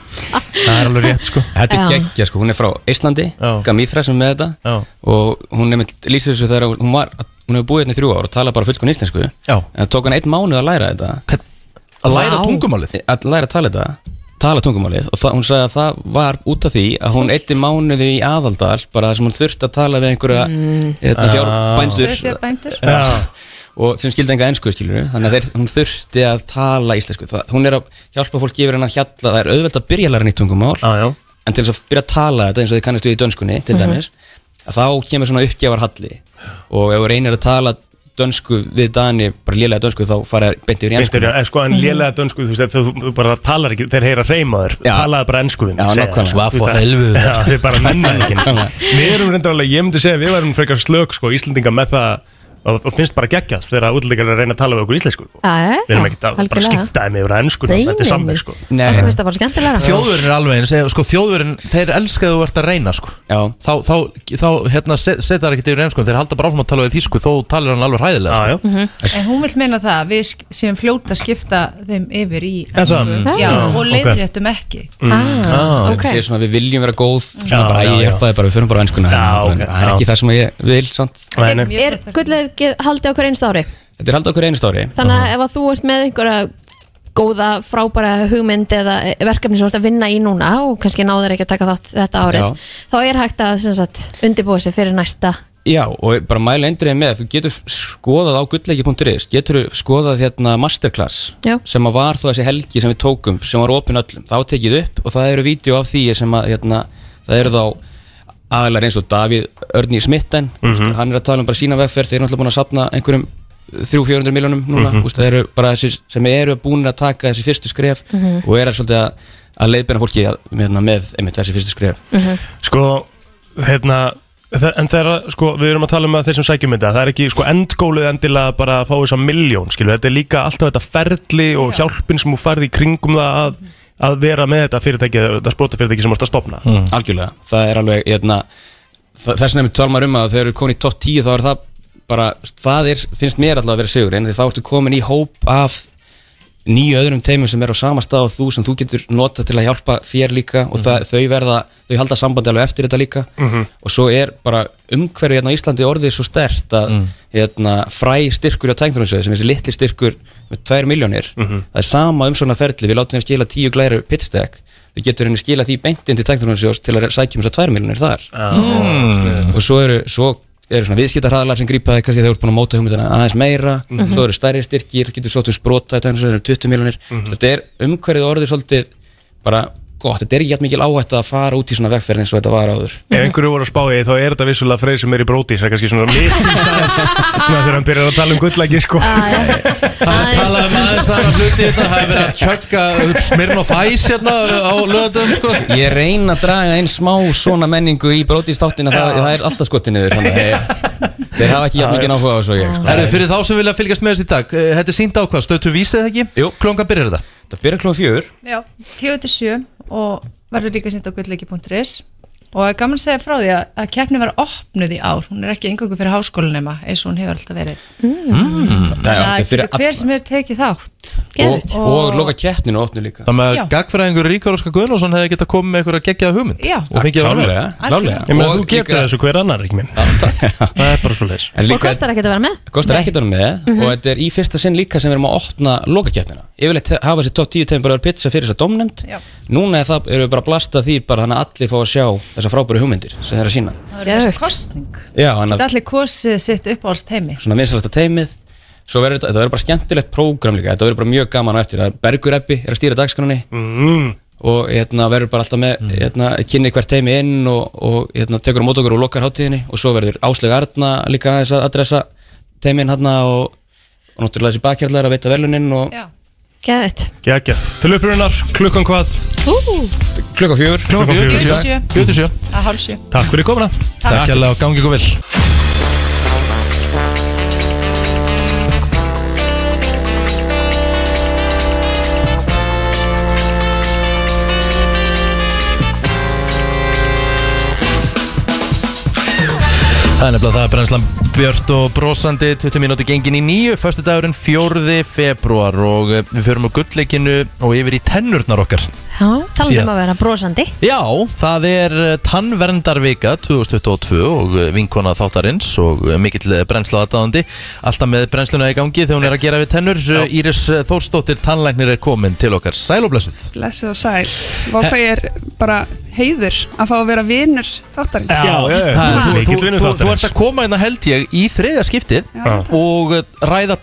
S2: Það er alveg rétt sko
S9: Þetta er
S3: Já.
S9: geggja sko, hún er frá Íslandi
S4: Já.
S9: Gamíþra sem er með þetta
S4: Já.
S9: og hún er með lýsir þessu þegar hún var hún hefur búið hérna í þrjú ár og tala bara fullkon íslensku en
S4: Já.
S9: það tók hann einn mánuð að læra þetta
S4: Hvern- að læra
S3: Vá.
S4: tungumálið
S9: að læra að tala þetta tala tungumálið og það, hún sagði að það var út af því að hún eitti mánuði í aðaldal bara þar sem hún þurfti að tala við einhverja mm. fjárbændur
S10: Sauðfjárbændur.
S9: Já. og sem skildi enga ennsku skilur þannig að þeir, hún þurfti að tala íslensku það, hún er að hjálpa fólki yfir hennar hjalla það er auðvelt að byrja að læra nýtt tungumál
S2: Já, já
S9: en til þess að byrja að tala þetta eins og þið kannast við í dönskunni
S3: Mhm.
S9: til dæmis, að þá kemur svona uppgjafar halli og ef þú reynir að tala dönsku við Dani, bara lélega dönsku þá fara þær beint yfir í ennsku
S2: Beintur, en sko,
S3: Mhm.
S2: en lélega dönsku, þú veist, ef þú, þú bara talar ekki, þeir heyra reymaður,
S9: Já.
S2: talaðu bara ennsku við
S9: Já, nákvæmlega. Sko,
S4: Vá, fór
S2: [laughs]
S4: helvið.
S2: Já, þeir bara nennan ekki
S9: Nákvæmlega.
S2: Við erum reyndar alveg, ég myndi segja, við erum frekar slök, sko, Íslendinga með það og, og finnst bara geggjað þegar útlendingar eru að reyna að tala við okkur íslensku sko. við erum ekkert að bara skipta þeim yfir að ennsku
S3: Nei,
S2: þetta er
S3: nei, nei.
S2: samveg sko.
S9: Nei.
S3: Okkur finnst það [laughs] bara skemmtilegra
S4: Þjóðurinn er alveg eins, eða, sko þjóðurinn, þeir elska að þú ert að reyna sko
S9: Já,
S4: Þá, þá, þá hérna, se- setja það ekkert yfir eins sko, þeir halda bara áfram að tala við þýsku þó talir hann alveg hræðilega
S2: Já,
S4: sko.
S2: já.
S3: Mhm.
S10: En hún vil meina það að við sk- séum fljóta að skipta þeim yfir í
S2: Er það?
S10: ensku.
S3: Mm.
S10: Já,
S3: Já,
S10: og
S2: ok.
S10: leiðréttum ekki
S9: Mm.
S3: ah,
S9: þetta
S3: okay.
S9: sé svona að við viljum vera góð Svona
S2: Mm. Já,
S9: bara,
S2: já,
S9: ég
S2: já.
S9: hjálpa þið bara, við förum bara á enskuna
S2: Já,
S9: hérna,
S2: ok,
S9: bara, Það er
S2: já.
S9: ekki það sem ég vil, sant?
S2: Nei, nei.
S10: Mjög
S3: Er
S10: gott að-
S3: gullegið haldið okkur einst ári
S9: Þetta er haldið okkur einu stóri
S3: Þannig að ef að þú ert með einhverja góða, frábæra hugmynd eða verkefni sem þú ert að vinna í núna og kannski náður ekki að taka þátt þetta árið
S9: Já.
S3: þá er hægt að sem sagt, undirbúa sig fyrir næsta
S9: Já, og bara mæla endrið með, þú getur skoðað á gullleiki.is, getur skoðað hérna masterclass
S3: Já.
S9: sem að var þó þessi helgi sem við tókum, sem var opin öllum, þá tekið upp og það eru vídeo af því sem að hérna, það eru þá aðlar eins og Davíð Örni Smitten, mm hann er að tala um bara sína vegferð, þeir eru náttúrulega búin að sapna einhverjum 300-400 miljónum núna, mm það eru bara þessi sem eru búin að taka þessi fyrstu skref og eru svolítið að, að leiðbyrna fólki að, hérna, með einmitt þessi fyrstu skref.
S11: Mhm.
S2: sko, hérna þe- en þegar, sko, við erum að tala um að þeir sem sækjum þetta, það er ekki, sko, endgólið endilega bara að fá þess að miljón, skilu, þetta er líka alltaf þetta ferli og hjálpin sem þú farði í kringum það að, að vera með þetta fyrirtæki, þetta spróta fyrirtæki sem þú ert að stopna
S4: Mm.
S9: algjörlega, það er alveg hérna, þa- þess vegna við talum um að þegar við komin í topp 10 þá er það bara, það er, finnst mér alltaf að vera sigur en því þá ertu komin í hóp af nýju öðrum teimum sem er á sama stað og þú sem þú getur nota til að hjálpa þér líka og það, þau verða, þau halda sambandi alveg eftir þetta líka og svo er bara umhverju hérna á Íslandi orðið svo stert að hérna, fræ styrkur á tæknarhansöðu sem þessi litli styrkur með 2 miljónir það er sama um svona ferli, við látum þeim skila 10 glæru pitstack, við getur henni skila því beintinn til tæknarhansöðs til að sækjum þessar 2 miljónir þar og svo eru, svo eru svona viðskiptarhraðlar sem grípa þig kannski þegar þú ert búin að móta hugmyndina aðeins meira, svo eru stærri styrkir getur svo til sprota, þetta er eins og þetta eru 20 miljonir
S2: Mhm.
S9: þetta er umhverfið orðið svolítið bara gott, þetta er ekki jætt mikil áhætt að fara út í svona vegferð eins og þetta var áður
S2: Ef einhverju voru að spá í því, þá er þetta vissulega freyð sem er í bróti Það er kannski svona miskilst aðeins Svona þegar hann byrjar að tala um gullæki sko.
S4: Talaði um aðeins aðra hluti þetta, það hefur verið að tjögga smirn og fæs hérna á löðum sko
S9: [laughs] ég reyna að draga einn smá svona menningu í brótistáttina, það, það er alltaf skotið niður þannig að þeir- þeir hafa ekki jætt mikil áhuga á þessu og ég sko.
S4: Herru, fyrir þá sem vilja fylgjast með þessi í dag, eh, þetta er sínd ákvað, stötu vísið ekki? Jú Klonga byrjar þetta?
S9: það byrja klúan fjögur
S10: Já, 47 og verður líka sýnt á gullleiki.is og það er gaman að segja frá því að, að keppni var opnuð í ár, hún er ekki engangu fyrir háskólanema eins og hún hefur alltaf verið
S3: Mm.
S11: Mm.
S12: Mm-hmm.
S4: Mm.
S10: það getur hver sem er tekið þátt
S3: Geðvitt.
S9: og, og loka keppninu og opnu líka
S4: Þannig
S10: Já.
S4: að gagfræðingur Ríkar Óskar Guðnarsson hefði getað komið með eitthvað að gegja hugmynd
S10: Já.
S4: og fengið að vera með.
S9: klálega
S2: Ég meina
S9: Og
S2: þú getur
S9: líka-
S2: þessu hver annar ekki minn Það er bara svo leis
S9: en
S3: og
S9: líka-
S3: kostar ekki að vera með
S9: Það kostar ekkert honum með og þetta er í fyrsta sinn líka sem við erum að opna lokakeppnina. Yfirleitt hafa þessi top 10 tegum bara verið pizza fyrir þess að domnefnd.
S10: Já.
S9: Núna er það, erum við bara að blasta því bara þannig að allir fá að sjá þessar frábæru hugmyndir sem þeir eru að sína.
S10: það er þessi
S3: Geðveikt.
S10: kostning
S9: Já, þannig
S10: þetta
S9: að
S10: allir kosið sitt uppáhaldst heimi
S9: svona vinsalasta teimið. Svo verður þetta, þetta verður bara skemmtilegt prógram líka. Þetta verður bara mjög gaman á eftir. Það er Bergur Ebbi er að stýra dagskránni
S2: mm.
S9: og hérna, verður bara alltaf með, hérna, kynni hvert teimi inn og, og hérna, tekur á mót okkur og lokar hátíðinni og svo verður Áslaug Arna líka aðeins að adressa teimin hérna og, og náttúrulega þessi bakkjærlar að veita velunin og,
S10: Já.
S3: Geðvitt
S2: Gægjað Til upprunar, klukkan hvað
S9: Klukka fjör
S2: Klukkan
S4: fjögur.
S2: fjögur.
S10: 47
S4: Fjögur til sjö.
S10: að hálsjö
S2: Takk fyrir komuna
S4: Takk hérlega og gangi ykkur vel. Það er nefnilega það er brennslan Björt og brosandi 20 mínúti gengin í nýju Föstu dagurinn 4. februar og eh, við förum á gullleikinu og yfir í tennurnar okkar
S3: Talandi
S4: Já.
S3: um að vera brosandi
S4: Já, það er eh, Tannverndarvika 2022 og eh, vinkona þáttarins og eh, mikill brennsla aðdáðandi Alltaf með brennsluna í gangi þegar hún er að gera við tennur Já. Íris eh, Þórsdóttir tannlæknir er komin til okkar Sæl og blessuð
S12: Blessuð og sæl Vá hvað ég er bara heiður að fá að vera vinur þáttarins
S2: Já, já, já.
S4: Það er-
S2: Þú-
S4: þú,
S2: mikill vinur
S4: þú, þú, þú
S2: þáttarins.
S4: ert að koma hérna held ég í þriðja skiptið
S12: Já.
S4: og eh, ræða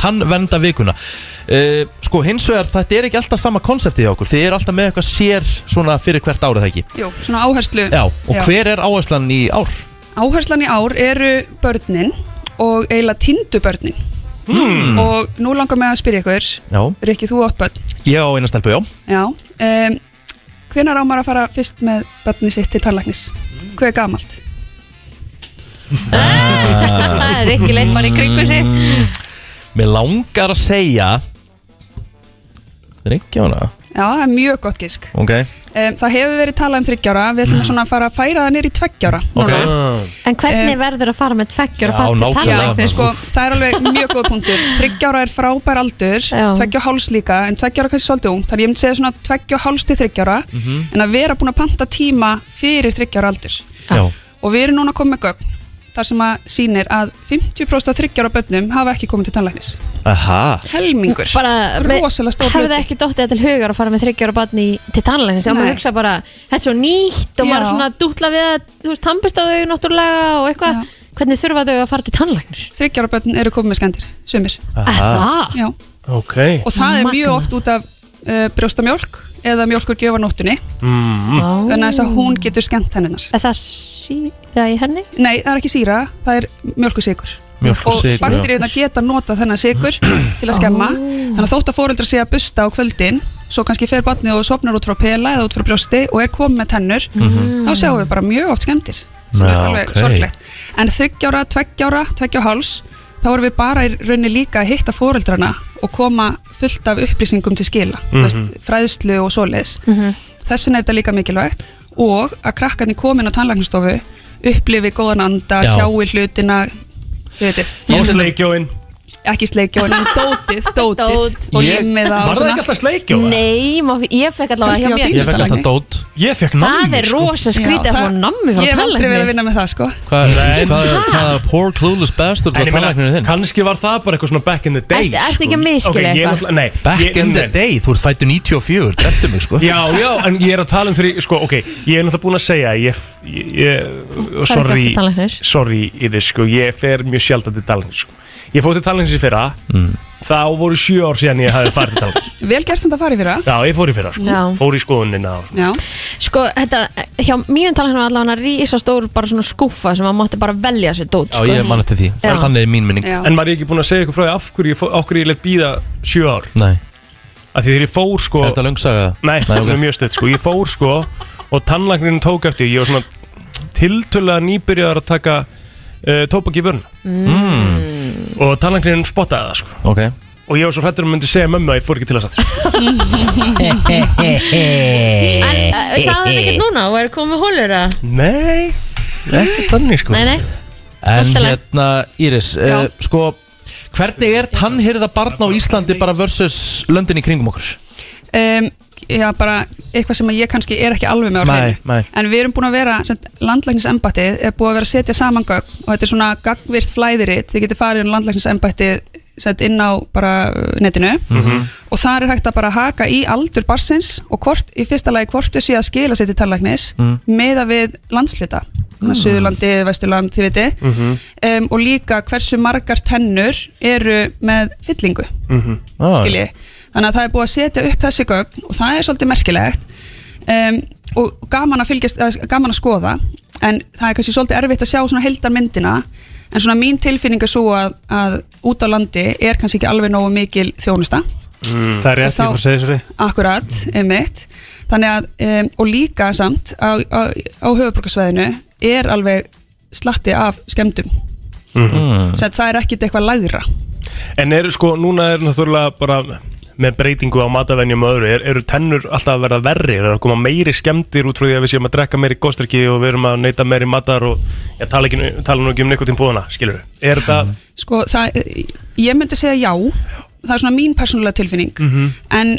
S4: tannverndarvikuna uh, Sko hins vegar þetta er ekki alltaf sama konseptið hjá okkur Þið er alltaf með eitthvað sér svona fyrir hvert árið það ekki
S12: Jú, svona áherslu
S4: Já, og hver er áherslan í ár?
S12: Áherslan í ár eru börnin og eiginlega tindu börnin
S2: Hmm.
S12: og nú langar mig að spyrja ykkur
S4: Já,
S12: Rikki, þú átt börn
S4: ég á eina stelpu, já
S12: Já um,
S2: Hmm.
S12: Hvenær á maður að fara fyrst með börni sitt til tannlæknis? Hvað er gamalt?
S3: [laughs] Það er ekki leitt bara í kringu sig
S4: Mér langar að segja Reykja hana
S12: Já, það er mjög gott gisk
S4: Ok,
S12: um, Það hefur verið talað um þryggjára Við
S2: Hmm.
S12: ætlum svona að fara að færa það nýr í tveggjára
S4: ok
S9: Ah.
S3: En hvernig verður að fara með tveggjur
S4: Já, nákvæmlega.
S12: sko, það er alveg mjög góð
S3: [laughs]
S12: punktur Þryggjára er frábær aldur Tveggja og háls líka, en tveggjára kannski svolítið ung Þannig ég myndi segja svona tveggja og háls til þryggjára
S13: Mhm.
S12: En að vera búin að panta tíma fyrir þryggjára aldur
S13: Já.
S12: Og við erum núna að koma með gögn Þar sem að sýnir að 50% af þryggjára bönnum hafa ekki komið til tannlæknis
S4: Aha
S12: Helmingur Rosalega stór
S3: hefði
S12: hluti.
S3: ekki dottið þetta til hugar að fara með þryggjara barni til tannleginn sem
S12: Nei.
S3: maður hugsa bara, þetta er svo nýtt og
S12: Já.
S3: maður er svona að dútla við að þú veist, tampist á þau náttúrulega og eitthvað hvernig þurfa þau að fara til tannleginn
S12: Þryggjára börn eru komið með skendir, sumir
S2: Aha.
S12: Já
S2: Ok
S12: og það er mjög oft út af uh, brjóstamjólk eða mjólkur gefa nóttunni
S2: mm.
S12: Mm-hmm. þannig að þess að hún getur skemmt henninar
S3: Er það síra í henni?
S12: Nei, það er ekki síra, það er mjölkusikur og
S13: Mjólkursykur, já.
S12: bakteríuna geta nota
S13: [clears throat]
S12: þennan sikur til að skemma þannig að þótt að fóreldra sé að busta á kvöldin svo kannski fer barnið og sopnar út frá pela eða út frá brjósti og er komið með tennur
S13: Mhm.
S12: þá sjáum við bara mjög oft skemmtir sem er
S13: Ah. Já,
S12: alveg
S13: ok.
S12: sorglegt en þryggjára, tveggjára, tveggjára háls þá erum við bara í rauninni líka að hitta fóreldrana og koma fullt af upplýsingum til skila mm
S13: Mhm.
S12: fræðslu og svoleiðis
S3: Mhm.
S12: þess vegna er þetta líka mikilvægt og að krakkarnir komin á tannlæknastofu upplifi góðan anda,
S2: Já.
S12: sjáu hlutina þau veitir
S2: Ásleikjóin
S12: ekki sleikjóin, en
S3: [laughs]
S12: dótið, dótið og
S2: Ég-
S12: limmið á
S2: Var það ekki alltaf sleikjóa?
S3: Nei, má, ég fekk allavega hjá mér
S4: dót
S2: Ég fekk nammi
S3: Það er rosa skrítið að fá nammi frá
S12: ég hef aldrei verið að
S3: tannleginn
S12: vinna með það sko
S4: Hvað er hvaða poor clueless bastard
S2: En ég meina, kannski var það bara eitthvað svona back in the day
S3: Ertu- ertu ekki að misskilja
S2: sko. Ok, ég
S3: eitthvað?
S2: náttúrulega- Nei,
S9: Back
S2: ég-
S9: in the
S2: nei.
S9: day, þú ert fættu 94, dreftu mig sko
S2: Já, já, en ég er að tala um fyrir, sko, ok Ég er náttúrulega búin að segja Ég, ég, ég
S3: Ferð ekki
S2: sorry,
S3: til tannlæknis.
S2: sorry í þess, sko Ég fer mjög sjaldan til talins, sko Ég fór til talins í fyrra
S9: Mm.
S2: Þá voru sjö ár síðan ég hafði farið til talins
S12: vel gerst þetta að fara yfir það
S2: Já, ég fór í fyrra, sko
S3: Já.
S2: Fór í skoðunina og
S12: Já.
S3: Sko, þetta, hjá mínum tannleginn var allavega rísa stór bara svona skúffa sem maður mátti bara velja sér dót sko. Já. Já.
S2: En var ég ekki búin að segja ykkur frá því af hverju ég, fó- af hverju ég let býða sjö ár? Nei Af því þegar ég fór sko
S4: Er þetta löng saga?
S2: Nei,
S4: Nei, ok.
S2: það er mjög stöð sko Ég fór sko og tannlagnirinn tók eftir Ég var svona tiltölulega nýbyrjaðar að taka uh, tóbak í börn mm. Og tannlagnirinn spottaði það sko
S4: Ok
S2: Og ég var svo hrættur um að myndi segja mömmu að ég fór ekki til þess að það
S3: En uh, sagði hann ekkert núna og er komið hólur að
S2: Nei, ekki þannig sko
S3: Nei, nei
S4: En
S3: Allt í lagi.
S4: hérna Íris, uh, sko Hvernig er tannhyrða barna á Íslandi bara versus löndin í kringum okkur?
S12: um, já, bara eitthvað sem að ég kannski er ekki alveg með á hreinu.
S4: Nei, nei
S12: En við erum búin að vera, sem sagt, landlæknisembættið er búið að vera að setja saman gögn og þetta er svona gagvirt flæðiritt, þið getur farið um landlæknisembættið sett inn á bara uh, netinu
S13: Mhm.
S12: og þar er hægt að bara haka í aldur barsins og hvort, í fyrsta lagi hvort þau sé að skila sér til tannlæknis
S10: Mhm.
S13: Mm.
S12: meða við landsluta, þannig að
S13: Mm.
S12: Suðurlandi, Vesturland, þið veitir
S13: Mhm.
S12: um, og líka hversu margar tennur eru með fyllingu
S2: Mhm.
S12: ah. skilji þannig að það er búið að setja upp þessi gögn og það er svolítið merkilegt um, og gaman að, fylgjast, eða gaman að skoða en það er kannski svolítið erfitt að sjá svona heldarmyndina en svona mín tilfinning er svo að, að út á landi er kannski ekki alveg nógu mikil þjónusta
S2: Það er rétt,
S12: Og þá-
S2: ég fór að segja þessari
S12: akkurat, einmitt þannig að, um, og líka samt á, á, á höfuborgarsvæðinu er alveg slatti af skemmdum
S4: Mm.
S2: Mhm.
S12: sem það er ekkit eitthvað lagra
S2: En eru sko, núna er náttúrulega bara með breytingu á matavenjum og öðru er, eru tennur alltaf að verða verri er það að koma meiri skemmtir út frá því að við séum að drekka meiri góstriki og við erum að neyta meiri matar og ég tala, ekki, tala nú ekki um nikotin búðana skilur við, er
S5: Mhm.
S2: það
S12: Sko, það, ég myndi segja já það er svona mín persónulega tilfinning en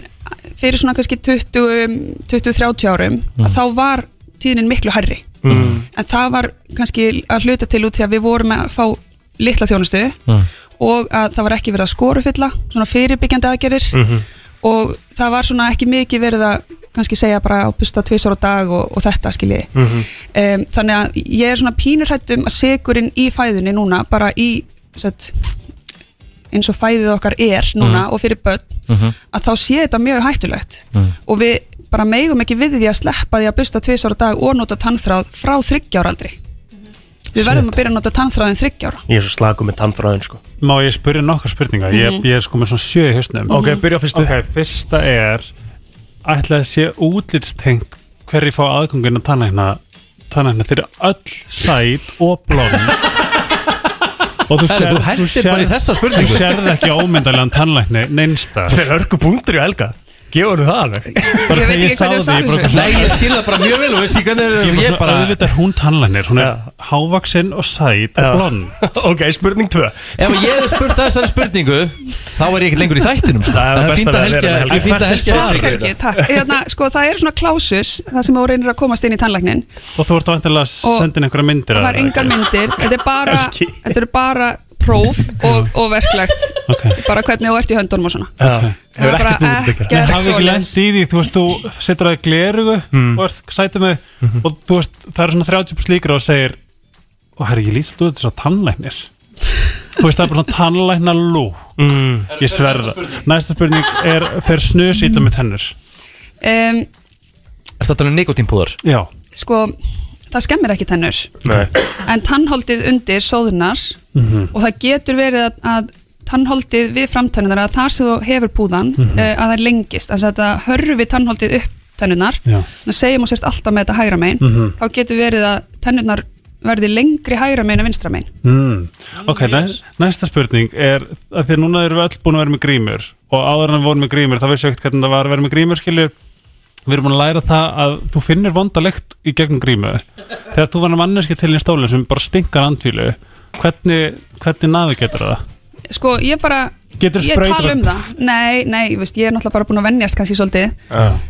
S12: fyrir svona kannski 20 20-30 árum
S13: Mm.
S12: að þá var tíðnin miklu hærri
S13: Mm.
S12: en það var kannski að hluta til út því að við vorum að fá litla þjónustu og að það var ekki verið að skorufylla svona fyrirbyggjandi aðgerðir
S10: Mm.
S13: Mhm.
S12: og það var svona ekki mikið verið að kannski segja bara að busta tvisar á dag og, og þetta skiljiði
S10: Mhm.
S13: Mhm.
S12: um, þannig að ég er svona pínur hrættum að sigurinn í fæðunni núna bara í sett, eins og fæðið okkar er núna
S13: Mm.
S12: og fyrir börn
S14: Mm-hmm.
S12: að þá sé þetta mjög hættulegt og við bara megum ekki við því að sleppa því að busta tvisar á dag og nota tannþráð frá þryggjáraaldri við verðum að byrja að nota tannþráðin þryggjára
S2: Ég er svo slagur með tannþráðin sko
S5: Má ég spyrja nokkar spurningar?
S12: Mhm.
S5: ég, ég er sko með svona sjö í hausnum
S2: Ok, byrja á fyrstu.
S5: Ok, fyrsta er ætlaði að sé útlitstengt hverri fá aðgöngin að tannækna tannækna þeir eru öll sæt og blóm [laughs] og
S4: Herri,
S5: þú sér,
S4: þú hentir bara í þessa spurningu.
S5: þú sérð ekki ómyndarlegan tannlækni neinsta
S2: Fyrir hörku punktur í Helga gefur þú það alveg
S5: bara þegar ég sáði því
S4: Nei, ég skil það bara mjög vel og veist ég hvernig er-
S5: ég
S4: ég
S5: bara
S4: bara-
S5: auðvitað er hún tannlæknir hún er hávaksinn og sæt og blond
S2: [laughs] ok, spurning 2
S4: Ef ég hefði spurt að þessari spurningu Þá er ég ekki lengur í þættinum sko.
S2: Það er
S4: fínt
S2: best að
S4: að
S2: vera
S4: helga
S2: með Helga.
S4: Það er fínt að helga
S12: Takk, Helgi, takk. Hérna, sko, það er svona klásus, það sem þú reynir að komast inn í tannlæknin
S5: og þú ert vantilega að senda inn einhverja myndir
S12: og það er engar myndir, þetta er bara, þetta er bara próf og, og verklegt bara hvernig þú ert í höndunum og svona Það er bara
S5: Nei,
S12: ekkert
S5: hafi ekki
S12: svoleiðis.
S5: lendið í því, þú veist, þú setur það í glerugu og ert sætið með og þú veist, það er svona 30 slíkra og segir og herri, ég lýst alltaf út þess að tannlæknir þú veist, það er bara svona tannlækna lú ég sverða næsta spurning er, fer snus ítla með tennur
S12: um,
S4: Er þetta nú nikotínpúðar?
S5: Já
S12: sko, það skemmir ekki tennur
S5: Nei
S12: en tannholdið undir sóðunar
S5: Mhm.
S12: og það getur verið að, að tannholdið við framtennunar að þar sem þú hefur púðan
S5: Mhm.
S12: eh, að það lengist, þess að það hörfi tannholdið upp tennunar,
S5: Já.
S12: þannig að segjum og sérst alltaf með þetta hægra megin,
S5: Mhm.
S12: þá getur verið að tennunar verði lengri hægra megin en vinstra megin
S5: Mm. Ok, næ, næsta spurning er að því að núna erum við öll búin að vera með grímur og áður en við vorum með grímur þá veist ég ekkert hvernig það var að vera með grímur skilur við erum búin að læra það að þú finnir vonda lykt í gegnum grímu þegar þú var að manneski til í stólinn sem bara stinkar andfílu hvernig, hvernig nafi getur það?
S12: sko, ég bara,
S5: Geturðu
S12: ég
S5: sprautað?
S12: tala um það nei, nei, ég veist, ég er náttúrulega bara búin að vennjast kannski svolítið,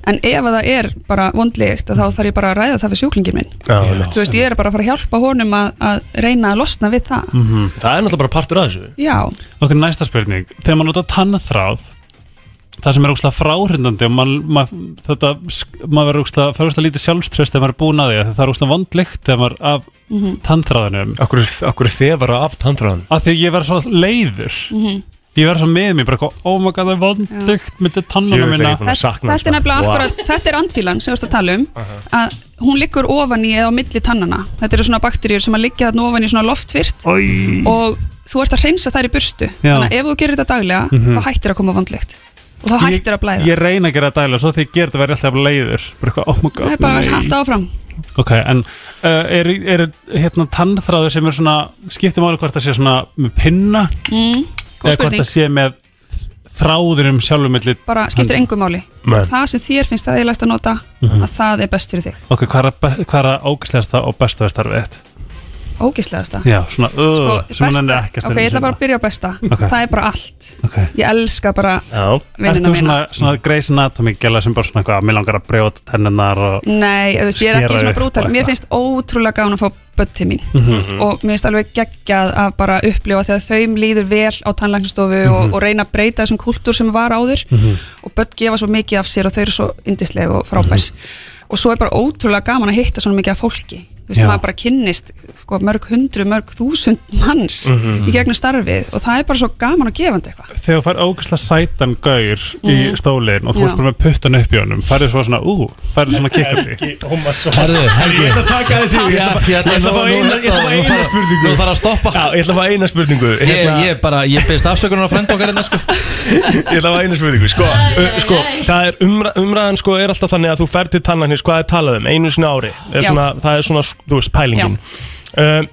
S12: en ef að það er bara vondlegt, þá þarf ég bara að ræða það við sjúklingin minn, þú veist, ég er bara að fara að hjálpa honum að, að reyna að losna við það
S5: -hmm.
S2: Það er náttúrulega bara partur að þessu
S12: Mhm. Já,
S5: Ok, næsta spurning. Þegar maður nota tannþráð, það sem er ógslag fráhrindandi og maður ma, þetta, sk- maður verður ógslag, fær ógslag lítið sjálfströst þegar maður er búin að því, af því það er ógslag vondlikt þegar maður af
S12: Mhm.
S5: tannþráðanum.
S2: Akkur, akkur þefara af tannþráðan?
S5: Af því að ég verður svo leiður.
S12: Mhm.
S5: Ég verður svo með mér, bara eitthvað, oh my god, það er vondlikt með þetta
S2: Djöfull
S5: tannana
S2: er ég
S5: minna.
S2: búin að sakna
S12: þetta er nefnilega akkurat, þetta er andfílan sem við erum að tala um
S5: Aha.
S12: að hún liggur ofan í eða á milli tannana þetta eru svona bakteríur sem að liggja þarna ofan í svona loftfyrt
S14: Mm-hmm.
S5: Oj.
S12: og þú ert að hreinsa þær í burtu
S5: Já.
S12: þannig að ef þú gerir þetta daglega
S5: Mhm.
S12: þá hættir að koma vandlegt og þá hættir að blæða
S5: Ég, ég reyna að gera það dæla, svo því ég ger þetta verður alltaf leiður. Bara eitthvað, oh my god,
S12: það er bara að vera
S5: nei.
S12: alltaf áfram
S5: Ok, en uh, er, er hérna tannþráður sem er svona, skiptir máli hvort það sé svona með pinna
S12: mm, góð
S5: eða hvort það
S12: spurning,
S5: sé með þráðurum sjálfum milli
S12: bara skiptir engu máli
S5: Nei.
S12: það sem þér finnst að eðlæst að nota
S5: Mhm.
S12: að það er best fyrir þig,
S5: ok, hvað er að be- hvað er að ógæslegasta og besta við starfið þitt?
S12: ógislegasta
S5: já, svona, uh, sem hann er ekki að
S12: Sko, ok, ég ætla bara að byrja á besta
S5: Ok.
S12: það er bara allt,
S5: Ok.
S12: ég elska bara
S5: já,
S12: vinnuna
S5: ert þú
S12: mína.
S5: svona, svona Grey's Anatomy gæla sem bara svona eitthvað, mér langar að brjóta tennunar og
S12: Nei, þú veist, ég er
S5: Skera
S12: ekki svona
S5: upp
S12: brútal
S5: og
S12: Mér
S5: eitthvað.
S12: finnst ótrúlega gáðan að fá börn til mín
S5: Mhm.
S12: og mér finnst alveg geggjað að bara upplifa þegar þau líður vel á tannlæknastofu og,
S5: Mhm.
S12: og reyna að breyta þessum kultúr sem var áður
S13: Mhm.
S12: og börn gefa svo mikið af sér og þau eru svo yndisleg og frábær
S5: Mhm.
S12: og svo er bara ótrúlega gaman að hitta svona mikið af fólki Þú veist,
S5: Já.
S12: maður bara kynnist sko, mörg hundru, mörg þúsund manns
S5: Mhm.
S12: í gegnum starfið og það er bara svo gaman og gefandi eitthvað
S5: þegar þú fær ógæslega sætan gaur í
S3: Mm.
S12: Mhm.
S5: stólinn og þú
S12: Já.
S5: ert bara með puttan upp í honum færðu svo svona, ú, færðu svona kikkandi
S2: Herðu, Helgi Ég ætla að taka þessi Ég ætla
S4: Já,
S2: ég ætla að fá
S4: nú- nú-
S2: eina- ég ætla að fá
S4: nú- nú
S2: eina
S4: þarf-
S2: spurningu
S4: Nú þarf að stoppa
S2: Já, ég ætla að fá eina spurningu Hérna-
S4: Ég, ég bara, ég beðist afsökunar á frenda okkar hérna sko
S2: [laughs] Ég ætla að væna spurningu sko, uh, sko, það er umra, umræðan sko er alltaf þannig að þú fer til tannlæknis hvað er talað um einu sinni á ári er
S12: Já.
S2: svona, það er svona, þú veist, pælingin um,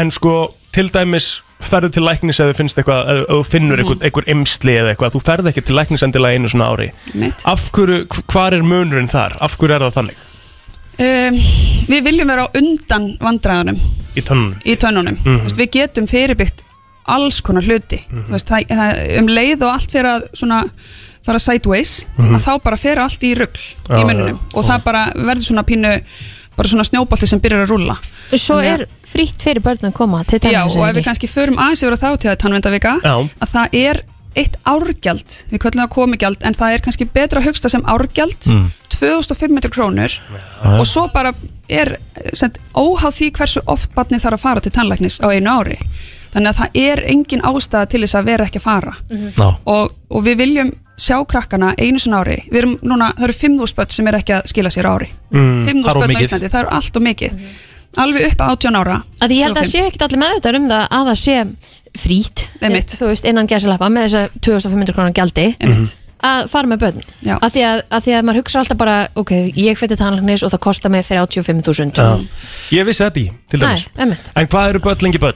S2: en sko, til dæmis ferðu til læknis eða finnst eitthvað eða eða þú finnur einhver, einhver emsli eða eitthvað þú ferð ekki til læknis endilega einu svona ári
S12: Mitt.
S2: af hverju, hv- hvar er munurinn þar af hverju er það þannig
S12: um, Við viljum vera á undan vandræðanum
S2: í tönnunum
S12: í tönnunum
S2: Mhm.
S12: mm veist, við getum fyrirbyggt alls konar hluti mm
S7: Mhm.
S12: veist, það, það, um leið og allt fyrir að svona, fara sideways
S7: Mhm.
S12: að þá bara fer allt í rugl
S7: Já,
S12: í munnunum
S7: já,
S12: og það bara verður svona pínu bara svona snjóbalti sem byrjar að rúlla
S3: Svo er fritt fyrir börnum að koma til
S12: Já,
S3: tannlæknis,
S12: og
S3: eða
S12: ef við
S3: ekki?
S12: kannski förum aðeins yfir að þá til að tannvendavika
S2: Já.
S12: að það er eitt árgjald við köllum það komigjald en það er kannski betra að hugsta sem árgjald
S7: Mhm.
S4: Mm.
S12: 2500 krónur og svo bara er sent, óháð því hversu oft barni þarf að fara til tannlæknis á einu ári þannig að það er engin ástæða til þess að vera ekki að fara
S3: Mhm.
S4: Ná
S12: og, og við viljum sjá krakkana einu sinna ári við erum núna, það eru 5.000 börn sem er ekki að skila sér á ári
S4: Mm,
S12: 5.000
S4: það er of
S12: börn á
S4: mikið.
S12: Íslandi, það eru allt og mikið
S3: Mhm.
S12: alveg upp að 18 ára
S3: Að ég held
S12: 25.
S3: að það sé ekkit allir meðvitað um það að það sé frít,
S12: Einmitt.
S3: þú veist, innan gæsalappa með þess að 2500 krónar gjaldi að fara með börn
S12: Já.
S3: að því að, að því að maður hugsa alltaf bara ok, ég fætti tannlæknis og það kostar mig 35.000
S2: ég vissi þetta í, til
S3: Nei,
S2: dæmis
S3: emmitt
S2: en hvað eru börn lengi börn?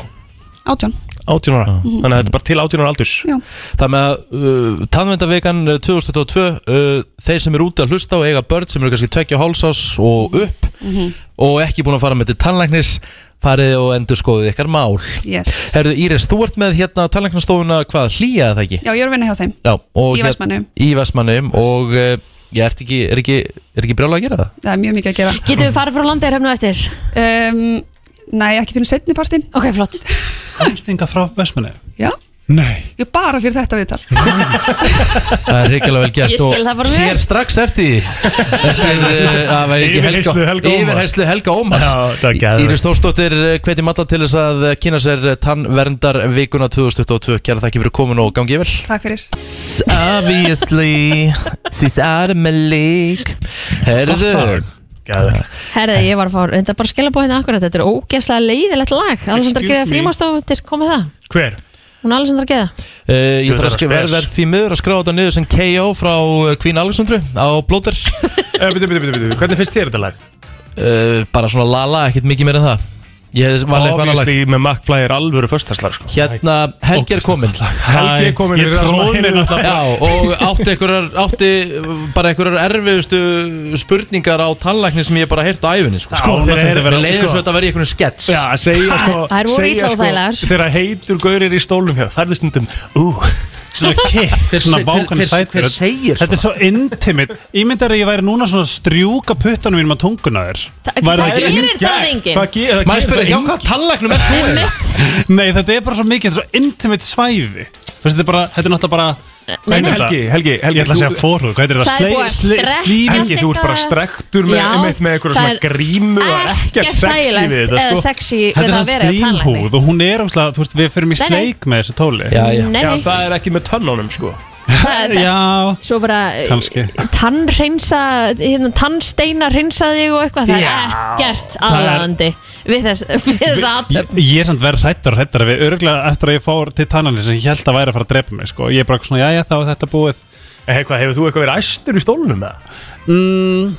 S12: 18
S2: 18 ára
S4: Mhm.
S2: Þannig að þetta er bara til 18 ára aldurs
S12: Já.
S4: Það með að uh, tannvendavegan uh, 2022 uh, Þeir sem eru úti að hlusta og eiga börn sem eru kannski tvekja hálsás og upp
S12: Mhm.
S4: og ekki búin að fara með til tannlæknis farið og endur skoðið ykkar mál
S12: Yes.
S4: Herðu Íris, þú ert með hérna tannlæknastofuna hvað, hlýja er það ekki?
S12: Já, ég er að vinna hjá þeim
S4: Já, og
S12: Í
S4: hér-
S12: Vestmannaeyjum.
S4: Í Vestmannum og uh, ég ert ekki, er ekki, er ekki brjálega að gera það?
S12: Það er mjög mikið að gera
S3: Getum við farið frá landeirhefnu eftir?
S12: Um, nei, ekki fyrir setni partinn
S3: Ok, flott
S5: Stinga frá Vestmanni
S12: Já
S5: Nei
S12: Ég er bara fyrir þetta viðtal
S4: Það er reykjulega vel gert
S12: Ég skil það bara
S4: og
S12: vel.
S4: sér strax eftir því. [laughs] eftir uh, að var ekki
S2: Yfirheyrslu Helga Ómars.
S4: Yfirheyslu Helga Ómas
S2: Já, það var geðveikt.
S4: Íris Þórsdóttir hveti matta til þess að eh, kynna sér eh, tannverndar vikuna 2022 Kjæra þakki fyrir komin og gangi vel
S12: Takk fyrir
S4: Obviously, she's out of my league Herðu
S3: Herði, ég var að fá reynda bara að skilja búið hérna akkurat Þetta er ógeðslega leiðilegt lag Alessandra
S4: Excuse
S3: Geða
S4: me.
S3: frímástof til komið það
S2: Hver?
S3: Hún Alessandra Geða
S4: Uh, ég
S2: Guð,
S4: þarf að
S2: það er
S4: skrifa
S2: spes.
S4: verð því miður að skráða þetta niður sem KO frá eh, Queen Alexandru á [laughs] Blóter
S2: Bitu, bitu, bitu, bitu, hvernig finnst þér þetta lag?
S4: uh, Bara svona lala, ekkert mikið meir en það Ég var eitthvað annað lag
S2: Obviously með McFly er alvöru föstarslag sko.
S4: Hérna, Helgi er komin
S2: Helgi er kominn,
S4: Ég
S2: er það svona
S4: tróð
S2: hinir
S4: mér-
S2: náttúrulega
S4: Já, og átti einhverjar átti bara einhverjar erfiðustu spurningar á tannlækni sem ég bara heyrt á æfinni sko.
S2: Sko, þeir eru-
S4: verið leiður
S2: sko.
S4: svo þetta verið einhvern skets
S2: Já, að segja sko
S3: Þær voru
S2: segja,
S3: illa
S2: sko,
S3: óþægilegar.
S2: Þegar heitur gaurir í stólum hjá Það er stundum, ú
S5: Svona kikk, svona vákan sætur Þetta er svo intimate Ímyndar að ég væri núna svona að strjúka puttanum mínum á tunguna þér
S3: Það-
S5: Væri
S3: það
S5: ekki-
S3: gerir það enginn.
S5: Hvað ge- það
S4: Má ég
S5: gerir
S4: spyrja,
S5: það
S4: hjá
S5: enginn.
S4: hvaða tannlæknum er þú?
S5: Nei, þetta er bara svo mikið, þetta er svo intimate svæði Þú veist, Þetta er bara, þetta er náttúrulega bara Hvað
S2: nei.
S5: heitir þetta?
S2: Helgi, Helgi, Helgi,
S5: Ég ætla að
S2: þú-
S5: segja forhug, hvað heitir
S3: Það er búið
S5: þetta?
S3: að
S5: Slei-
S3: strekka
S5: slí-
S3: allt
S5: Helgi, þú ert bara
S3: eitthvað.
S5: strektur með,
S3: Já,
S5: með, með einhverja
S3: það
S5: svona
S3: er
S5: grímu og
S3: ekkert
S5: ekkert sexy
S3: þægilegt
S5: við þetta
S3: eða
S5: sko.
S3: sexy við
S5: Þetta er
S3: það að vera
S5: svona
S3: tannlækni.
S5: slímhúð og hún er óslega, þú veist, við fyrir mig
S3: Nei, nei.
S5: sleik með þessu
S4: Já,
S5: tóli
S4: já.
S3: Nei, nei.
S2: Já, það er ekki með tönnunum sko
S5: Já
S3: Svo bara
S5: Kannski
S3: tannreinsa hérna, Tannsteina hreinsa þig og eitthvað Það
S5: Já.
S3: er ekkert
S5: er-
S3: aðlaðandi Við þess, við þess aðtöp
S5: Ég, ég er samt verið hrættar og hrættar við örgulega eftir að ég fór til tannanir sem ég held að væri að fara að drepa mig sko. Ég er bara svona, jæja þá er þetta búið
S2: Hei, Eh, hvað, hefur þú eitthvað verið æstur í stólunum með?
S5: Mm,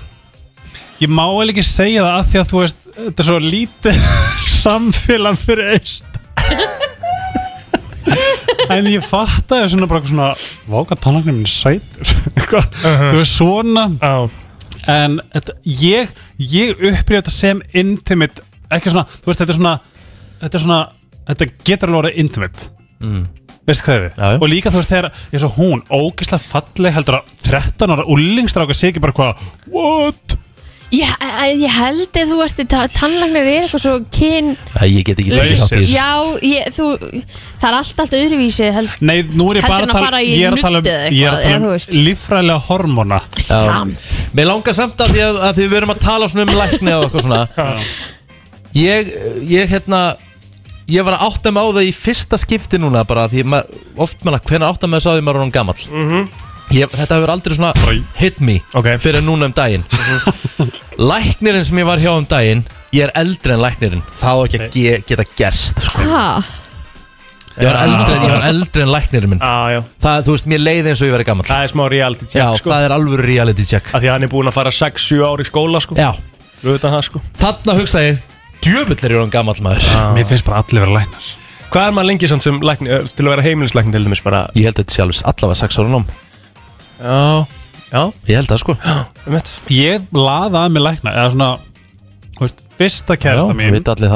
S5: ég má alveg ekki segja það að því að þú veist þetta er svo lítið [laughs] samfélag fyrir eist en ég fattaði svona bara eitthvað svona váka tannaknir minn er sætur [laughs] eitthvað, þú veist svona
S2: oh.
S5: en þetta, ég ég upplýði þetta sem intimate ekki svona, þú veist þetta er svona þetta er svona, þetta getur alveg orðið intimate
S4: Mm.
S5: veistu hvað við og líka þú veist þegar eins og hún ógeðslega falleg heldur að 13 ára úlingstráka sé ekki bara hvað what
S3: Ég, eh, ég held að þú ert í ta- tannlæknir er eitthvað svo kyn
S4: Æ, ég get ekki tekið þátt í þessu.
S3: Já, ég, þú, það er allt allt öðruvísi held,
S5: nei nú er ég
S3: Heldur
S5: bara
S3: en að
S5: að tala
S3: fara í
S5: ég er að tala um,
S3: nudd eða
S5: ég er
S3: eitthvað,
S5: að tala
S3: eða þú
S5: um lífræðilega hormóna
S4: Mér langar samt að því að, að því við erum að tala svona um lækni og
S2: [laughs]
S4: eitthvað svona Ég, ég hérna Ég var að átta mig á það í fyrsta skipti núna bara því maður, oft manna, hvenær átta mig þess að því maður er hann gamall
S2: Mhm.
S4: ég, Þetta hefur aldrei svona hit me okay. fyrir núna um daginn
S2: Mhm.
S4: [laughs] Læknirinn sem ég var hjá um daginn ég er eldri en læknirinn þá á ekki að ge geta gerst sko.
S3: ha,
S4: Ég var
S2: Já.
S4: eldri, ég var eldri en læknirinn minn
S2: Já, já
S4: Það, þú veist, mér leiði eins og ég verið gammal
S2: Það er smá reality check
S4: Já,
S2: sko
S4: það er alvöru reality check
S2: Af Því að hann er búinn að fara 6-7 ár í skóla sko
S4: Já
S2: Þú veit að það sko
S4: Þarna hugsa ég Djöfull er ég hann gammal maður
S5: Mér finnst bara allir vera læknar
S2: Hvað er maður lengi samt sem lækni, eh, til að vera heimilislækni til dæmis bara
S4: Ég held að þetta sé alveg allavega 6 ára nám
S2: Já, já
S4: Ég held það sko
S2: um eitt
S5: ég laða að mig lækna eða svona þú veist, fyrsta kærasta mín
S4: veit allir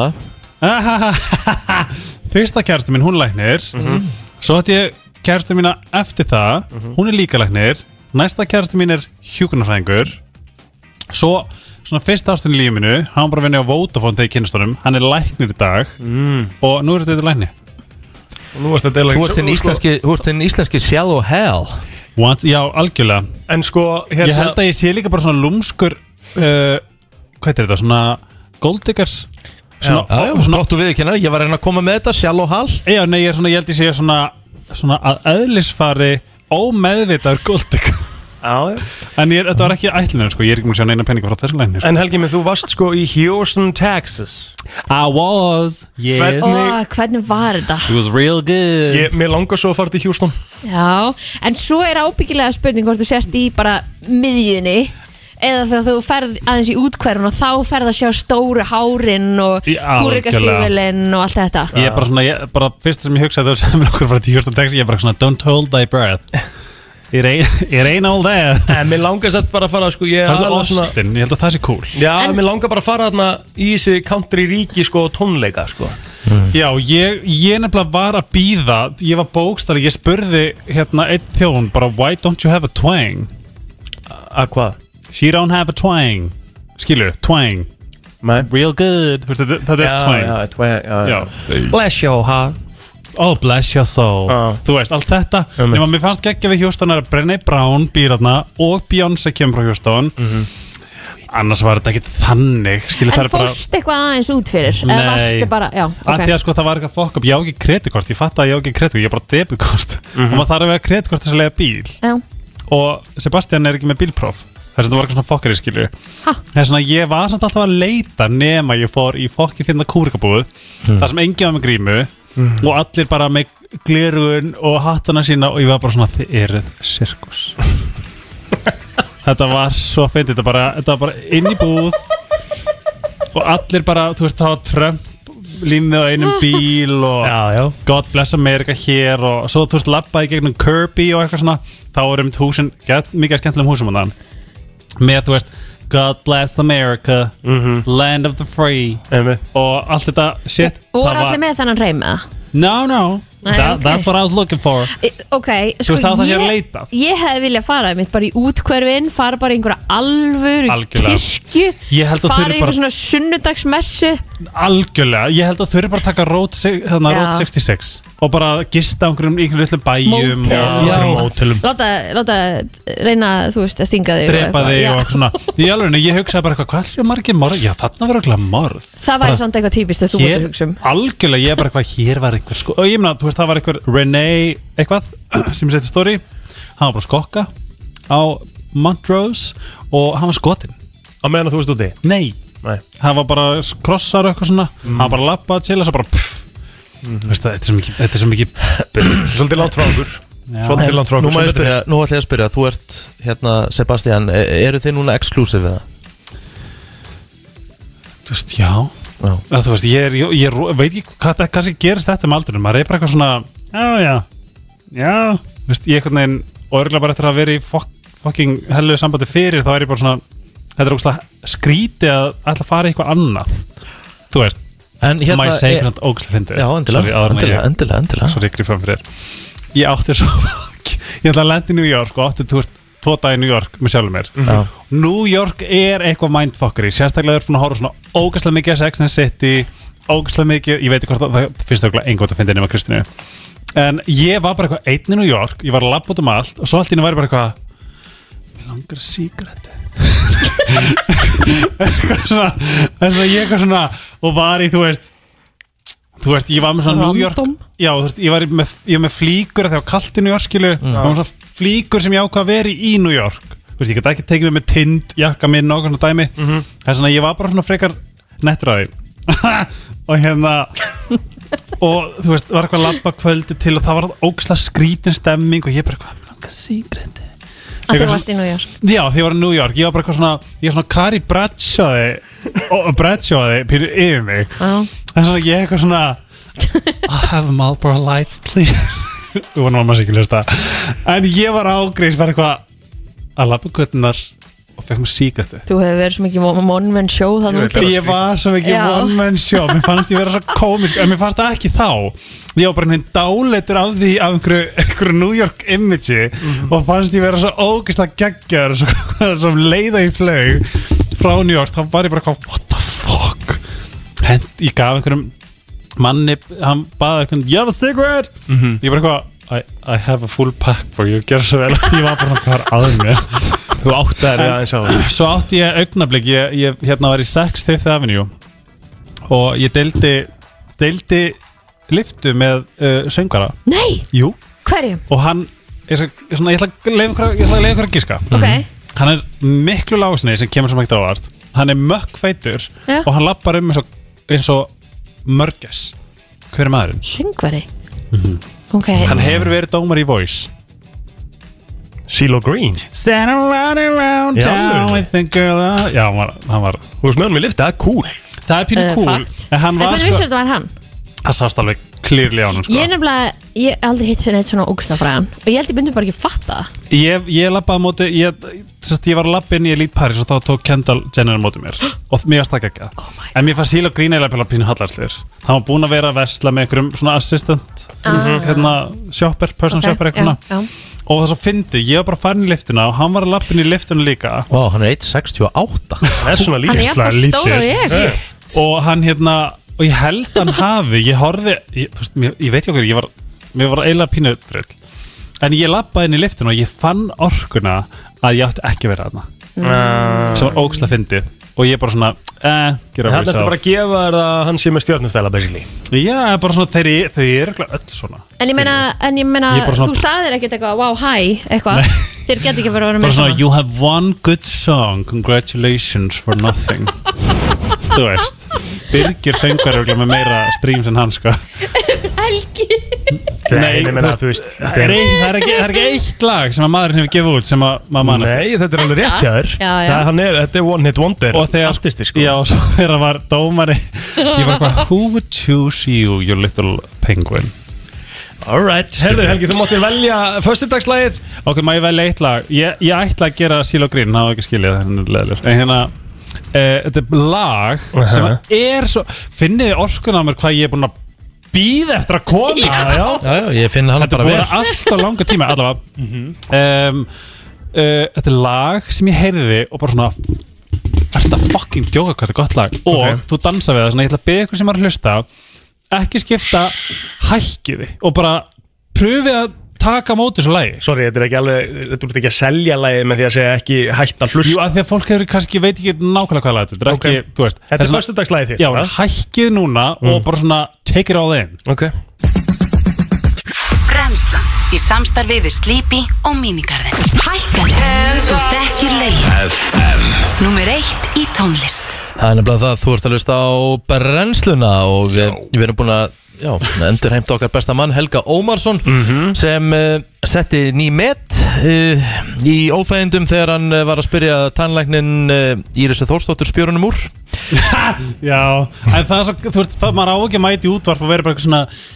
S4: það
S5: [laughs] fyrsta kærasta mín hún er læknir
S2: Mhm.
S5: svo ætti ég kærasta mína eftir það hún er líka læknir næsta kærasta mín er hjúkunarfræðingur svo svona fyrsta ástin í lífinu hann bara vinni á Vodafone þegar kynnastunum hann er læknir í dag og nú er þetta þetta lækni
S2: Mm. Nú varst að deila sko-
S4: Þú ert þinn íslenski, þú ert þinn íslenski shallow hell
S5: What? já algjörlega
S2: En sko hérna,
S5: ég held að ég sé líka bara svona lúmskur uh, hvað er þetta svona golddiggar svona,
S4: Já, já, gott og viðurkennar, ég var að reyna að koma með þetta shallow hell
S5: Já, nei, ég, er svona, ég held ég sé svona, svona að eðlisfari ómeðvitaður góldika
S2: Já, já
S5: En ég, er- þetta var ekki ætlunum, sko, ég er ekki múin að sjá neina peninga frá þessu læni sko.
S2: En Helgi minn, þú varst sko í Houston, Texas
S5: I was, yes
S3: ó, hvernig var þetta?
S5: It was real good
S2: ég, Mér langar svo að fara til Houston
S3: Já, en svo er ábyggilega spurning hvort þú sérst í bara miðjunni eða þegar þú ferð aðeins í útkverfun og þá ferð að sjá stóru hárin og
S5: Í- algjörlega.
S3: kúrikastífilinn og allt þetta
S5: Ég er bara svona, ég, bara fyrsta sem ég hugsaði þegar þú sagði mér okkur bara tíu hjórstan text, ég er bara svona Don't hold thy breath It [laughs] ain't, it ain't all that
S2: [laughs]
S13: En mér langar satt bara að fara sko, ég er
S5: Það er
S13: aðalega svona-
S5: Austin, ég held að það sé cool
S13: Já, en... mér langar bara að fara þarna í þessi country ríki sko og tónleika sko
S5: Já, ég, ég nefnilega var að býða Ég var bókstæli, ég spurði hérna einn þjón bara Why don't you have a twang?
S13: Að hvað?
S5: She don't have a twang Skilur, twang
S13: Nei.
S5: Real good Vistu, þetta, þetta
S13: Já,
S5: er twang
S13: já, twang, já, já.
S5: Bless your heart Oh, bless your soul Þú veist, allt þetta Nefnum mér fannst geggja við Hjóstan að Brené Brown býr þarna og Beyoncé kemur frá Hjóstan Annars var þetta ekki þannig Skilur, það
S3: En
S5: er bara
S3: fórst eitthvað aðeins út fyrir eða
S5: Nei.
S3: varstu bara, já,
S5: að því
S3: ok
S5: að sko það var eitthvað fokk upp, ég á ekki kreditkort ég fatt að ég á ekki kreditkort, ég á bara debitkort og maður þarf að vera kreditkort til þess að lega bíl
S3: Já.
S5: og Sebastian er ekki með bílpróf þess að það var eitthvað svona fokkari skilju það er svona ég var samt alltaf að leita nema ég fór í fokki finna kúrikabúð þar sem enginn var með grímu og allir bara með glerugun og hattana sína og ég var bara svona þið eruð sirkus þetta var svo fyndið, þetta, bara- þetta var bara inn í búð og allir bara, þú veist, það var Trump límið á einum bíl og já, já. God bless America hér og svo þú veist, labbaði í gegnum Kirby og eitthvað svona, þá erum við húsin get, mikið af skemmtilegum húsum á þann með, þú veist, God bless America land of the free Amen. og allt þetta shit
S3: Og
S5: það
S3: voru allir með þennan reym eða?
S5: no, no,
S3: Nei,
S5: that,
S3: ok.
S5: that's what I was looking for
S3: Í- Ok, sko,
S5: Þú veist, það var það sem ég er að leita.
S3: ég hefði viljað fara mitt bara í útkverfin, fara bara í einhverja alvöru
S5: Algjörlega.
S3: kirkju,
S5: Ég held að
S3: fara
S5: þurfi
S3: í
S5: bara-
S3: einhverja svona sunnudagsmessu
S5: algjörlega, ég held að þau eru bara að taka Road, se- þarna,
S3: Já.
S5: road 66 og bara gista á einhverjum í einhverjum litlum
S3: Mótel.
S5: bæjum og-
S3: Já.
S5: Já. mótelum
S3: láta, láta reyna, þú veist, að stinga þig og
S5: drepa
S3: eitthvað,
S5: þig
S3: já.
S5: og eitthvað svona í alveg, ég hugsaði bara eitthvað, hvað séu margir morð já, þarna var eitthvað morð
S3: Það væri samt eitthvað típist að þú mútur hugsa um
S5: algjörlega, ég er bara eitthvað, hér var eitthvað sko, og ég meina, þú veist, það var eitthvað René eitthvað, [clears throat] sem ég seti stóri hann var bara að skokka á Montrose og hann var skotin
S13: á meðan að þú veist úti?
S5: nei,
S13: Nei. Mm.
S5: hann var bara krossar og eitthvað svona, hann var bara labbað til og svo bara pff, Veist það, þetta er svo mikið- þetta er svo mikið
S13: Svolítið langt frá okkur Svolítið langt frá okkur
S4: Nú má
S13: sem
S4: ég
S13: betur
S4: spyrja,
S13: fer.
S4: nú ætla ég að spyrja Þú ert, hérna, Sebastian e- Eru þið núna exclusive við það?
S5: þú veist, já Eða, þú veist, ég, er, ég, ég er ro- veit ekki hvað það kannski gerist þetta með aldurinn, maður er bara eitthvað svona já, já, já Þú veist, ég einhvern veginn, og örgulega bara eftir að vera í fokk, fokking hellu sambandi fyrir þá er ég bara svona, þetta er ógustlega skrítið að ætla að fara í eitthvað annað þú veist,
S4: En hérna
S5: maður segi
S4: er-
S5: hvernig ógustlega fyndið
S4: Já, endilega, endilega, endilega, endilega.
S5: svo reykri fram fyrir þér. ég átti svo ég ætla að lenda í New York og átti, þú veist, tvo dag í New York með sjálfur mér
S4: Já.
S5: New York er eitthvað mindfuckery sérstaklega er búin að horfa svona ógæslega mikið að Sex and the City, ógæslega mikið ég veit ekki hvort það, það finnst það einhvern að finna nema Kristínu en ég var bara eitthvað einn í New York, ég var að labba út um allt og svo allt í henni var ég bara eitthvað mig langar að sígrætt [laughs] eitthvað svona þess að ég eitthvað svona og var í, þú veist þú veist, ég var með svona New York
S13: Random.
S5: já, þú veist, ég var í- með, ég var með flíkur þegar kallt í New York, skilu mm. var með svona flíkur sem ég ákvað að vera í í New York þú veist, ég gæti ekki tekið mig með tind jakka minn og okkur svona dæmi þess að ég var bara svona frekar nettur að því [laughs] og hérna og þú veist, var eitthvað að labba kvöldi til og það var ógislega skrítin stemming og ég bara eitthvað, mig langar sígrætt
S3: Að þú varst í New York
S5: Já, því ég var í New York, ég var bara eitthvað svona Ég var svona Kari Bradshawi Og Bradshawi pýrðu yfir mig Það er svona, ég eitthvað svona I have Marlboro lights, please Þú vonum að maður sé ekki hlusta En ég var ágreis, var eitthvað Að labba göttunar Og fekk mér síkættu
S3: Þú hefur verið svo mikið monmen show þannig
S5: Ég var svo mikið
S3: Já.
S5: one man show Mér fannst ég vera svo komisk En mér fannst það ekki þá Ég var bara einhvern veginn dáleitur af því Af einhverju, einhverju New York image Og fannst ég vera svo ógislega geggjör Svo, svo [laughs] um leiða í flaug Frá New York, þá var ég bara hvað What the fuck Hent, Ég gaf einhverjum manni Hann baði einhvern, you have a cigarette Ég bara eitthvað I, I have a full pack for you, gerð svo vel [laughs] Ég var bara hvað er að mér Þú
S13: áttaðir þig aðeins á því.
S5: [laughs] Svo átti ég augnablik, ég, ég hérna var í 6 Fifth Avenue og ég deildi, deildi liftu með uh, söngara
S3: Nei,
S5: Jú,
S3: hverjum?
S5: og hann ég, skal- ég svona, ég ætla að leifa ykkur að- ég ætla að leifa ykkur að gíska
S3: Ok,
S5: Hann er miklu lágsni sem kemur sem ekkert ávart Hann er mökkfeitur
S3: Já.
S5: og hann lappar um eins og, eins og mörgess Hver er maðurinn?
S4: Mm-hmm.
S3: Söngvari Ok
S5: Hann hefur verið dómar í Voice
S2: CeeLo Green
S5: Stand around and round
S2: Já,
S5: town
S2: alveg.
S5: with the girl I- Já, hann var, hann var
S2: Þú veist með honum í lifta, cool
S5: Það er pínu
S3: Eh,
S5: cool
S3: fakt.
S5: En hann
S3: En
S5: var
S3: hvernig vissir
S5: sko
S3: þetta var hann?
S5: Það sást alveg klýrli á hann sko
S3: Ég er nefnilega, ég hef aldrei hitt sér neitt svona ógæsla fræðan og ég held ég myndi bara ekki fatta það.
S5: Ég, ég lappaði á móti ég, sest, ég var að lappa inn í Elite Paris og þá tók Kendall Jenner á móti mér og mér varst það ekki oh en mér fannst síla grínilega pæla pínu hallarslegur hann var búinn að vera að vesla með einhverjum svona assistant
S13: Ah.
S5: hérna, shopper, personal
S13: Ok,
S5: shopper eitthvað
S13: já, já.
S5: og það svo fyndi, ég var bara farin í liftuna og hann var að lappa inn í liftuna líka Vá, wow, hann er 1.68 Hann
S2: er svona
S13: Hann er jafn stór og ég.
S5: Eh. og hann hérna, og ég held hann hafi ég horfði, ég, þú veist, ég, ég veit ekki okkur ég var, mér var eiginlega pínu drull en ég lappaði inn í liftinu og ég fann orkuna að ég átti ekki að vera þarna
S2: Mm.
S5: sem var ógslag fyndið og ég bara svona, eh, gera
S2: Hann ætti bara að gefa þér að hann sé með stjórnustæla basically
S5: Já, bara svona þeir, þau eru örugglega öll svona
S3: En ég meina, en ég meina
S5: Ég er bara
S3: þú
S5: svona-
S3: sagðir ekkert eitthvað, wow, hi, eitthvað Þér getur ekki verið að vera með
S5: bara svona,
S3: svona
S5: you have one good song congratulations for nothing þú veist Birgir söngar eru með meira streams en hann sko
S3: Helgi
S2: Nei, ég meina,
S5: þú
S2: veist
S5: það er, ein, það, er ekki, það er ekki eitt lag sem að maðurinn hefur gefið út sem að maður manna
S2: Nei, þetta er alveg rétt hjá þér
S5: Já, já.
S2: Það, hann er, Þetta er one hit wonder
S5: og þegar, artisti, sko. já, og svo þegar var dómari ég var bara, who would choose you you little penguin
S2: Alright, herðu Helgi, þú máttir velja Föstudagslagið
S5: ok, má ég velja eitt lag ég, ég ætla að gera síl og grín, það var ekki skilja þannig leðilegur, en hérna uh, þetta er lag sem
S2: Aha.
S5: er svo finnið þið orkun á mér hvað ég er búin að býða eftir að koma
S4: Já, já. Já, já, ég finn hana
S5: þetta
S4: bara
S5: búið
S4: vel.
S5: að vera allt á langa tíma allavega
S4: Mhm.
S5: um, uh, þetta er lag sem ég heyrði og bara svona er þetta fucking djóka hvað þetta er gott lag og þú dansa við það, svona ég ætla að beða ykkur sem er að hlusta ekki skipta hækkiði og bara pröfið að taka á móti svo lagi
S2: Sorry, þetta er ekki alveg, þetta er ekki að selja lagið með því að segja ekki hætt að hlusta
S5: Jú, að því að fólk hefur kannski veit ekki nákvæmlega hvað lag þetta er, þetta er
S2: Ok.
S5: ekki, þú veist
S2: Þetta er
S5: það svona-
S2: föstudagslagið þitt,
S5: Já,
S2: eða?
S5: hækkið núna og bara svona take it all in
S2: Ok
S15: Brenslan Í samstarfi við Sleepy og Minigarðin Hækkar Þú þekkir legin
S1: FM
S15: Númer eitt í tónlist
S4: Það er nefnilega það, þú ert að hlusta á brennsluna og við, við erum búin að já, endur heimta okkar besta mann Helga Ómarsson sem uh, setti ný met uh, í óþægindum þegar hann uh, var að spyrja tannlæknin uh, Írisi Þórsdóttur spjörunum úr
S5: Já, en það er svo, þú veist, það maður á ekki að mæti útvarp og vera bara eitthvað svona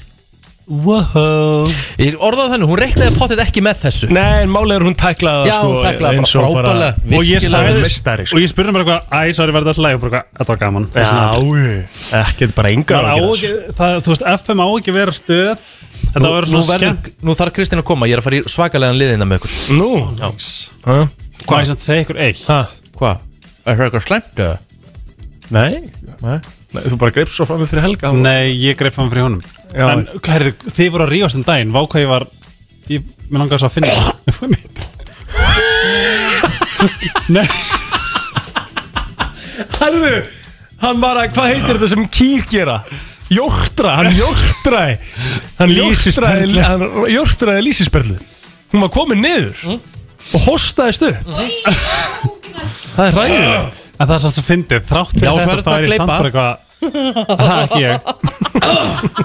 S5: Wow
S4: Ég orðaði þannig, hún reiknaði pottet ekki með þessu
S2: Nei, en málega er hún tæklaði
S4: Já, hún tæklaði bara frábælega
S5: sko Og ég sagði,
S2: mistari,
S5: og ég spurði mér eitthvað Æ, sorry, verði alltaf læg og bara eitthvað, þetta var gaman
S2: Já, ekkert bara engar
S5: Það á
S2: áhyggjur.
S5: ekki, það, þú veist, FM á ekki að vera stöð Þetta
S4: Nú,
S5: verður
S4: nú,
S5: svona
S4: verður-
S5: skemmt
S4: nú þarf Kristinn að koma, ég er að fara í svakalega liðina með ykkur
S2: Nú?
S4: Já
S5: Hvað ég sem segja ykkur eitt?
S4: Hvað? Er það eitthvað slæmt? eða?
S2: Nei,
S4: Nei.
S2: Þú bara greip svo fram með fyrir Helga
S5: Nei, ég greip fram fyrir honum
S2: Já.
S5: En herðu, þið voru að rífast um daginn Vá hvað ég var ég, Mér langaði svo að finna
S4: [laughs]
S5: það Nei
S2: Herðu, hann bara, hvað heitir þetta sem kýr gera? Jórtra, hann jórtraði Hann
S13: Lýsisperlu.
S2: jórtraði Hann jórtraði lýsisperlu Hún var komin niður
S5: Mm.
S2: Og hostaði stu Það er ræðilegt
S5: En það er samt svo fyndið, þrátt fyrir
S2: Já, svo
S5: þetta
S2: er
S5: þá
S2: þetta
S5: er
S2: að
S5: ég samt
S2: gleypa.
S5: bara eitthvað Það er ekki ég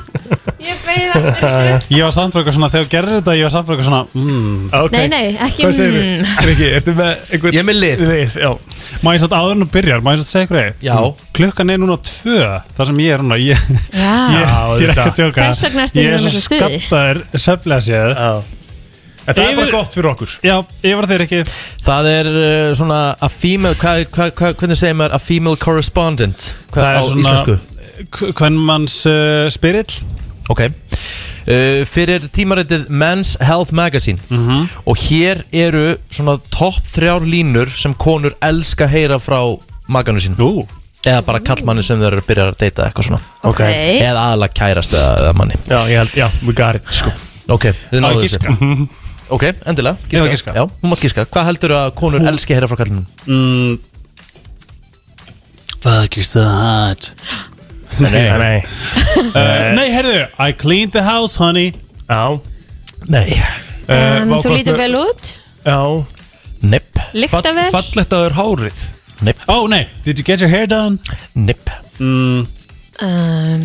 S3: Ég beið það
S5: Ég var samt bara eitthvað svona, þegar þú gerðir þetta Ég var samt bara eitthvað svona mm.
S3: Nei, nei, ekki
S5: Hvað segirðu?
S3: mm.
S2: Riki, ertu með einhvern
S4: Ég er með lið
S2: Lið, já
S5: Má ég satt áður en þú byrjar, má ég satt segja ykkur eitt
S4: Já.
S5: Klukkan er núna tvö, þar sem ég er núna Ég,
S3: Já.
S5: ég, ég er ekki að
S2: auðvitað.
S5: tjóka
S3: Þess vegna ertu í
S5: Ég er
S3: svona miklu
S5: svo
S3: stuði.
S5: skattaður, söflega séð
S2: En það er bara
S5: Yfir-
S2: gott fyrir okkur
S5: Já, ég var þeir ekki
S4: Það er uh, svona a female, hva, hva, hva, hvernig segir maður a female correspondent hva,
S5: Það
S4: á
S5: er svona-
S4: íslensku?
S5: Kvennmanns uh, spirill
S4: Ok uh, Fyrir tímaritið Men's Health Magazine
S5: Mhm.
S4: Og hér eru svona topp þrjár línur sem konur elska heyra frá maganu sín
S5: Jú
S4: Eða bara kallmanni sem þeir eru að byrja að deyta eitthvað svona
S2: Ok. Ok.
S4: Eða aðalega kærast eða, eða manni
S2: Já, ég held, já, we got it, sko
S4: Ok,
S2: Á,
S4: þið
S2: ég
S4: náðu þessu
S2: giska.
S5: Mm-hmm.
S4: Mhm. Ok, endilega,
S5: Ég var að
S4: Já, hún mátt gíska Hvað heldur að konur elski að heyra frá kallinum?
S5: mm. Fuck, you're so hot
S2: [gasps]
S4: Nei, nei.
S5: [laughs] Uh, Nei, heyrðu I cleaned the house, honey
S2: Eh,
S5: Eh,
S2: Já
S4: Nei
S3: um, Þú lítur vel út,
S2: Já
S4: Nipp
S3: lykta vel
S2: Fallegt að þau er hárið
S4: Nipp
S5: Oh, nei Did you get your hair done?
S4: Nipp
S5: mm.
S3: um,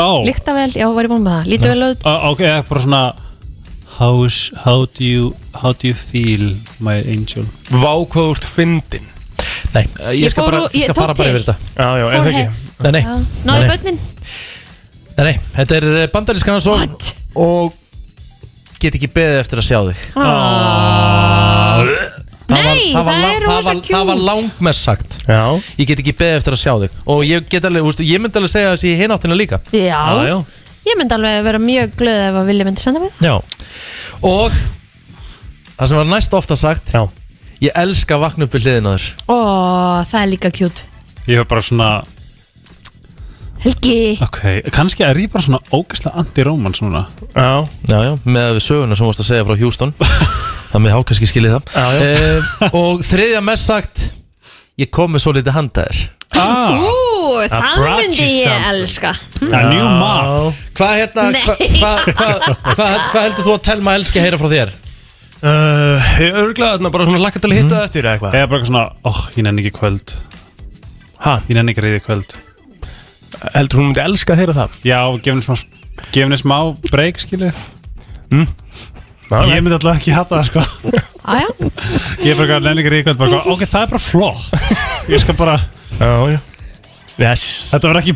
S5: Oh
S3: Lykta vel, já, var ég búin með það Lítur vel út
S5: uh, Ok, eða bara svona
S9: how's, how, do you, how do you feel my angel
S2: Vá hvað þú ert fyndin
S4: Nei,
S3: Ég fór úr- Sko, ég tók til.
S4: Já, já,
S3: Fór heim.
S4: Nei, nei,
S3: Já.
S4: nei,
S3: Náðu
S4: nei.
S3: börnin
S4: Nei, nei, þetta er eh, bandarískan og og get ekki beðið eftir að sjá þig Það var-
S3: Nei,
S4: það var
S3: það
S4: la-
S3: er
S4: það
S3: Ah. rosa
S4: var- Það var
S3: cute.
S4: langmest sagt Já. Ég get ekki beðið eftir að sjá þig Og ég get alveg, úst, ég myndi alveg segja þessi í hináttina líka
S3: Já. Ég myndi alveg vera mjög glöð ef að Vili myndi senda mig
S4: Já. Og það sem var næst ofta sagt Já. Ég elska að vakna upp við hliðin á þér
S3: Ó, það er líka kjút
S5: Ég hef bara svona
S3: Helgi
S5: Ok, kannski er ég bara svona ógeðslega anti-rómans núna
S4: Já, já, já, með söguna sem varst að segja frá
S5: [laughs]
S4: Houston Það með hákanski skiljið það já, já. Og þriðja mest sagt Ég kom með svo litið handa þér
S3: Ú,
S4: I
S3: það
S4: Ah. brought
S3: myndi
S4: you
S3: ég
S4: something.
S3: elska
S4: A new map Hvað hérna,
S3: Nei.
S4: hva, hva, hva, hva, hva heldur þú að telma elski að heyra frá þér?
S2: Uh, ég örglaði þarna bara svona lakka til að hitta
S4: Mhm.
S2: það eftir eða eitthvað
S5: Eða bara eitthvað svona, óh, ég nenni ekki í kvöld Hæ? Ég nenni ekki reyði í kvöld
S2: Heldur hún myndi elska að heyra það?
S5: Já, gefin smá, gefin smá break, skilið
S2: Mm.
S5: Ég myndi alltaf ekki hata það, sko
S3: Aja.
S5: Ég er bara eitthvað, nenni ekki reyði í kvöld bara, eitthvað, Ok, það er bara flott Ég skal bara
S2: Já, já Yes.
S5: Þetta var ekki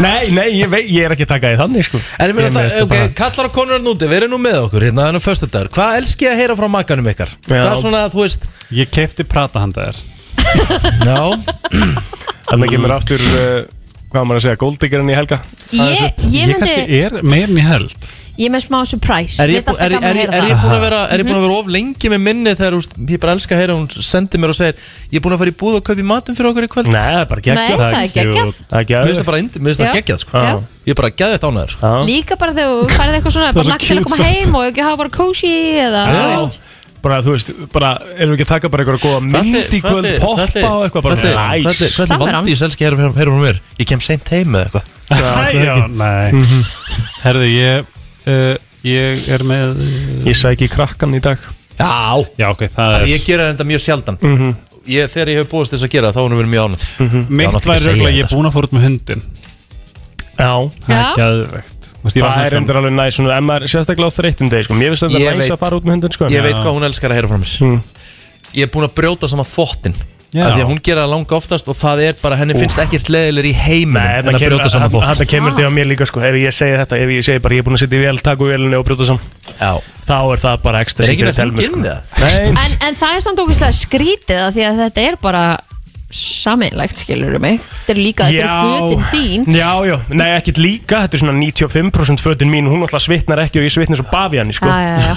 S2: [laughs] Nei, nei, ég, vei, ég er ekki að taka því þannig sko
S4: En ég meina það,
S2: veist
S4: ok, kallar á konur hann úti, verið nú með okkur hérna þannig að föstu dagur Hvað elski að heyra frá makanum ykkar? Það er svona, þú veist
S5: Ég kefti prata handa þér
S2: [clears throat]
S4: Já
S2: Þannig kemur aftur, uh, hvað á maður að segja, goldiggerinn í helga
S3: Ég, ég myndi,
S5: er meirin í held
S3: ég er með smá surprise
S4: Er
S3: Mér
S4: ég,
S3: finnst
S4: bú- er, er,
S3: alltaf gaman
S4: er,
S3: heyra
S4: er
S3: það.
S4: ég búin að vera, er ég búin að
S3: Mhm.
S4: vera of lengi með minni þegar úst, ég bara elska að heyra hún sendi mér og segir ég er búin að fara í búð og kaupi matinn fyrir okkur í kvöld
S2: Nei, það er bara geggjað. Nei, það er geggjað. Það er geggjað.
S4: Mér finnst það bara indi- mér finnst það
S3: Já.
S4: geggjað sko.
S3: Já.
S4: Ég er bara geðveitt ánæður sko.
S3: Mhm. Líka bara þegar þú færið eitthvað
S4: [laughs]
S3: svona
S4: Það er
S3: bara
S4: svo
S3: nakk til að
S4: cute
S3: koma
S4: sagt.
S3: heim og ekki hafa bara kósi eða, þú
S2: Já.
S3: veist
S2: Bara, þú veist, bara, erum við ekki að taka bara eitthvað góða mynd í kvöld, poppa og eitthvað bara
S4: Hvernig hvernig vandi ég selski heyra heyra frá mér? Ég kem seint heim eða
S5: Nei,
S4: eitthvað
S5: já, nei
S2: Mhm.
S5: Herðu, ég uh, Ég er með uh,
S2: Ég sæki krakkan í dag
S4: Já
S5: Já, ok, það er
S4: Ég gera þetta mjög sjaldan
S2: Mhm.
S4: ég, Þegar ég hef búist þess að gera það, þá erum við mjög ánæð
S5: Mitt væri rauglega,
S4: sko.
S5: ég er búin að fóra út með hundin
S2: sko. Já
S5: Það er geðvegt
S2: Það er endur alveg næst, svona, en maður er sérstaklega á þreyttum degi sko Mér finnst þetta
S4: Ég
S2: næst
S4: veit-
S2: að fara út með hundin sko
S4: Ég veit hvað hún elskar að heyra frá mér Ég er búin að brjóta saman þvottin
S2: Já.
S4: Af Því að hún gera það langa oftast og það er bara henni finnst ekkert leðilegur í heiminum
S2: Nei,
S4: en
S2: þetta
S4: að brjóta saman
S2: kemur,
S4: þvott
S2: þetta kemur til að mér líka sko Ef ég segi þetta, ef ég segi bara ég er búin að sitja í vél, taka úr vélinni og brjóta saman
S4: Já
S2: Þá er það bara ekstra
S4: Er
S2: sem
S4: ekki
S2: fyrir
S4: að
S2: telmi
S4: hringja inn
S2: sko
S4: eða?
S2: Nei,
S3: en, en það er samt ógeðslega skrítið af því að þetta er bara saminlegt skilur mig Þetta er líka, þetta er fötin þín
S2: Já, já, nei ekkert líka, þetta er svona 95% fötin mín Hún alltaf svitnar ekki og ég svitnar svo bafi hann sko.
S3: Já, já,
S2: [laughs]
S3: já.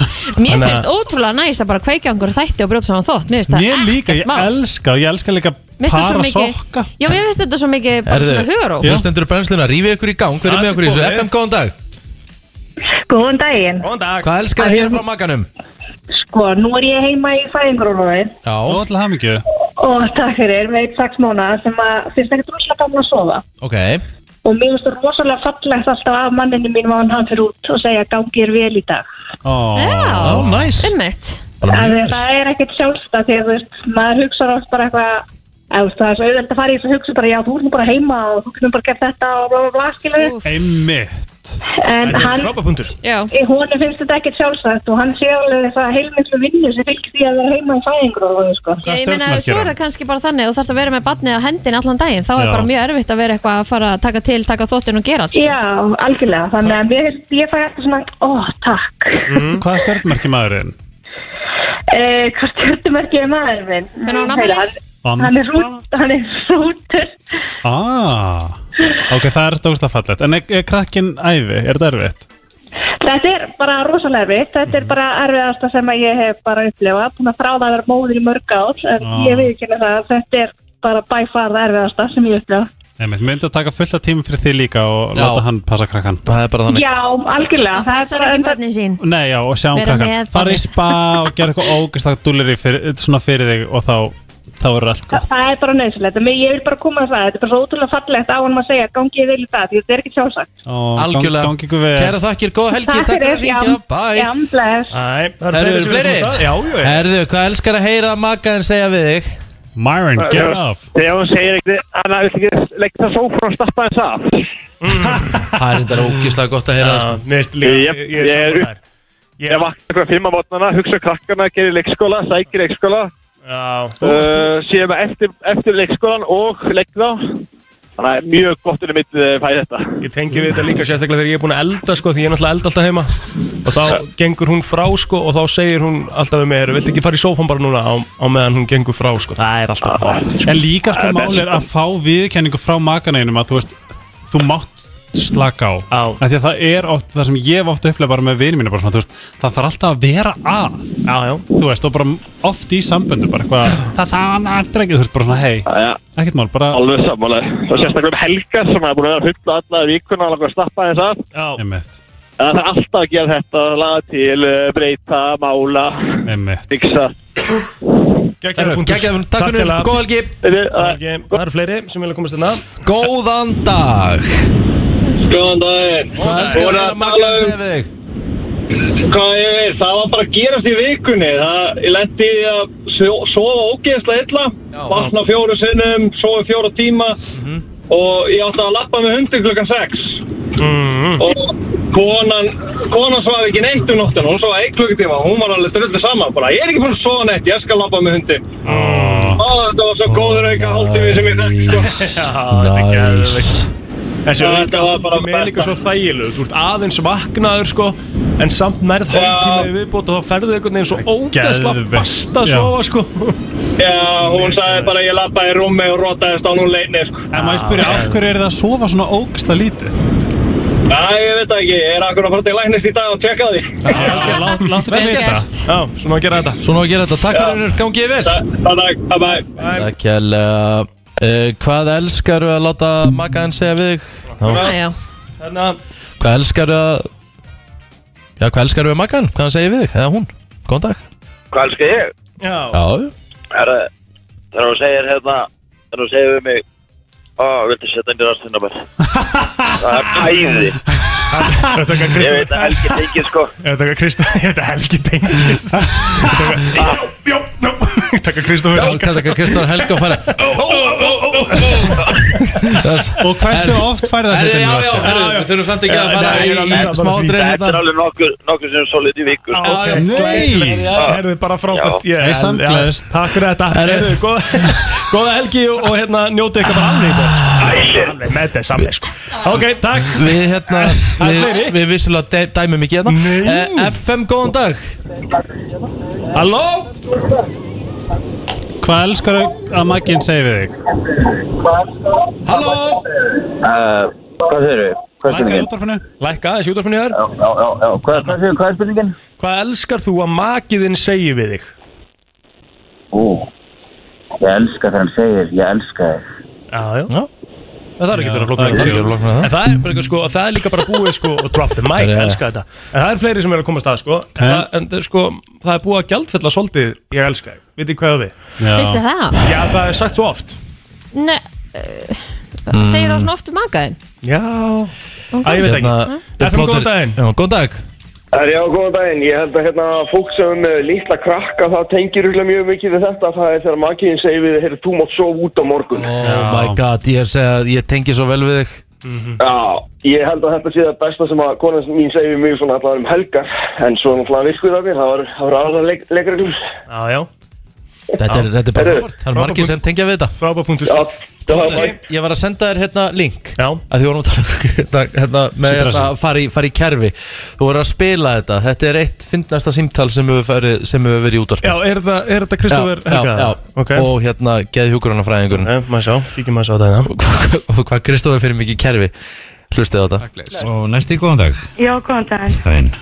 S2: Þannig
S3: Mér
S2: að-
S3: finnst ótrúlega næst að bara kveikja á einhverju þætti og brjóta saman þótt Mér finnst það
S5: Mér líka,
S3: ekkert
S5: ég
S3: mál.
S5: elska og ég elska líka
S3: Mér finnst það svo
S5: para
S3: mikið-
S5: sokk
S3: Já, mér finnst þetta svo mikið bara svona hugaró
S4: Hlustendur í brennsluna, rífið ykkur í gang, verið með okkur í þessu FM, góðan dag
S16: Góðan daginn.
S2: Góðan dag.
S4: Hvað elskar að
S16: hérna.
S4: heyra frá makanum?
S16: Sko, nú er ég heima í fæðingrúruði
S4: Já
S5: Þú ætla það mikið
S16: og takk fyrir með eitt sex mánuða sem að finnst ekkert rosalega gaman að sofa.
S4: Ok
S16: Og mér finnst það rosalega fallegt alltaf af manninu mínum að hann fyrir út og segja gangi er vel í dag.
S3: Já,
S4: oh, nice.
S3: einmitt
S16: Það, það er ekkert sjálfstað þegar þú veist, maður hugsa oft bara eitthvað, eða, þú veist, það er svo auðvitað að fara í þessu hugsa bara já, þú ert nú bara heima og þú getur nú bara gert þetta og bla bla bla, skilur.
S5: Einmitt
S16: En
S2: Þetta er
S16: hann,
S2: frábær punktur.
S16: í honum finnst þetta ekkert sjálfsagt og hann sé alveg það heilmiklu vinnu sem fylgir því að vera heima um í fæðingrúruði, sko.
S3: Já, ég meina, svo er það kannski bara þannig og þarfst að vera með batnið á hendin allan daginn þá er
S16: Já.
S3: bara mjög erfitt að vera eitthvað að fara að taka til, taka þóttin og gera allt sko.
S16: Já, algjörlega, þannig að mér, ég fæ alltaf svona, ó, takk
S2: Mhm.
S5: Hvað er stjórnmerki maðurinn?
S16: eh, Hvað stjórnumerkið er maður minn? Mm,
S3: Hvenær á hann afmæli?
S16: Hann, hann er rút, hann er rútur
S5: Ah, ok, það er stóðslega fallegt En er, er krakkin æfi, er þetta erfitt?
S16: Þetta er bara rosalega erfitt, þetta er bara erfiðasta sem að ég hef bara upplifað Búin að þráða að vera móðir í mörg ár en
S5: Já.
S16: ég viðkynna það, að þetta er bara bæfarða erfiðasta sem ég upplifað
S5: Einmitt, myndi að taka fullt af tíma fyrir þig líka og
S4: Já.
S5: láta hann passa krakkan
S4: Það er bara
S16: Já, algjörlega Það
S3: er bara ekki barnið sín
S5: Nei, já, og sjá um
S3: Vera með
S5: krakkan Fara í
S3: barnið.
S5: spa og gera eitthvað ógæstak dúlir fyrir, svona fyrir þig og þá þá verður allt gott
S16: Þa, það er bara nöðsilegt, ég vil bara koma að það, þetta er bara svo ótrúlega fallegt á hann að segja gangi ég vel í það, því þetta er ekki sjálfsagt
S5: og
S4: Algjörlega.
S5: gangi ykkur vel
S4: Kæra þakkir, góða helgi,
S16: Takk
S4: takk fyrir að
S16: fyrir, já.
S4: ringja, bye
S16: Já, bless
S2: Æ,
S4: Það eru fleiri
S2: Já, já
S4: Herðu, hvað elskar að heyra að makaðin segja við þig?
S5: Myron,
S4: get up.
S8: Þegar hún segir eitthvað, hann er ekki leggt það sófra og stappa þess af.
S4: Það er þetta ógislega gott að heyra
S2: Já,
S4: það, sko.
S2: mér finnst líka-
S8: Ég-
S2: ég- ég
S8: ég er
S2: er sammála
S8: upp- Ég vakna eitthvað fimm á mótnana, hugsa um krakkana, gerir leikskóla, sækir leikskóla
S2: Já
S8: uh, Síðan með eftir, eftir leikskólan og legg þá Þannig að mjög gott unni mitt eh, fæði þetta
S2: Ég tengi við þetta líka sérstaklega þegar ég er búin að elda sko, því ég er náttúrulega að elda alltaf heima og þá gengur hún frá sko, og þá segir hún alltaf við mig, "Heyrðu, viltu ekki fara í sófan bara núna á, á meðan hún gengur frá sko. það er alltaf gott sko.
S5: En líka sko máli er að fá viðkenningu frá makaneinum að þú veist, þú mátt slaka á. á. Því að það er oft, það sem ég hef oft upplega bara með vinið mínu, bara svona, þú veist, það þarf alltaf að vera að.
S2: Já, já.
S5: Þú veist, og bara oft í samböndu, bara eitthvað,
S11: [laughs]
S5: það það hann eftir ekki, þú veist, bara svona, hei, ekkert mál, bara...
S8: Alveg sammála Og sérstaklega um helga sem er búin að vera að hulla alla vikuna og langar að slappa þess að
S5: Einmitt,
S8: Það þarf alltaf að gera þetta, laga til, eh, breyta, mála,
S5: einmitt.
S8: fixa
S4: Gekkjaðum, takk fyrir, góða helgi
S2: Það eru fleiri sem vilja komast hérna
S4: Góðan dag
S11: Góðan daginn
S4: Hvað elskar
S11: Voru
S4: þér
S11: að
S4: að makkan
S11: tala um-
S4: segja við þig?
S11: Hvað ég veit, það var bara að gerast í vikunni það, Ég lendi í að svo- sofa ógeðslega illa Vakna fjóru sinnum, sofa í fjóra tíma
S4: Mhm.
S11: Og ég átti að lappa með hundi klukkan 6 Og konan, konan svaf ekki neitt um nóttina Hún svaf eitt klukkutíma, hún var alveg drullu sama bara, Ég er ekki búin að sofa neitt, ég skal lappa með hundi Ó, þetta var svo góður auka hálftími sem ég þekki
S2: [laughs]
S11: sko.
S2: Þessi
S11: Já, þetta var bara
S2: auðvitað er líka svo þægilegu Þú ert aðeins vaknaður sko En samt nærð hálftíma í viðbót Og þá ferðu einhvern veginn svo ógeðsla
S5: Geðveikt.
S2: fast að
S5: Já.
S2: sofa sko
S11: Já, hún sagði bara ég lappaði í rúmi og rótaðist á hún leini sko.
S5: En maður spyrja, af hverju er það að sofa svona ógisla lítið?
S11: Já, ég veit það ekki, ég er akkur að fara til læknist í dag og tjekka því
S2: Láttu með
S4: Vel
S2: þetta
S4: gert.
S2: Já, svona að gera þetta
S4: Svona á að gera þetta, takk fyrir hennur, gangi ég vel
S11: Takk, bye bye
S4: Takk hella uh, Hvað elskaru að láta makkan segja við þig?
S3: Já,
S4: Hérna-
S3: já.
S2: Þannig að
S4: Hvað elskaru að Já, hvað elskaru að makkan? Hvað hann segja við þig? Eða hún? Góðan dag
S17: Hvað elskar ég?
S2: Já
S4: Já,
S17: Herra, þegar hún segir hérna, þegar hún segir við mig Ó, viltu setja inn í rastina
S4: [laughs]
S17: mér? Það er hæði
S2: Þetta er
S17: Ég veit að Helgi tengið sko
S2: Ég taka Kristoffer, ég taka Helgi Tengi [laughs] Ég taka Kristoffer Helga
S4: Ég taka Kristoffer
S2: [laughs]
S4: Helga og fara
S5: Og hversu oft færði það setja inn í rassinn?
S4: Við þurfum samt ekki að fara í, í smádrein
S17: Þetta er
S4: hérna
S17: alveg nokkur, nokkur sem solid í viku sko.
S2: Ok, glæsilegt. Herðu bara frábært
S17: Já.
S2: Ég-
S17: Nei, samt
S2: já,
S17: gleðist.
S2: Takk fyrir þetta
S17: Herðu.
S2: Herðu, góða- [laughs] Góða helgi og og hérna njótið ykkur bara alveg í bótt Alveg með þetta samlega sko Ok, takk
S4: Við hérna,
S2: Það er
S4: við,
S2: fleiri.
S4: við vissulega dæ- dæmum ekki hérna uh, FM, góðan dag
S2: Halló
S5: Hvað elskar að makkinn segja við þig?
S4: Halló
S11: uh, Hvað segir við?
S5: Lækka í útvarpinu
S2: Lækka aðeins í útvarpinu þér
S11: Já, já, já, hvað, hvað, hvað er spurningin?
S2: Hvað elskar þú að makiðinn segi við þig?
S11: Ú, ég elska þegar hann segir, ég elska þig
S2: Já, já Það þarf ekki að vera flóknar
S4: það er ekki að vera flóknara en það.
S2: En það er bara eitthvað sko, það er líka bara búið sko og drop the mic,
S4: Það er-
S2: elska þetta En það er fleiri sem er að komast að sko En, það, en það, sko, það er búið að gjaldfella svolítið Ég elska þig, veit ég hvað það við
S3: Finnst þér það?
S2: Já, það er sagt svo oft
S3: Nei, uh, segir það svona oft um makaðin
S2: Já Æ, ég veit ekki
S4: Hérna,
S2: FM, góðan daginn
S4: Já, góðan dag
S11: Það er já, góðan daginn. Ég held að hérna fólk sem er með litla krakka það tengir úrlega mjög mikið við þetta. Það er þegar makiðin segir við, heyrðu, þú mátt sofa út á morgun.
S4: Oh my god, ég er að segja að ég tengi svo vel við þig
S11: Já, ég held að þetta sé það besta sem að konan mín segir við mjög svona allavega um helgar. En svo náttúrulega virkuð af mér, það var, það var aðra leik, leikreglur.
S2: Já, já
S4: Þetta er, þetta er bara
S11: Herru.
S4: frábært, það eru margir sem tengja við þetta
S2: Frábæpunktus
S4: Ég ég var að senda þér hérna link
S2: Já
S4: að því vorum að tala um [laughs] hérna, hérna, með
S2: Sýndrassi.
S4: hérna, að fara í, fara í kerfi Þú voru að spila þetta, þetta er eitt fyndnasta símtal sem hefur farið- sem hefur verið í útvarpi
S2: Já, er þetta, er þetta Kristoffer
S4: Já, já,
S2: Helga?
S4: já.
S2: Ok.
S4: og hérna geði huggrunafræðingur
S2: okay, Maður sjá, kíkjum maður sjá þetta
S4: hérna [laughs] Og hvað Kristofur fyrir mikið kerfi Hlustið á þetta
S18: Og næsti, góðan dag
S14: [laughs] Já, góðan daginn.
S18: Daginn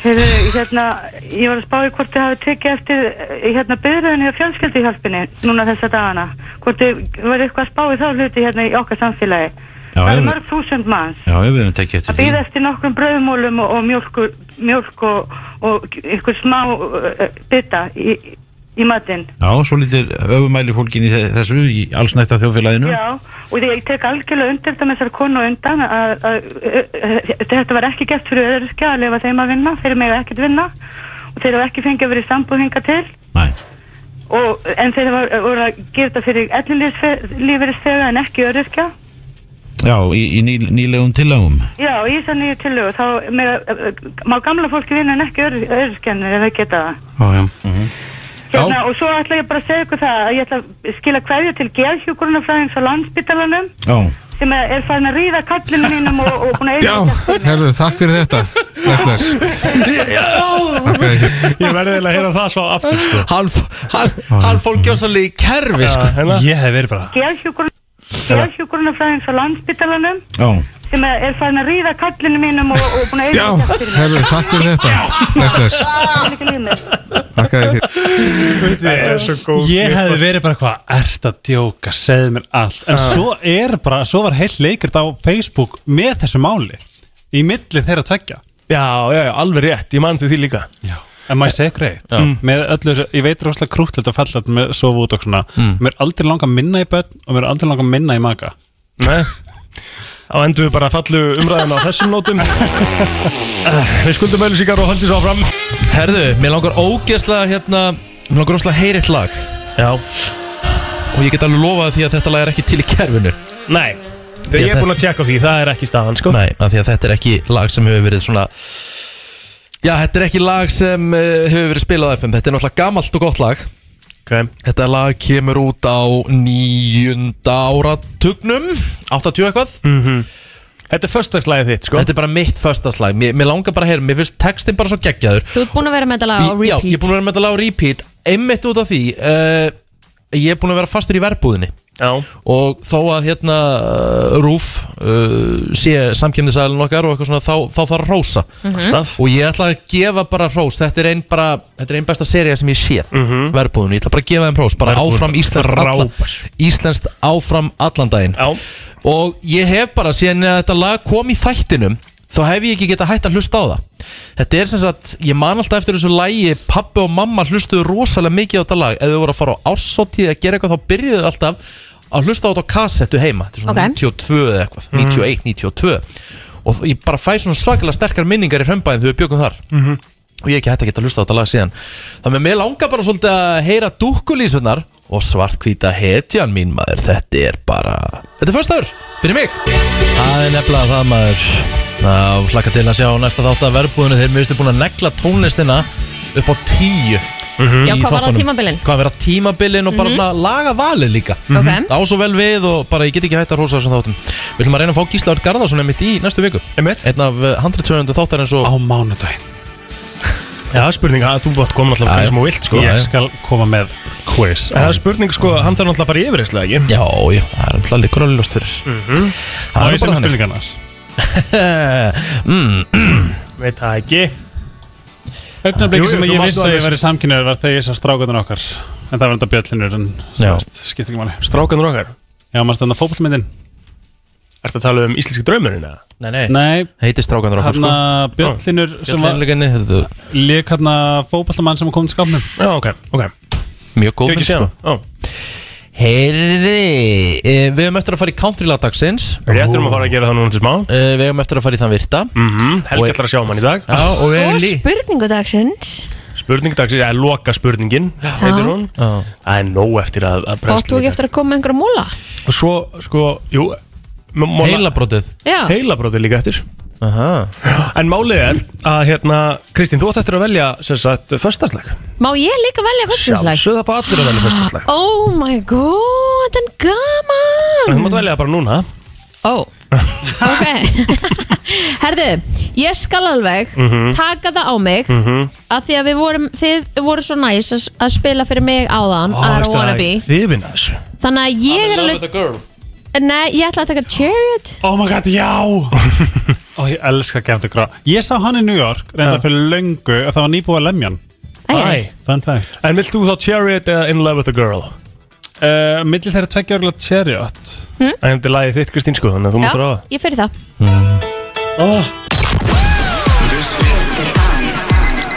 S14: Heyrðu, hérna, ég var að spá í hvort þið hafi tekið eftir eh, hérna byrðunni og fjölskylduhjálpinni núna þessa dagana. Hvort þið var eitthvað að spá í þá hluti hérna í okkar samfélagi.
S18: Já,
S14: það
S18: ég-
S14: er mörg þúsund manns
S18: Já, við höfum tekið eftir
S14: að
S18: því
S14: býða eftir nokkrum brauðmólum og, og mjölk, mjölk og, og ykkur smá uh, bytta í, í matinn.
S18: Já, svo lítir öfumæli fólkin í þe- þessu í allsnætta þjóðfélaginu
S14: Já, og því ég tek algjörlega undir þetta með þessar konu á undan að, að, að, að þetta var ekki gert fyrir öðruskja að lifa þeim að vinna, þeir mega ekkert vinna og þeir hafa ekki fengið að vera í sambúð hinga til
S18: Nei.
S14: og, en þeir hafa voru að gera þetta fyrir ellilífeyrisfega en ekki öðruskja
S19: Já, í, í ný, nýlegum tillagum
S14: Já, í þessar nýju tillögu þá meira, eh, má gamla fólki vinna en ekki öryrskjarnir ef það geta það.
S19: Já, já mm -hmm.
S14: Hérna, og svo ætla ég bara að segja ykkur það að ég ætla að skila kveðju til geðhjúkurunafræðings á landsbytalanum
S19: Já
S14: sem er er farin að ríða kallinu mínum og, og búin að
S11: Já, herðu, takk fyrir þetta Bless,
S14: [laughs]
S11: bless Takk fyrir þetta
S2: Ég verði eiginlega að heyra það svo aftur sko.
S4: Hann, hann, hann fólk gjóðsalli í kerfi sko.
S2: Ég hef verið bara
S4: Hérna.
S14: geðhjúkurunafræðings á landsbytalanum
S11: Já,
S14: sem er er farin að ríða kallinu mínum og, og búin að
S11: Já, herðu, takk fyrir þetta Bless, bless [laughs] Takk fyrir
S5: Ég hefði verið bara hvað, ert að djóka, segðu mér allt En
S20: Ah.
S5: svo er bara, svo var heill leikert á Facebook með þessu máli Í milli þeirra tveggja
S2: Já, já, já, alveg rétt, ég man til því líka Mm.
S5: Já En maður segir greitt,
S2: Já.
S5: með öllu þessu, ég veit rosalega krúttilegt að falla þetta með sofa út og svona
S2: Mm.
S5: Mér er aldrei langa að minna í börn og mér er aldrei langa að minna í maga
S2: Nei Á endur við bara fallu umræðan á þessum nótum
S5: [laughs]
S2: Eh, Við skuldum auðlýsingar og höldum svo áfram
S4: Herðu, mér langar ógeðslega hérna Mér langar ógeðslega að heyra eitt lag
S2: Já
S4: Og ég get alveg lofað því að þetta lag er ekki til í kerfinu
S2: Nei Þegar ég er búin að tjekka á því, það er ekki staðan sko
S4: Nei, af því að þetta er ekki lag sem hefur verið svona Já, þetta er ekki lag sem uh, hefur verið spilað á FM Þetta er náttúrulega gamalt og gott lag
S2: okay.
S4: Þetta lag kemur út á nýjunda áratugnum 80 eitthvað
S2: -hmm. Þetta er föstagslæðið þitt sko
S4: Þetta er bara mitt föstagslæð Mér, mér langar bara að heyra, mér finnst textin bara svo geggjaður
S3: Þú ert búin að vera með þetta lag á
S4: Já, ég er
S3: repeat
S4: búin að vera með þetta lag á repeat Einmitt út af því uh, Ég er búin að vera fastur í verbúðinni
S2: Já.
S4: Og þó að hérna uh, Rúf uh, sé samkjöndisælun okkar og eitthvað svona þá, þá þarf að rósa
S2: Mhm. Alltaf.
S4: Og ég ætla að gefa bara rós Þetta er einn bara, þetta er einn besta seria sem ég séð mm
S2: Mhm.
S4: Verbúðinni, ég ætla bara að gefa þeim rós Bara
S2: Verbúðin,
S4: áfram íslenskt allan
S2: frábær.
S4: Íslenskt áfram allan daginn
S2: Já.
S4: Og ég hef bara síðan að þetta lag kom í þættinum Þá hef ég ekki geta hægt að hlusta á það Þetta er sem sagt, ég man alltaf eftir þessu lagi Pappi og mamma hlustuðu rosalega mikið á þetta lag Ef þau voru að fara á ársóttíð að gera eitthvað Þá byrjuðu þau alltaf að hlusta á þetta á kassettu heima Þetta er svona
S3: Ok.
S4: 92 eða eitthvað, 91, 92 Og ég bara fæ svona svakalega sterkar minningar í frembæðin Þegar við bjögum þar
S5: Mhm.
S4: og ég er ekki hægt að geta að hlusta á þetta lag síðan þannig að mér langar bara svolítið að heyra dúkkulísunar og svartkvíta hetjan mín maður, þetta er bara þetta er föstaður, fyrir mig það er nefnilega það maður þá hlakka til að sjá næsta þátt að verðbúðinu þeir mjögstu búin að negla tónlistina upp á tíu
S3: Já,
S4: í
S3: hvað var það
S4: þáttunum.
S3: tímabilin?
S4: hvað var það tímabilin og bara
S3: Mhm.
S4: svona laga valið líka
S3: Ok.
S4: það á svo vel við og bara ég get ekki hægt að hósa þessum þáttum við ætlum að reyna að fá Gísla Örn Garðarsson einmitt í næstu viku einn af eh, 120 þáttar eins og á mánudaginn
S2: Já, spurning, að þú bátt koma alltaf
S4: Já,
S2: hvernig
S4: já.
S2: sem þú vilt sko
S4: Ég
S5: skal koma með quiz
S2: Það er spurning sko, hann þarf náttúrulega að fara í yfirreyslega ekki?
S4: Já, já, það er náttúrulega líkur alveg ljóst fyrir
S2: mm -hmm.
S4: Það er nú bara þannig.
S2: Veit það ekki
S5: Ögnarblikki sem ég vissi að ég
S2: væri
S5: verið samkynnaður var þegar ég sá strákunar okkar En það var enda bjöllinur en skipt ekki máli
S2: Strákunar okkar?
S5: Já, maður stönda fótballmyndin
S2: Ertu að tala um íslenski draumurinn eða?
S4: Nei, nei,
S5: nei
S4: Heitir sko. strákanur okkur
S5: Hanna bjöllinur sem var
S4: Bjöllinleginni
S5: Lík hann fótballmann sem kom til skápnum
S2: Já, ok, ok
S4: Mjög góð
S5: Ég hef ekki séð
S4: sko. Heyrði eh, Við höfum eftir að fara í country-lag dagsins
S2: Rétt erum að fara að gera það núna til smá
S4: Eh, Við höfum eftir að fara í þann [laughs] virta mm -hmm.
S2: Helgi ætlar að sjá um hann í dag
S4: Já, og við
S3: Og
S4: höfum lí
S3: spurningu dagsins
S2: Spurning dagsins, eða loka spurningin heitir hún Það er nóg eftir að, að
S3: Óttu
S2: brennslu
S3: ekki eftir að koma með einhverja múla?
S2: Og svo, sko, jú
S4: Heilabrótið
S3: Já.
S2: Heilabrótið líka eftir
S4: Aha.
S2: En málið er að hérna Kristín, þú átt eftir að velja sem sagt föstarsleg
S3: Má ég líka velja fyrstinslæg?
S2: Sjálfsögða bara allir að velja föstarsleg
S3: [gasps] Oh my god, en
S2: En þú
S3: gaman
S2: mátt velja það bara núna
S3: Ó, ok [laughs] Herðu, ég skal alveg
S2: Mhm.
S3: taka það á mig mm að því að við vorum, þið voru svo næs að, að spila fyrir mig áðan I don't wanna be
S2: Hrifin að þessu
S3: Þannig að ég er alveg
S4: girl
S3: Nei, ég ætla að taka Chariot
S5: Oh my god, já Ó, ég elska Gavin DeGraw Ég sá hann í New York, reynda fyrir löngu og það var nýbúið að lemja hann
S3: Æ,
S5: Fun fact
S2: En vilt þú þá Chariot eða In Love With A Girl?
S5: Uh, Millir þeirra tveggja örgulega Chariot
S3: Hmm?
S2: En þetta er lagið þitt Kristín sko Þannig að þú máttur á
S3: Já, ég fyrir það
S2: það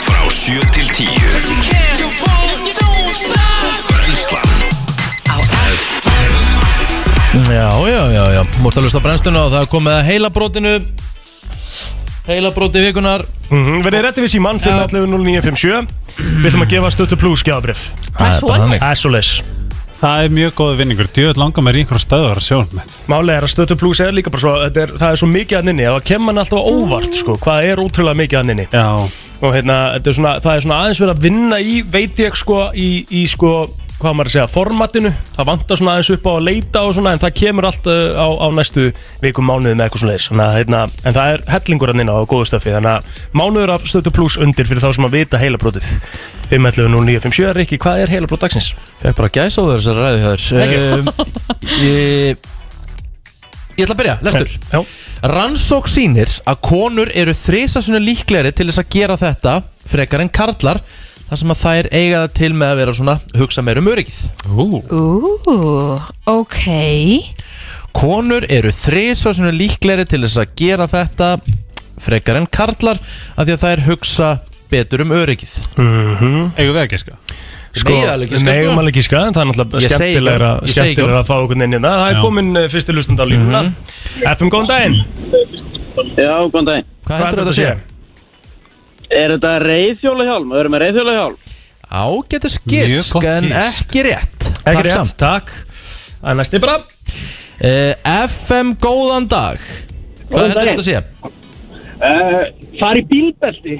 S1: Frá 7 til 10 Brennslan
S4: Já, já, já, já Múrt að lusta brennsluna og það er komið að heilabrótinu Heilabróti vikunar
S2: mm -hmm. Verðið rétti við síman 511 0957 Við ætlum að gefa stöttu plus gjafabrif
S4: Það er bara þannig.
S2: Það er svo leis
S9: Það er mjög góð vinningur, djöðt langar mér í einhverja stöðar að sjá um þetta
S2: Málega er að stötu plus er líka bara svo þetta er, Það er svo mikið að nynni, það kemur hann alltaf á óvart sko, Hvað er ótrúlega mikið að nynni
S9: Já.
S2: Og hérna, þetta er svona, það er svona aðeins verið að vinna í Veit ég sko, í, í sko Hvað á maður að segja, formatinu Það vantar svona aðeins upp á að leita og svona En það kemur allt uh, á, á næstu vikum mánuði með eitthvað svona Þannig að, hérna, en það er hellingur að nynna á góðu stöfi Þannig að mánuður af stötu plus undir fyrir þá sem að vita heilabrótið 511 0957, Rikki, hvað er heilabrót dagsins?
S4: Ég er bara gæs á þér Ehm, þessari ræðu hjá þér ég, ég ætla að byrja, lestur
S2: Já.
S4: Rannsók sýnir að konur eru þrisasunni líklegri til þess að gera þetta frekar en karlar þar sem að þær eiga það til með að vera svona hugsa meir um öryggið
S3: Ú, ok
S4: Konur eru þrisasunni líklegri til þess að gera þetta frekar en karlar af því að þær hugsa betur um öryggið
S2: mm -hmm.
S4: Eigum við að geska?
S2: Sko, megum alveg gíska, en það er náttúrulega
S4: Ég segi ekki
S2: skemmtilegra,
S4: orð, ég segi ekki
S2: skemmtilegra
S4: orð.
S2: að fá okkur inn hérna. Það er
S4: Já.
S2: komin uh, fyrsti hlustund á línuna. FM, góðan daginn.
S21: Já, góðan daginn
S4: Hvað heldurðu þetta sé?
S21: Er þetta reyðfjólahjálm? Við erum með reyðfjólahjálm
S4: Ágætis gisk, en ekki rétt
S21: Ekki rétt,
S2: takk Það er næsti bara
S4: FM, Eh, góðan dag Hvað
S6: Góðan
S4: heldur
S6: daginn.
S4: þetta sé?
S6: Uh, far í bílbelti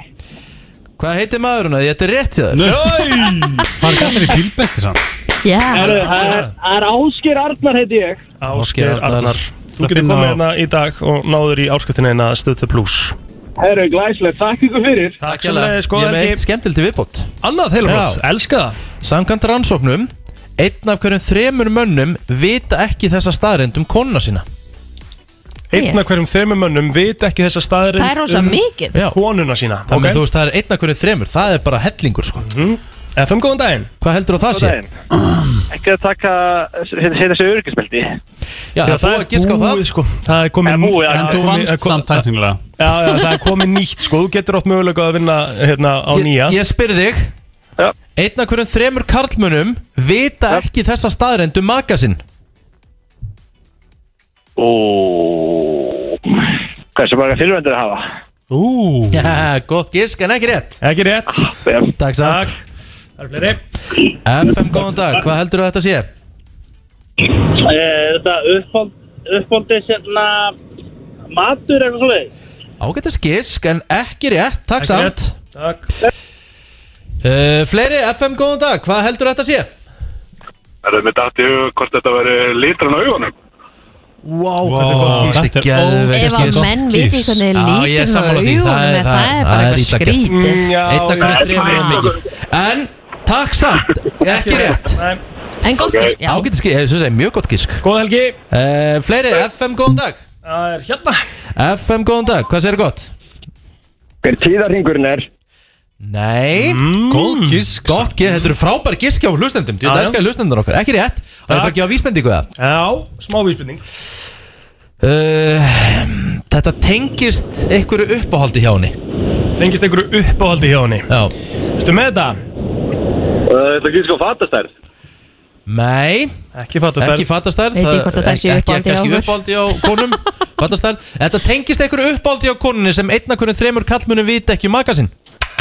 S4: Hvað heitir maðurinn að þetta er rétt hjá
S6: Nei.
S4: þér? Fann kallir í bílbelti saman
S6: Það er- það er- það er Ásker Arnar heiti ég
S2: Ásker Arnar. Þú
S6: Það
S2: getur
S6: finna
S2: komið
S6: á-
S2: hérna í dag og náður í áskiptinu hérna stöðtöð pluss.
S6: Herru, glæslega, takk ykkur fyrir
S4: Takk hérlega, ég er með eitt skemmtild til viðbót
S2: Annað heilabrót, elska það
S4: Samkvæmt rannsóknum, einn af hverjum þremur mönnum vita ekki þessa staðrindum konuna sína
S2: Einn af hverjum þreymur mönnum vita ekki þessa staðarinn
S3: Það er rosa mikið.
S4: Já.
S2: Konuna sína
S4: Þannig þú veist, það er einn af hverjum þremur, það er bara hellingur sko
S2: FM, góðan daginn
S4: Hvað heldur það sé?
S11: Ekki að taka, heita þessi örgisbelti
S4: Já, það er búið að giska á það
S2: búið, sko. Það er komið
S11: búið, já. En þú
S2: komið-
S11: vannst
S2: kom-
S11: samt
S9: tæknilega.
S2: Já, já, það er komið nýtt sko Þú getur átt mögulega að vinna hérna á nýja
S4: Ég spyr þig
S11: Já.
S4: Einn af hverjum þremur karlmönnum vita ekki þessa staðrindum maka sinn
S11: Ó, Hversu marga fyrirvendur að hafa?
S2: Ú
S4: Já, gott gisk en ekki rétt
S2: Ekki rétt
S4: Takk samt FM, góðan dag, hvað heldur þú að þetta sé?
S21: Er Eh, þetta uppbónd- uppbóndið sérna matur eitthvað svoleið?
S4: Ágættis gisk en ekki rétt, takk
S21: Ekki
S4: samt
S2: Takk
S4: uh, Fleiri, FM, góðan dag, hvað heldur þetta sé?
S22: Er það með dætt í hug hvort þetta veri litran á augunum?
S4: Wow,
S22: hvað þetta er gott gísk.
S4: þetta er geðveikt
S3: Ef að
S4: gísk.
S3: menn viti hvernig
S4: Já, ég er
S3: lítur með
S4: sammála því,
S3: augunum
S4: það er-
S3: það, það er bara
S4: það er
S3: eitthvað
S4: illa gert.
S3: skrítið
S4: Mm, já, Einn af hverjum
S3: Ah.
S4: þremur er mikið En, takk samt, ekki rétt
S3: En gott okay. já
S4: Ágættis gisk, eh, ég syns að mjög gott gísk
S2: Góð helgi
S4: uh, Fleiri, FM, góðan dag
S2: Það er hérna
S4: FM, góðan dag, hvað segir gott?
S11: Hver tíðarhingurinn er?
S4: Nei, góð gísk Gott gísk, þetta eru frábær gísk hjá hlustendum Þetta
S2: Mm. Já,
S4: er
S2: já.
S4: skæði hlustendur okkar, ekki rétt Og það er ekki á vísbendingu það
S2: Já, smá vísbending
S4: uh, Þetta tengist einhverju uppáhaldi hjá henni
S2: Tengist einhverju uppáhaldi hjá henni
S4: Já
S2: Vistu með þetta?
S22: Eh, Þetta er gísk á fatastærð
S4: Nei
S2: Ekki fatastærð
S4: Ekki fatastærð
S3: Veit ég hvort að það sé
S4: Ekki
S3: uppáhaldi hjá
S4: kannski
S3: okkur?
S4: uppáhaldi á
S3: [laughs]
S4: konum Fatastærð Þetta tengist einhverju uppáhaldi hjá konunni sem einna hvernig þremur kallmunum vita ekki um magasinn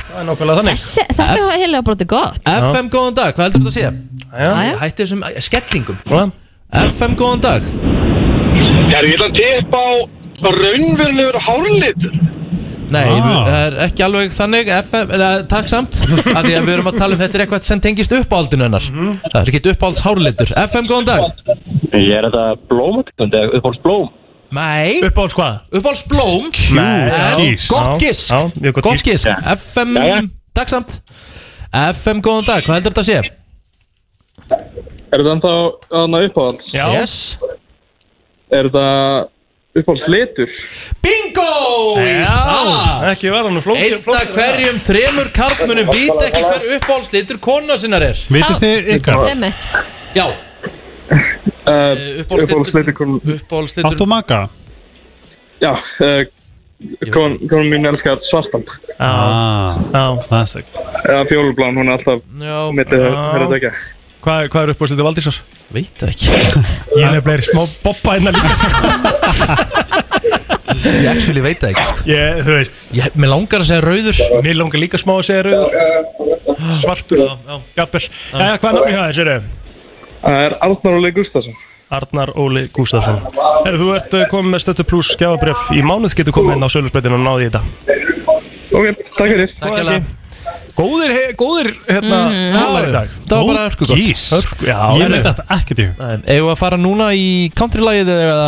S2: Það er nákvæmlega þannig
S3: Þessi- Þetta var heilega brotið gott
S4: FM góðan dag, hvað heldur þetta að sé?
S3: já.
S4: Hætti þessum skellingum FM góðan dag
S11: Er ég ætla að tippa á raunverulegur hárlitur?
S4: Nei, það er ekki alveg þannig FM, er, Takk samt [laughs] að Því að við erum að tala um þetta er eitthvað sem tengist uppáhaldinu hennar Það er ekki uppáhalds hárlitur FM góðan dag
S22: Ég er þetta blómatikund eða uppáhalds blóm
S4: Nei
S2: Uppáhalds hvað?
S4: Uppáhalds blóm
S22: Nei,
S4: En
S22: gís.
S4: Gott
S22: Já,
S4: gisk
S22: já, mjög gott
S4: Gott
S22: gisk.
S4: gisk
S22: Já.
S4: FM
S22: Jæja.
S4: Takk samt FM góðan dag Hvað heldur þetta að sé?
S11: Er þetta ennþá annað uppáhalds?
S2: Já
S4: Yes
S11: Er þetta uppáhalds litur?
S4: Bingo!
S2: Já, ekki verða nú flókið
S4: Einna hverjum þremur karlmunum vita ekki hver uppáhaldslitur kona sinnar er
S3: Vitið þið ykkar? Einmitt.
S4: Já Eh,
S11: Uppáhaldslitur kon...
S4: Uppáhaldslitur
S9: Áttu maka?
S11: Já, uh, kon, konum mín elskar svartan
S9: Ah, classic
S11: Eða fjólublan, hún er alltaf
S4: Já
S11: Mitt er þetta ekki
S2: Hvað, hvað er uppáhaldið Valdísar?
S4: Veit [laughs] ekki Ég
S2: er nefnilega er í smá boppa hérna líka
S4: Ég actually veit það ekki sko.
S2: ég, Þú veist
S4: ég, Mér langar að segja rauður
S2: Mér langar líka smá að segja rauður Svartur
S4: já.
S2: Jafnvel Jæja, hvað er nafni það, sér þau? Það er Arnar Óli Gustafsson Arnar Óli Gustafsson Herru, þú ert eh, komið með stöttu pluss skjáfabref í mánuð getur komið inn á sölusbreytinu og náði í þetta
S6: Ok, takk fyrir
S2: Takk hella Góðir, he- góðir, hérna,
S4: Mhm.
S2: hálar í dag
S4: Það var bara örku gott
S2: Gís. Hörku- já,
S4: Ég
S2: herru.
S4: veit þetta ekkert í Eða að fara núna í country-lagið eða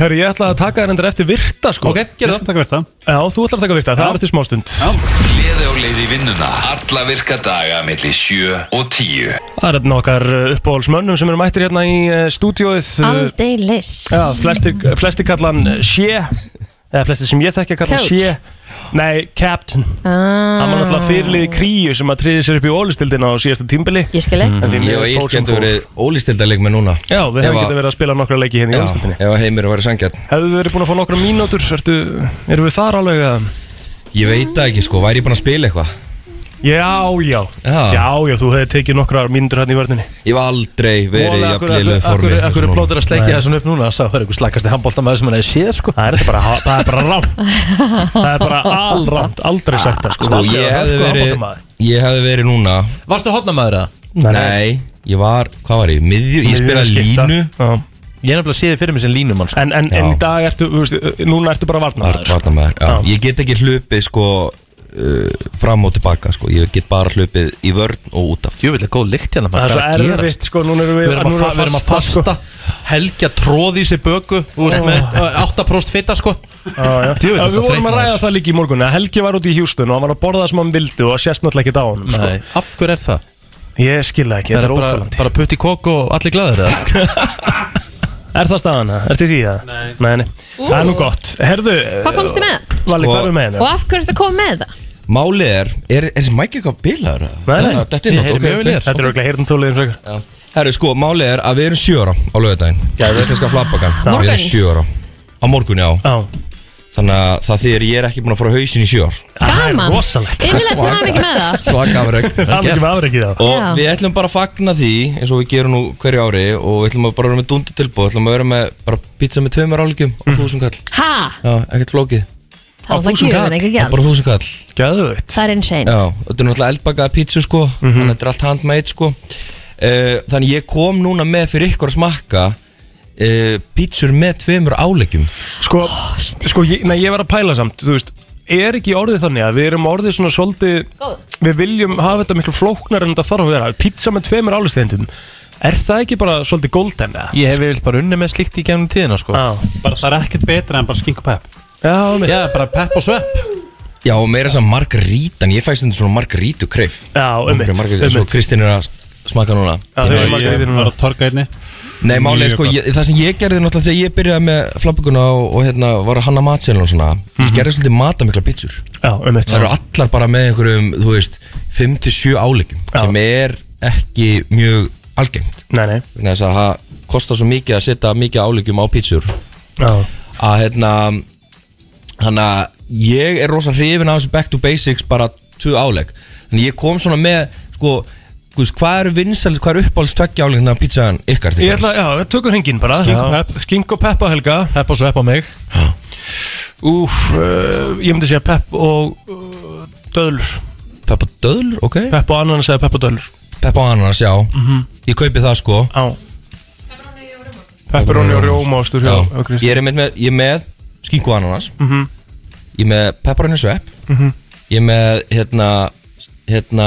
S2: Herru, ég ætla að taka þér endur eftir virta sko
S4: Ok, gerðu
S2: það taka virta Já, þú ætlar að taka virta, það er eftir smástund
S1: Gleði á leið í vinnuna Alla virka daga millir 7 og 10
S2: Það er hérna okkar eh, uppáhaldsmönnum sem eru mættir hérna í eh, stúdíóið eh,
S3: Aldeilis
S2: Já, flestir, flestir kalla hann Sjé Eða flestir sem ég þekki að kalla hann
S3: Coach.
S2: Sjé Nei, Captain
S3: Ah,
S2: Hann var náttúrulega fyrirlið í kríu sem að triði sér upp í ólistildina á síðasta tímbili Mm.
S3: Ég skil ekki.
S2: Ég
S23: Mhm. Mm. Ég og Íll getur verið ólýstildarleik með núna
S2: Já, við hefum
S23: Ef að-
S2: getið verið að spila nokkra leiki hérna í
S23: Já,
S2: ólistildinni
S23: ef að heimir var sangjarn
S2: Hefðu við verið búin að fá nokkra mínútur, ertu, erum við þar alveg að
S23: Ég veit það ekki sko, væri ég búin að spila eitthvað
S2: Já, já, já, já, þú hefði tekið nokkra mínútur hérna í vörninni
S23: Ég var aldrei verið í jafn liðlegu formi
S4: Akkur er plótur að sleikja
S2: Nei.
S4: þessum upp núna Það er eitthvað slakasti handbóltamæður sem hann hefði séð sko
S2: Það er bara, það er bara
S4: [laughs]
S2: rámt Það er bara alramt, aldrei sagt það sko.
S23: Sko,
S2: Aldrei
S23: ég
S2: að
S23: hefði
S2: hörku
S23: verið
S2: handboltamaður.
S23: Ég hefði verið núna
S4: Varstu hotnamaður að?
S23: Nei, ég var, hvað var ég? Miðju, ég spilaði
S2: Miðjuskipta.
S23: línu
S4: Ég nefnilega séði fyrir mig sem línumann sko.
S2: En, en, en í dag ertu, þú veist, núna ertu bara varnarmaður sko.
S23: Varnamaður, já. Ég get ekki hlupið sko uh, fram og tilbaka sko Ég get bara hlupið í vörn og út af
S4: Jöfnvel er góð lykt hérna
S2: Það er svo erfitt sko, núna erum við
S4: Við erum að,
S2: núna sko.
S4: fa við erum að fasta Helgja tróði í sig böku Þú veist með ö, 8% fitta sko
S2: Já,
S4: Djöfull,
S2: já.
S4: þetta
S2: Við vorum
S4: þreytt
S2: að ræða
S4: maður.
S2: það líka í morgun að Helgi var út í Hjústun og hann var að borða það sem hann vildi og það sést náttúrulega ekkert á hann sko.
S4: Nei, af hverju er það?
S2: Ég skil það ekki, þetta
S4: Það er
S2: er
S4: bara,
S2: óþálandi
S4: bara putt í kokk og allir glæður eða?
S2: [laughs] Er það staðan það? Ertu í því það? Nei, nei,
S23: sko?
S2: Það er nú gott Herðu uh,
S3: Hvað komstu með?
S2: Valli,
S4: Sko-
S2: hvað erum við með hérna?
S3: Og af hverju ertu að koma með það?
S23: Málið er, er, er þessi mæk eitthvað bilaður?
S2: Nei, nei.
S23: Þetta er
S2: Ég heyri mjög vel í þér.
S23: náttúrulega
S2: Þetta er örugglega heyrnartóliðin frekar
S23: Herru, sko, málið er að við erum sjö ára á laugardaginn Já, við íslenska
S2: Já.
S23: flabbakan Við erum
S2: Morgun.
S23: sjö ára Á morgun, já
S2: Já
S23: Þannig að það þýðir ég er ekki búin að fara á hausin í sjö ár
S3: Gaman. rosalegt. Innilegt til hamingju með það.
S23: [laughs] Svaka afreg
S2: Hamingju með afrekið, já.
S23: Og
S3: Já.
S23: við ætlum bara að fagna því eins og við gerum nú hverju ári og við ætlum að bara vera með dundu tilbúð ætlum að vera með bara pizza með tveimur álíkjum
S2: Mm.
S23: og þúsund kall
S3: Ha?
S23: Já, ekkert flókið
S3: Það er alltaf gjöfin, ekki
S23: Já,
S3: gjald
S23: Bara þúsund kall
S2: Gæðvögt
S3: Það er insane
S23: Já, þetta er náttúrulega eldbakaða pítsu sko
S2: Mhm.
S23: Þannig að þetta er allt handmade sko uh, Þannig ég kom núna með fyrir ykkur að smakka uh, Pítsur með tveimur áleggjum
S2: Sko, sko ég, nei, ég var að pæla samt Þú veist, er ekki orðið þannig að við erum orðið svona svolítið Við viljum hafa þetta miklu flóknar en þetta þarf að vera Pizza með tveimur álistegendum Er það ekki bara svolítið golden eða?
S4: Ég hef vilt bara unni með slíkt í gennum tíðina sko
S9: Bara það er ekkert betra en bara skink og pepp
S2: Já, mitt
S4: Já, bara pepp og svepp
S23: Já, og meira þess að margarítan Ég fæst undir svona margarítu kreif
S2: Já, einmitt,
S23: Margarítu, svo
S2: einmitt.
S23: Kristín er að smakka núna
S2: Já, þau eru margarítuna núna.
S9: að torka einni
S23: Nei, málið er sko, ég, það sem ég gerði náttúrulega þegar ég byrjaði með flabbuguna og, og hérna var að hanna matsélun og svona Ég gerði svolítið matamikla pítsur
S2: Mhm. Já, einmitt.
S23: Það eru allar bara með einhverjum, þú veist, 5-7 áleikum sem er ekki mjög algengt
S2: Nei, nei
S23: Þannig að það kostar svo mikið að setja mikið áleikum á pítsur
S2: Já.
S23: Að hérna, þannig að ég er rosa hrifin af þessu back to basics bara 2 áleik Þannig ég kom svona með, sko, þú veist, hvað eru vinsælis, hvað eru uppáhalds tveggja áleikna pítsan ykkar?
S2: Ég ætla, já, við tökum hringin bara
S23: Skink og pepp.
S2: Skink og pepp á Helga
S4: Pepp og svepp á mig
S2: Úf, uh, ég myndi segja pepp og uh, döðlur
S23: Pepp og döðlur, ok
S2: Pepp og ananas eða pepp og döðlur Mhm.
S23: Pepp og ananas, já Ég kaupi það sko
S2: Já Pepperoni og rjómaostur hjá- hjá Kristín.
S23: Ég er með, með, ég er með skinku og ananas
S2: Mhm.
S23: Ég er með pepperoni svepp
S2: Mhm.
S23: Ég er með hérna, hérna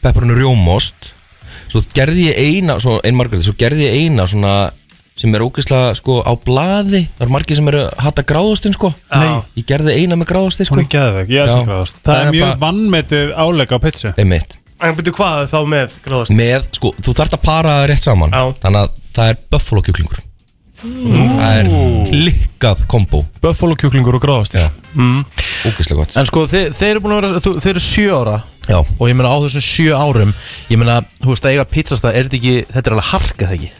S23: pepperoni rjómost Svo gerði ég eina, svo ein margrið Svo gerði ég eina svona sem er ógeðslega sko á blaði Það eru margir sem eru að hata gráðastinn sko
S9: Já.
S23: Ég gerði eina með gráðastinn sko
S9: Hún er geðveg, ég elskar
S23: Já.
S9: gráðast Það er mjög vannmetið áleika á pitsu
S23: Einmitt
S2: En byrju hvað þá með gráðast?
S23: með, sko, þú þarft að para það rétt saman Já. þannig að það er buffalo kjúklingur það er klikkað kombo
S2: Buffalo kjúklingur og gráðast
S23: Já,
S2: mm.
S23: ógeðslega gott
S4: En sko þeir, þeir eru búin að vera, þú, þeir eru sjö ára
S23: Já.
S4: Og ég meina á þessum sjö árum Ég meina, þú veist að eiga pizzastað, er þetta ekki, þetta er alveg harkað ekki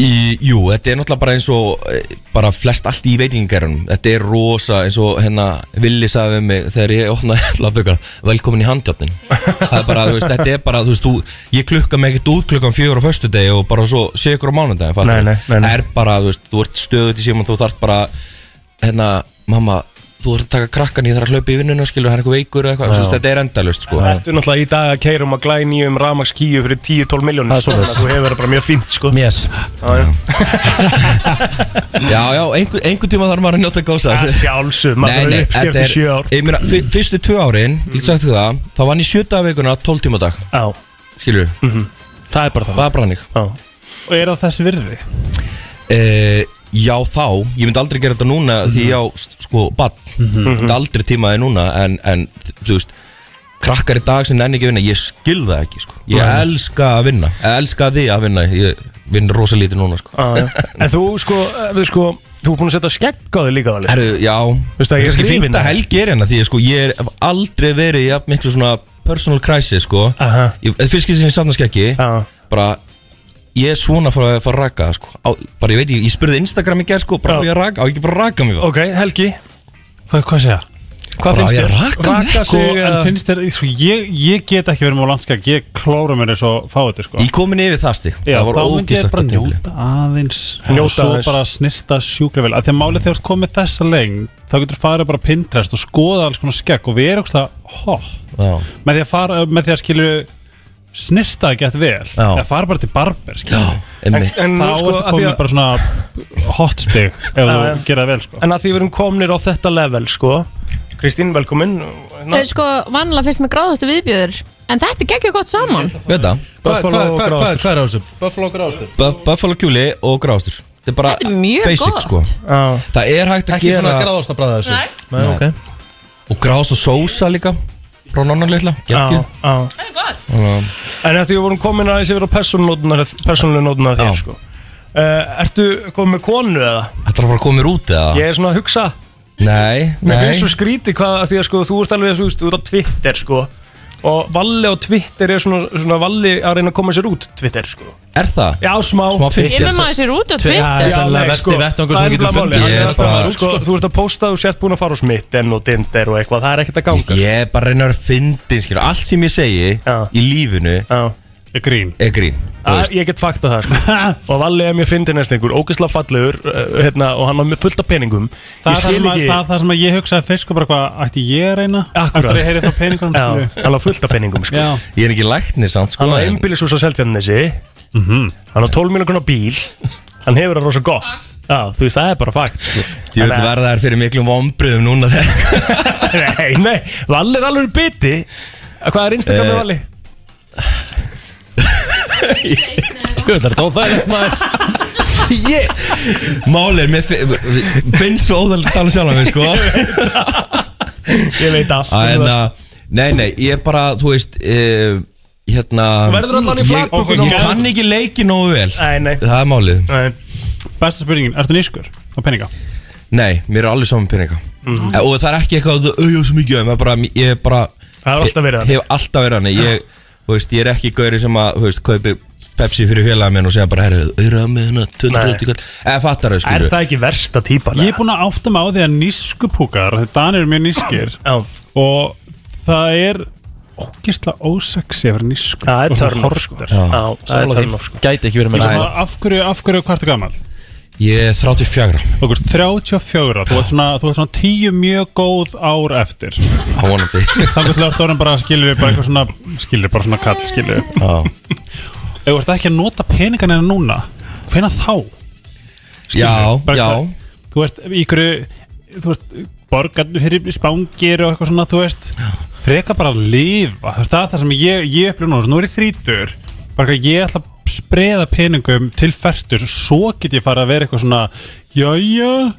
S23: Í, jú, þetta er náttúrulega bara eins og eh, bara flest allt í veitingarunum þetta er rosa eins og hérna Willi sagði við mig þegar ég opnaði [laughs] labbyggar velkomin í handjáttinn það er bara, þú veist, þetta er bara, þú veist, þú ég klukka mig ekkert út klukkan fjögur á föstudegi og bara svo sé ykkur á mánudegi, fattar
S2: Nei, nei, nei, nei.
S23: er bara, þú veist, þú ert stöðut í síman þú þarft bara, hérna, mamma þú ert að taka krakkan ég þarf að hlaupa í vinnuna skilur, hann er eitthvað veikur eða eitthvað,
S2: Já.
S23: þú veist, þetta er endalust sko.
S2: Þetta er náttúrulega í dag að keira um að glæni um rafmakskíu fyrir 10-12 miljónir
S23: Það er svoleiðis.
S2: Þú hefur það bara mjög fínt sko
S4: Yes
S2: Já, já
S23: [laughs] Já, já, einhver, einhver tíma þarf maður að njóta gósa
S2: Að sjálfsögð, maður verður uppskrift í sjö ár.
S23: Ég meina, fyr- fyrstu tvö árin, mm -hmm. sagt þér það Þá vann ég sjö daga vikuna 12 tíma á dag
S2: Já Mhm.
S23: Skilur
S2: Það er bara það
S23: Það er bara hannig
S2: Já
S5: Og er það þessi virði?
S23: Eh, Já, þá, ég myndi aldrei gera þetta núna
S2: Mhm.
S23: Því ég á, st- sko, bann
S5: Mhm.
S23: Ég myndi aldrei tíma það núna En, en þú veist, krakkar í dag sem nenni ekki að vinna Ég skil það ekki, sko Ég
S2: Nei.
S23: elska að vinna, elska því að vinna Ég vinn rosa lítið núna, sko
S2: Já, já. [laughs] En þú sko, eh, við sko, þú ert búin að setja skegg á þig líka alveg
S23: Herru, já
S2: Veistu að ég er
S23: kannski fínt
S2: hrifinn
S23: að
S2: af-
S23: Helgi er hérna Því ég, sko, ég er, hef aldrei verið í jafn miklu svona personal crisis sko
S2: Aha.
S23: Ég- Þetta fyrst skil sem ég samtast ekki Bara Ég er svona að fara að fara að raka það, sko á, Bara ég veit, ég, ég spurði Instagram í gerð sko Bara á ég að raka, á ég ekki bara að raka mig sko."
S2: Ok, Helgi
S5: Hvað, hvað segja?
S23: Hvað Bara, finnst ég þér? raka mig ekki.
S5: Raka sig
S23: Sko,
S5: En
S23: eða-
S5: finnst þér, sko, ég, ég get ekki verið með landskag Ég klóra mér eins og fá þetta sko
S23: Ég komin yfir það stig
S5: Já,
S23: Það var
S5: þá myndi ég
S23: ógeðslegt
S5: bara
S23: á tímabili.
S5: njóta aðeins
S2: Njóta
S5: og svo
S2: aðeins.
S5: bara snirta sjúklega vel af því að málið þegar þú ert komið þessa lengd þá getur þú farið bara á Pinterest og skoða alls konar skegg og við erum ógstlega hot
S23: Já.
S5: með því að fara, með því að skilju snirta ekki eftir vel
S23: Já.
S5: eða fara bara til barber skilju
S23: Já, einmitt.
S2: En
S5: en, þá
S2: nú, sko,
S5: ertu
S2: að því
S5: komið
S2: að-
S5: bara svona hot
S2: [laughs]
S5: stig ef þú
S2: Já, já.
S5: gerir það vel sko
S2: En að því við erum komnir á þetta level sko Kristín, velkomin
S3: Þau sko vanlega fyrst með gráðastu viðbjöður En þetta gekkja gott saman
S23: Veit það
S4: Hvað hva, hva, hva, hva, hva er á þessu?
S23: Buffalo gráðstur Buffalo kjúli og gráðstur Þetta er bara
S3: Þetta er mjög
S23: basic
S3: gott.
S23: sko Það er hægt að
S4: Ekki
S23: gera
S4: svona gráðast að bræða
S3: Nei.
S4: þessu Nei, ok
S23: Og gráðst og sósa líka Frá nonnan litla
S2: Já, já
S23: Þannig að-
S2: En að því við vorum komin aðeins yfir á persónlega nótuna þér sko Uh, ertu komið með konu eða?
S23: Þetta er bara að koma mér út eða?
S2: Ég er svona að hugsa
S23: Nei,
S2: Mér
S23: nei
S2: finnst svo skrítið hvað af því að sko, þú ert alveg þú veist, þú ert á Twitter sko og Valli á Twitter er svona, svona Valli að reyna að koma sér út Twitter sko
S23: Er það?
S2: Já, smá
S23: Smá Twitter.
S3: Yfir maður sér út á Twitter
S2: Já, nei, sko, það er nefnilega málið. Hann
S23: Ég
S2: er
S23: er
S2: alltaf
S23: bara-
S2: bara, sko, Þú ert að posta og sért búin að fara á smitten og dindir og eitthvað, það er ekkert að ganga sko.
S23: Ég er bara að reyna að vera fyndin skilur Allt sem ég segi í lífinu
S5: Er grín
S23: Er grín Þú
S2: Að,
S23: veist,
S2: ég get fakta það sko.
S5: [laughs]
S2: og Valli er mér fyndin næst einhver ógeðslega fallegur uh, hérna, og hann var með fullt af peningum
S5: Það
S2: Ég
S5: er það,
S2: skil
S5: sem að,
S2: ekki-
S5: það, það sem að ég hugsaði fyrst sko bara hvað ætti ég að reyna
S2: Akkurat.
S5: Eftir að heyri þá peningunum
S2: Já,
S5: skilju
S2: hann var fullt af peningum sko.
S5: Já.
S23: Ég er ekki læknir samt sko
S2: hann var
S23: en-
S2: einbýlisús á Seltjarnesi hann var 12 minúkunar bíl hann hefur það rosa gott Já, þú veist, það er bara fakt sko.
S23: Ég vil
S2: Þannig að-
S23: verða þær fyrir miklum vombriðum núna þegar
S2: [laughs] Nei, nei, Valli er alveg biti Hvað er Instagram með
S23: Eh,
S2: Valli?
S23: [laughs]
S2: Tjóðlar, þá það er maður [laughs]
S23: Málið, er, mér fi- finnst svo óþægilegt að tala sjálf að mig sko
S2: Ég veit allt um
S23: en,
S2: það.
S23: að, hérna, Nei, nei, ég er bara, þú veist uh, Hérna
S2: Þú verður allan í flatböku
S23: Ég, ég kann ekki leiki nógu vel
S2: Nei, nei
S23: Það er málið
S5: Besta spurningin, ertu nýskur á peninga?
S23: Nei, mér er alveg saman peninga
S2: Mhm.
S23: Eh, Og það er ekki eitthvað að auðvitað svo mikið um það er bara, Ég er bara
S2: Það hefur alltaf verið þannig.
S23: Ég hef alltaf verið hann ég, þú veist, ég er ekki gauri sem að þú veist, kaupi Pepsi fyrir félagin minn og segja bara Herru, auðvitað með hérna 20-30 kall Eða fattar þau
S2: Er
S23: skilur
S2: það ekki versta típa?
S5: Ég er búinn að átta mig á því að nýskupúkar Þegar Danir er mjög nýskir Og það er ógeðslega ósexi að vera nýskur
S2: Það er
S5: Og svona
S2: turn off, sko.
S5: horkur.
S2: Já, það er
S5: Sammála
S2: turn
S5: því.
S2: off, sko.
S4: Gæti ekki verið
S5: Ég
S4: með
S5: er
S4: það
S5: svona, Af hverju, af hverju, hvað ertu gammal?
S23: Ég er 34
S5: Okkur 34, þú ert svona, þú ert svona 10 mjög góð ár eftir
S23: Á vonandi
S5: [laughs] Þannig til að orðin bara skilur bara eitthvað svona, skilur bara svona kall, skilur
S23: Já
S5: Ef þú ert ekki að nota peningan hennar núna, hvena þá?
S23: Já,
S5: Bara
S23: já
S5: eitthvað- Þú veist, í hverju, þú veist, borgarnu fyrir spángir og eitthvað svona, þú veist Freka bara að lifa, þú veist, það er það sem ég, ég upplýð núna, þú veist, nú er ég þrítur Bara eitthvað, ég ætla að spreða peningum til færtur, svo get ég farið að vera eitthvað svona, jæja,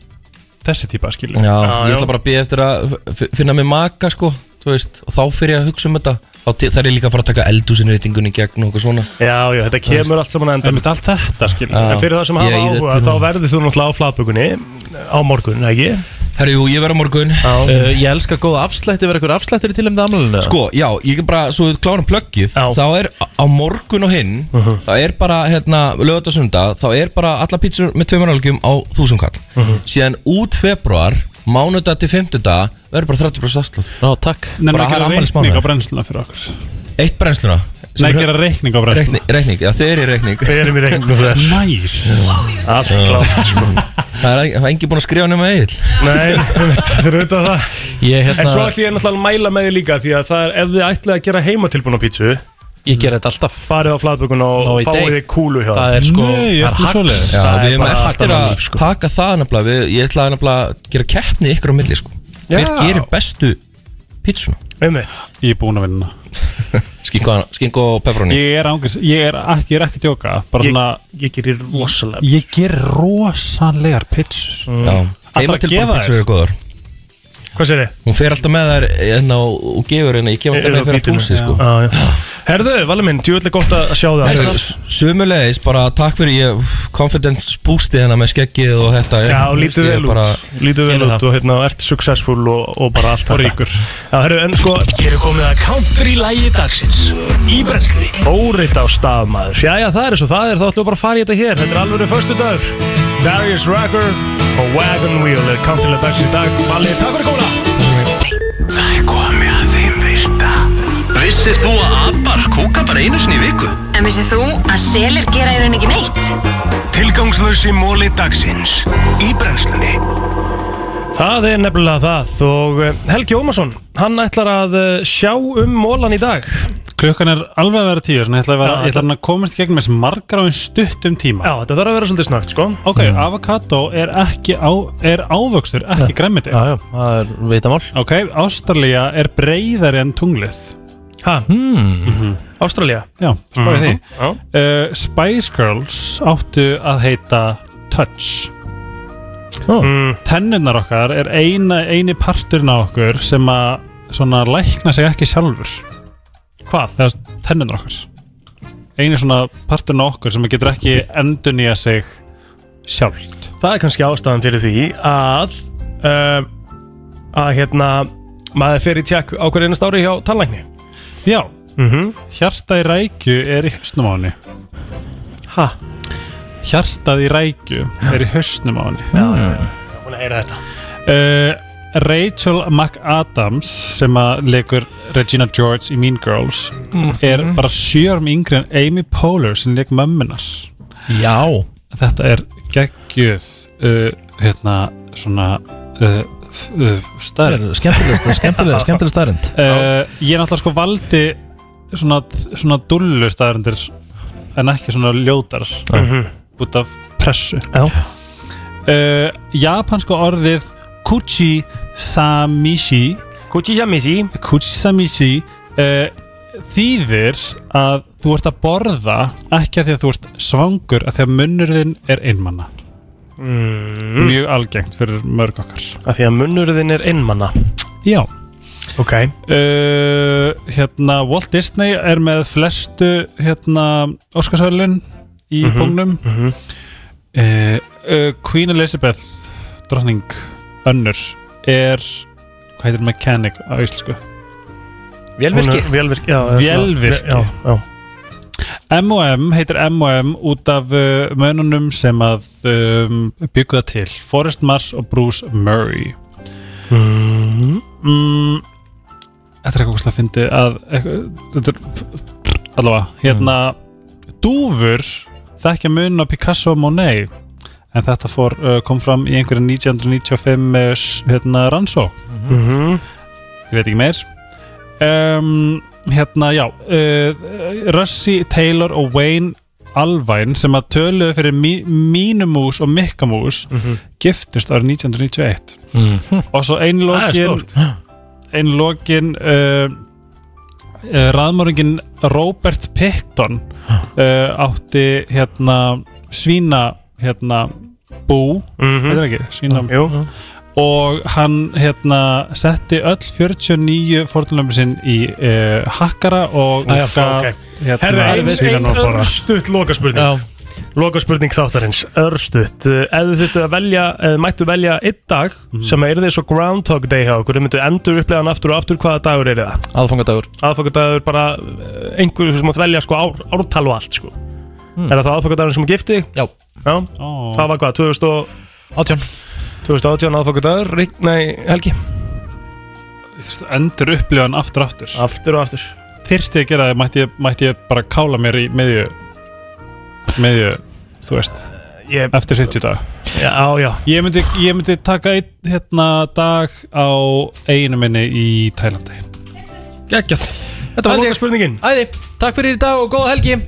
S5: þessi típa, skilur
S23: Já, ég ætla bara að bíða eftir að f- finna mig maka sko, þú veist, og þá fyrir ég að hugsa um þetta þá til- þarf ég líka að fara að taka eldúsinreitingun í gegn og eitthvað svona
S2: Já, já, þetta kemur allt saman að enda
S5: Einmitt allt þetta, skilur
S23: Já.
S2: En fyrir það sem
S23: Ég
S2: hafa
S23: í
S2: áhuga,
S23: þetta
S2: þá
S23: núna.
S2: verður þú náttúrulega á flatbökunni Á morgun, ekki?
S23: Herru, jú, ég verð á morgun Eh,
S4: Uh, ég elska góða afslætti, verður eitthvað afslættir til um það amlunum?
S23: Sko, já, ég er bara, svo við klárum plöggið þá er á á morgun og hinn
S4: Mhm.
S23: þá er bara, hérna, lögat og sunda þá er bara alla pítsur með tveimur algjum á þúsundkall,
S2: Mhm.
S23: síðan út februar, mánudag til fymtudag verður bara 30% afslátt
S4: Já, takk
S5: Nefnir
S23: Bara
S5: ekki
S23: það er
S5: að
S23: afmælismánuður.
S5: reikning á brennsluna fyrir okkur
S23: Eitt brennsluna
S5: Nei, gera reikning á brest
S23: Reikning, reikning, já þeir eru í reikning
S2: Þeir eru í reikning á brest
S5: Næs
S2: Allt klárt, sko
S23: Það er það er enginn búinn að skrifa nema Egil
S5: [laughs]
S2: Nei, þú veit að það
S23: Ég hérna-
S2: En svo ætlum ég náttúrulega að mæla með því líka Því að það er, ef þið ætlið að gera heimatilbúna pítsu
S4: Ég gera þetta alltaf
S2: Farið á flatbökun og
S23: í
S2: fáið
S23: dag.
S2: þið kúlu hjá
S4: Það er sko- Nei, ég er það er ekki hax. svoleiðis.
S23: Já,
S4: Það er
S23: við erum
S4: bara
S23: eftir
S4: alltaf
S23: að taka það nefnilega við, Ég ætla að nefnilega að gera keppni ykkur á milli sko Hver
S2: Já.
S23: gerir bestu pítsuna?
S2: Einmitt
S5: Ég er búinn að vinna
S23: [laughs] Skinko, skinko og pepperoni
S5: Ég er ángis, ég er ekki, ég er ekki að djóka Bara
S2: Ég-
S5: svona
S2: Ég Mm. gerir rosalega
S5: Ég ger rosalegar pitsur Ætlar að
S23: Heimatilbúin
S5: gefa
S23: pítsur
S5: þér
S23: eru góðar
S2: Hvað sér þið?
S23: Hún fer alltaf með þær hérna og, og gefur hérna Ég kemast
S2: Eru
S23: alltaf
S2: á
S23: fyrir að
S2: bítinu,
S23: túsi
S2: já.
S23: sko
S2: Já, já. Herðu, valið minn, djúvillig gott að sjá það
S23: Herru, Sömulegis, bara takk fyrir ég úff, confidence boostið hérna með skeggið og þetta
S2: Já, lítur
S23: Ég
S2: vel
S23: bara-
S2: út Lítur vel út og hérna, ert successful og, og bara allt þetta
S5: ríkur.
S2: Já, herru, en sko Hér er komið að country-lægi dagsins Í brensli Óreitt á staðmaður Jæja, það er svo, það er, þá ætlum við bara að fara í þetta hér Þetta er alveg förstu dagur Darius Rucker og Wagon Wheel er country-lægi dagsins í dag Valið, takk fyrir komuna
S1: Það er komið að þeim virta Vissir þú að abar kúka bara einu sinni í viku?
S3: En vissið þú að selir gera í rauninni ekki neitt?
S1: Tilgangslösi móli dagsins Í brennslunni
S2: Það er nefnilega það og eh, Helgi Ómarsson, hann ætlar að eh, sjá um mólan í dag
S5: Klukkan er alveg að vera tíu Þannig ég ætla að, vera,
S2: Já,
S5: ég ætla að komast í gegnum þessi margar á einn stuttum tíma
S2: Já, þetta þarf að vera svolítið snögt sko
S5: Ok, mm. avokado er ekki á, er ávöxtur, ekki græmiti Já,
S4: já, það er vitamál
S5: Ok, Ástralía er breyðari en tunglið
S2: Ha? Mhm.
S5: Hmm.
S2: Ástralía?
S5: Já, spáði
S2: Mhm.
S5: því uh, Spice Girls áttu að heita Touch
S4: oh.
S2: Mm.
S5: Tennurnar okkar er eina, eini parturinn á okkur sem að svona lækna sig ekki sjálfur
S2: Hvað?
S5: Það er tennurnar okkar Einu svona parturinn á okkur sem getur ekki endurnýja sig sjálft
S2: Það er kannski ástæðan fyrir því að uh, að hérna maður fer í tjekk á hverju einast ári hjá tannlækni
S5: Já,
S2: mm -hmm.
S5: hjarta í rækju er í hausnum á henni
S2: Ha?
S5: Hjartað í rækju er í hausnum á henni
S2: Já, já, já, já, hún er að heyra þetta
S5: Uh, Rachel McAdams sem að leikur Regina George í Mean Girls er bara sjörum yngri en Amy Poehler sem leik mömmunar
S4: Já
S5: Þetta er geggjöð uh, hérna svona uh, f- uh,
S4: Það
S5: stærð
S4: er
S5: [laughs]
S4: skemmtileg, skemmtileg, skemmtileg staðrind
S5: uh, Ég er náttúrulega sko valdi svona, svona dullu staðarindir en ekki svona ljótar
S2: Mhm.
S5: út af pressu
S2: Já.
S5: uh, Japanska orðið Kuchi Samishi
S2: Kuchi Samishi
S5: Kuchi Samishi uh, þýðir að þú ert að borða ekki að því að þú ert svangur að því að munnurðin er einmanna
S2: mm.
S5: mjög algengt fyrir mörg okkar
S2: Af því að munnurðin er einmanna
S5: Já
S2: Ok
S5: uh, Hérna Walt Disney er með flestu hérna Óskarsölin í mm
S2: Mhm,
S5: bóknum
S2: mhm.
S5: uh, uh, Queen Elizabeth drottning önnur er hvað heitir mechanic á íslensku
S2: Hún er- Vélvirki, já, eða svona-
S5: Vélvirki.
S2: Já, já
S5: M&M heitir M&M út af uh, mönunum sem að um, byggu það til Forrest Mars og Bruce Murray
S2: mm.
S5: Þetta er eitthvað ógeðslega fyndið að eitthvað, þetta er allavega hérna dúfur þekkja mun á Picasso og Monet en þetta fór, uh, kom fram í einhverju 1995 uh, hérna rannsók
S2: Mhm.
S5: ég veit ekki meir um, hérna já uh, Russi, Taylor og Wayne Alvæn sem að töluðu fyrir mí, Mínumús og Mikkamús
S2: Mhm.
S5: giftust árið 1991
S4: Mhm.
S5: og svo einu
S2: Það er
S5: lokin
S2: stórt.
S5: einu lokin uh, uh, raðmóringin Robert Picton uh, átti hérna svína hérna bú
S2: Mhm.
S5: heitir það ekki, svína
S2: Jú.
S5: og hann hérna setti öll 49 fórtunlöfum sinn í uh, hakkara og
S2: Ah,
S5: hérna,
S2: Já, já, ok. Hérna, Herðu, ein, ein
S5: svínunum að borða.
S2: örstutt lokaspurning Lokaspurning þáttarins, örstutt Uh, Ef þið þurftu að velja, ef þið mættu velja einn dag sem er þið svo Groundhog Day hjá okkur, þið myndu endur upplega hann aftur og aftur hvaða dagur er það?
S4: Aðfangadagur
S2: Aðfokkadagur bara uh, einhverju sem mátt velja sko ár, ártal og allt sko Er það þá aðfokkadagur sem gifti?
S4: Já,
S2: Já. Það var hvað,
S4: 2018
S2: 2018 aðfokkadagur, Rík- nei, Helgi
S5: Þú endur upplifan aftur og aftur
S2: Aftur og aftur
S5: þyrfti að gera það mætti, ég- mætti ég bara kála mér í miðju miðju, þú veist
S2: ég,
S5: eftir 50 dag
S2: Já, já
S5: Ég myndi, ég myndi taka einn hérna dag á einu minni í Tælandi
S2: Gægjast Þetta var loka spurningin
S4: Æði, takk fyrir í dag og góða helgi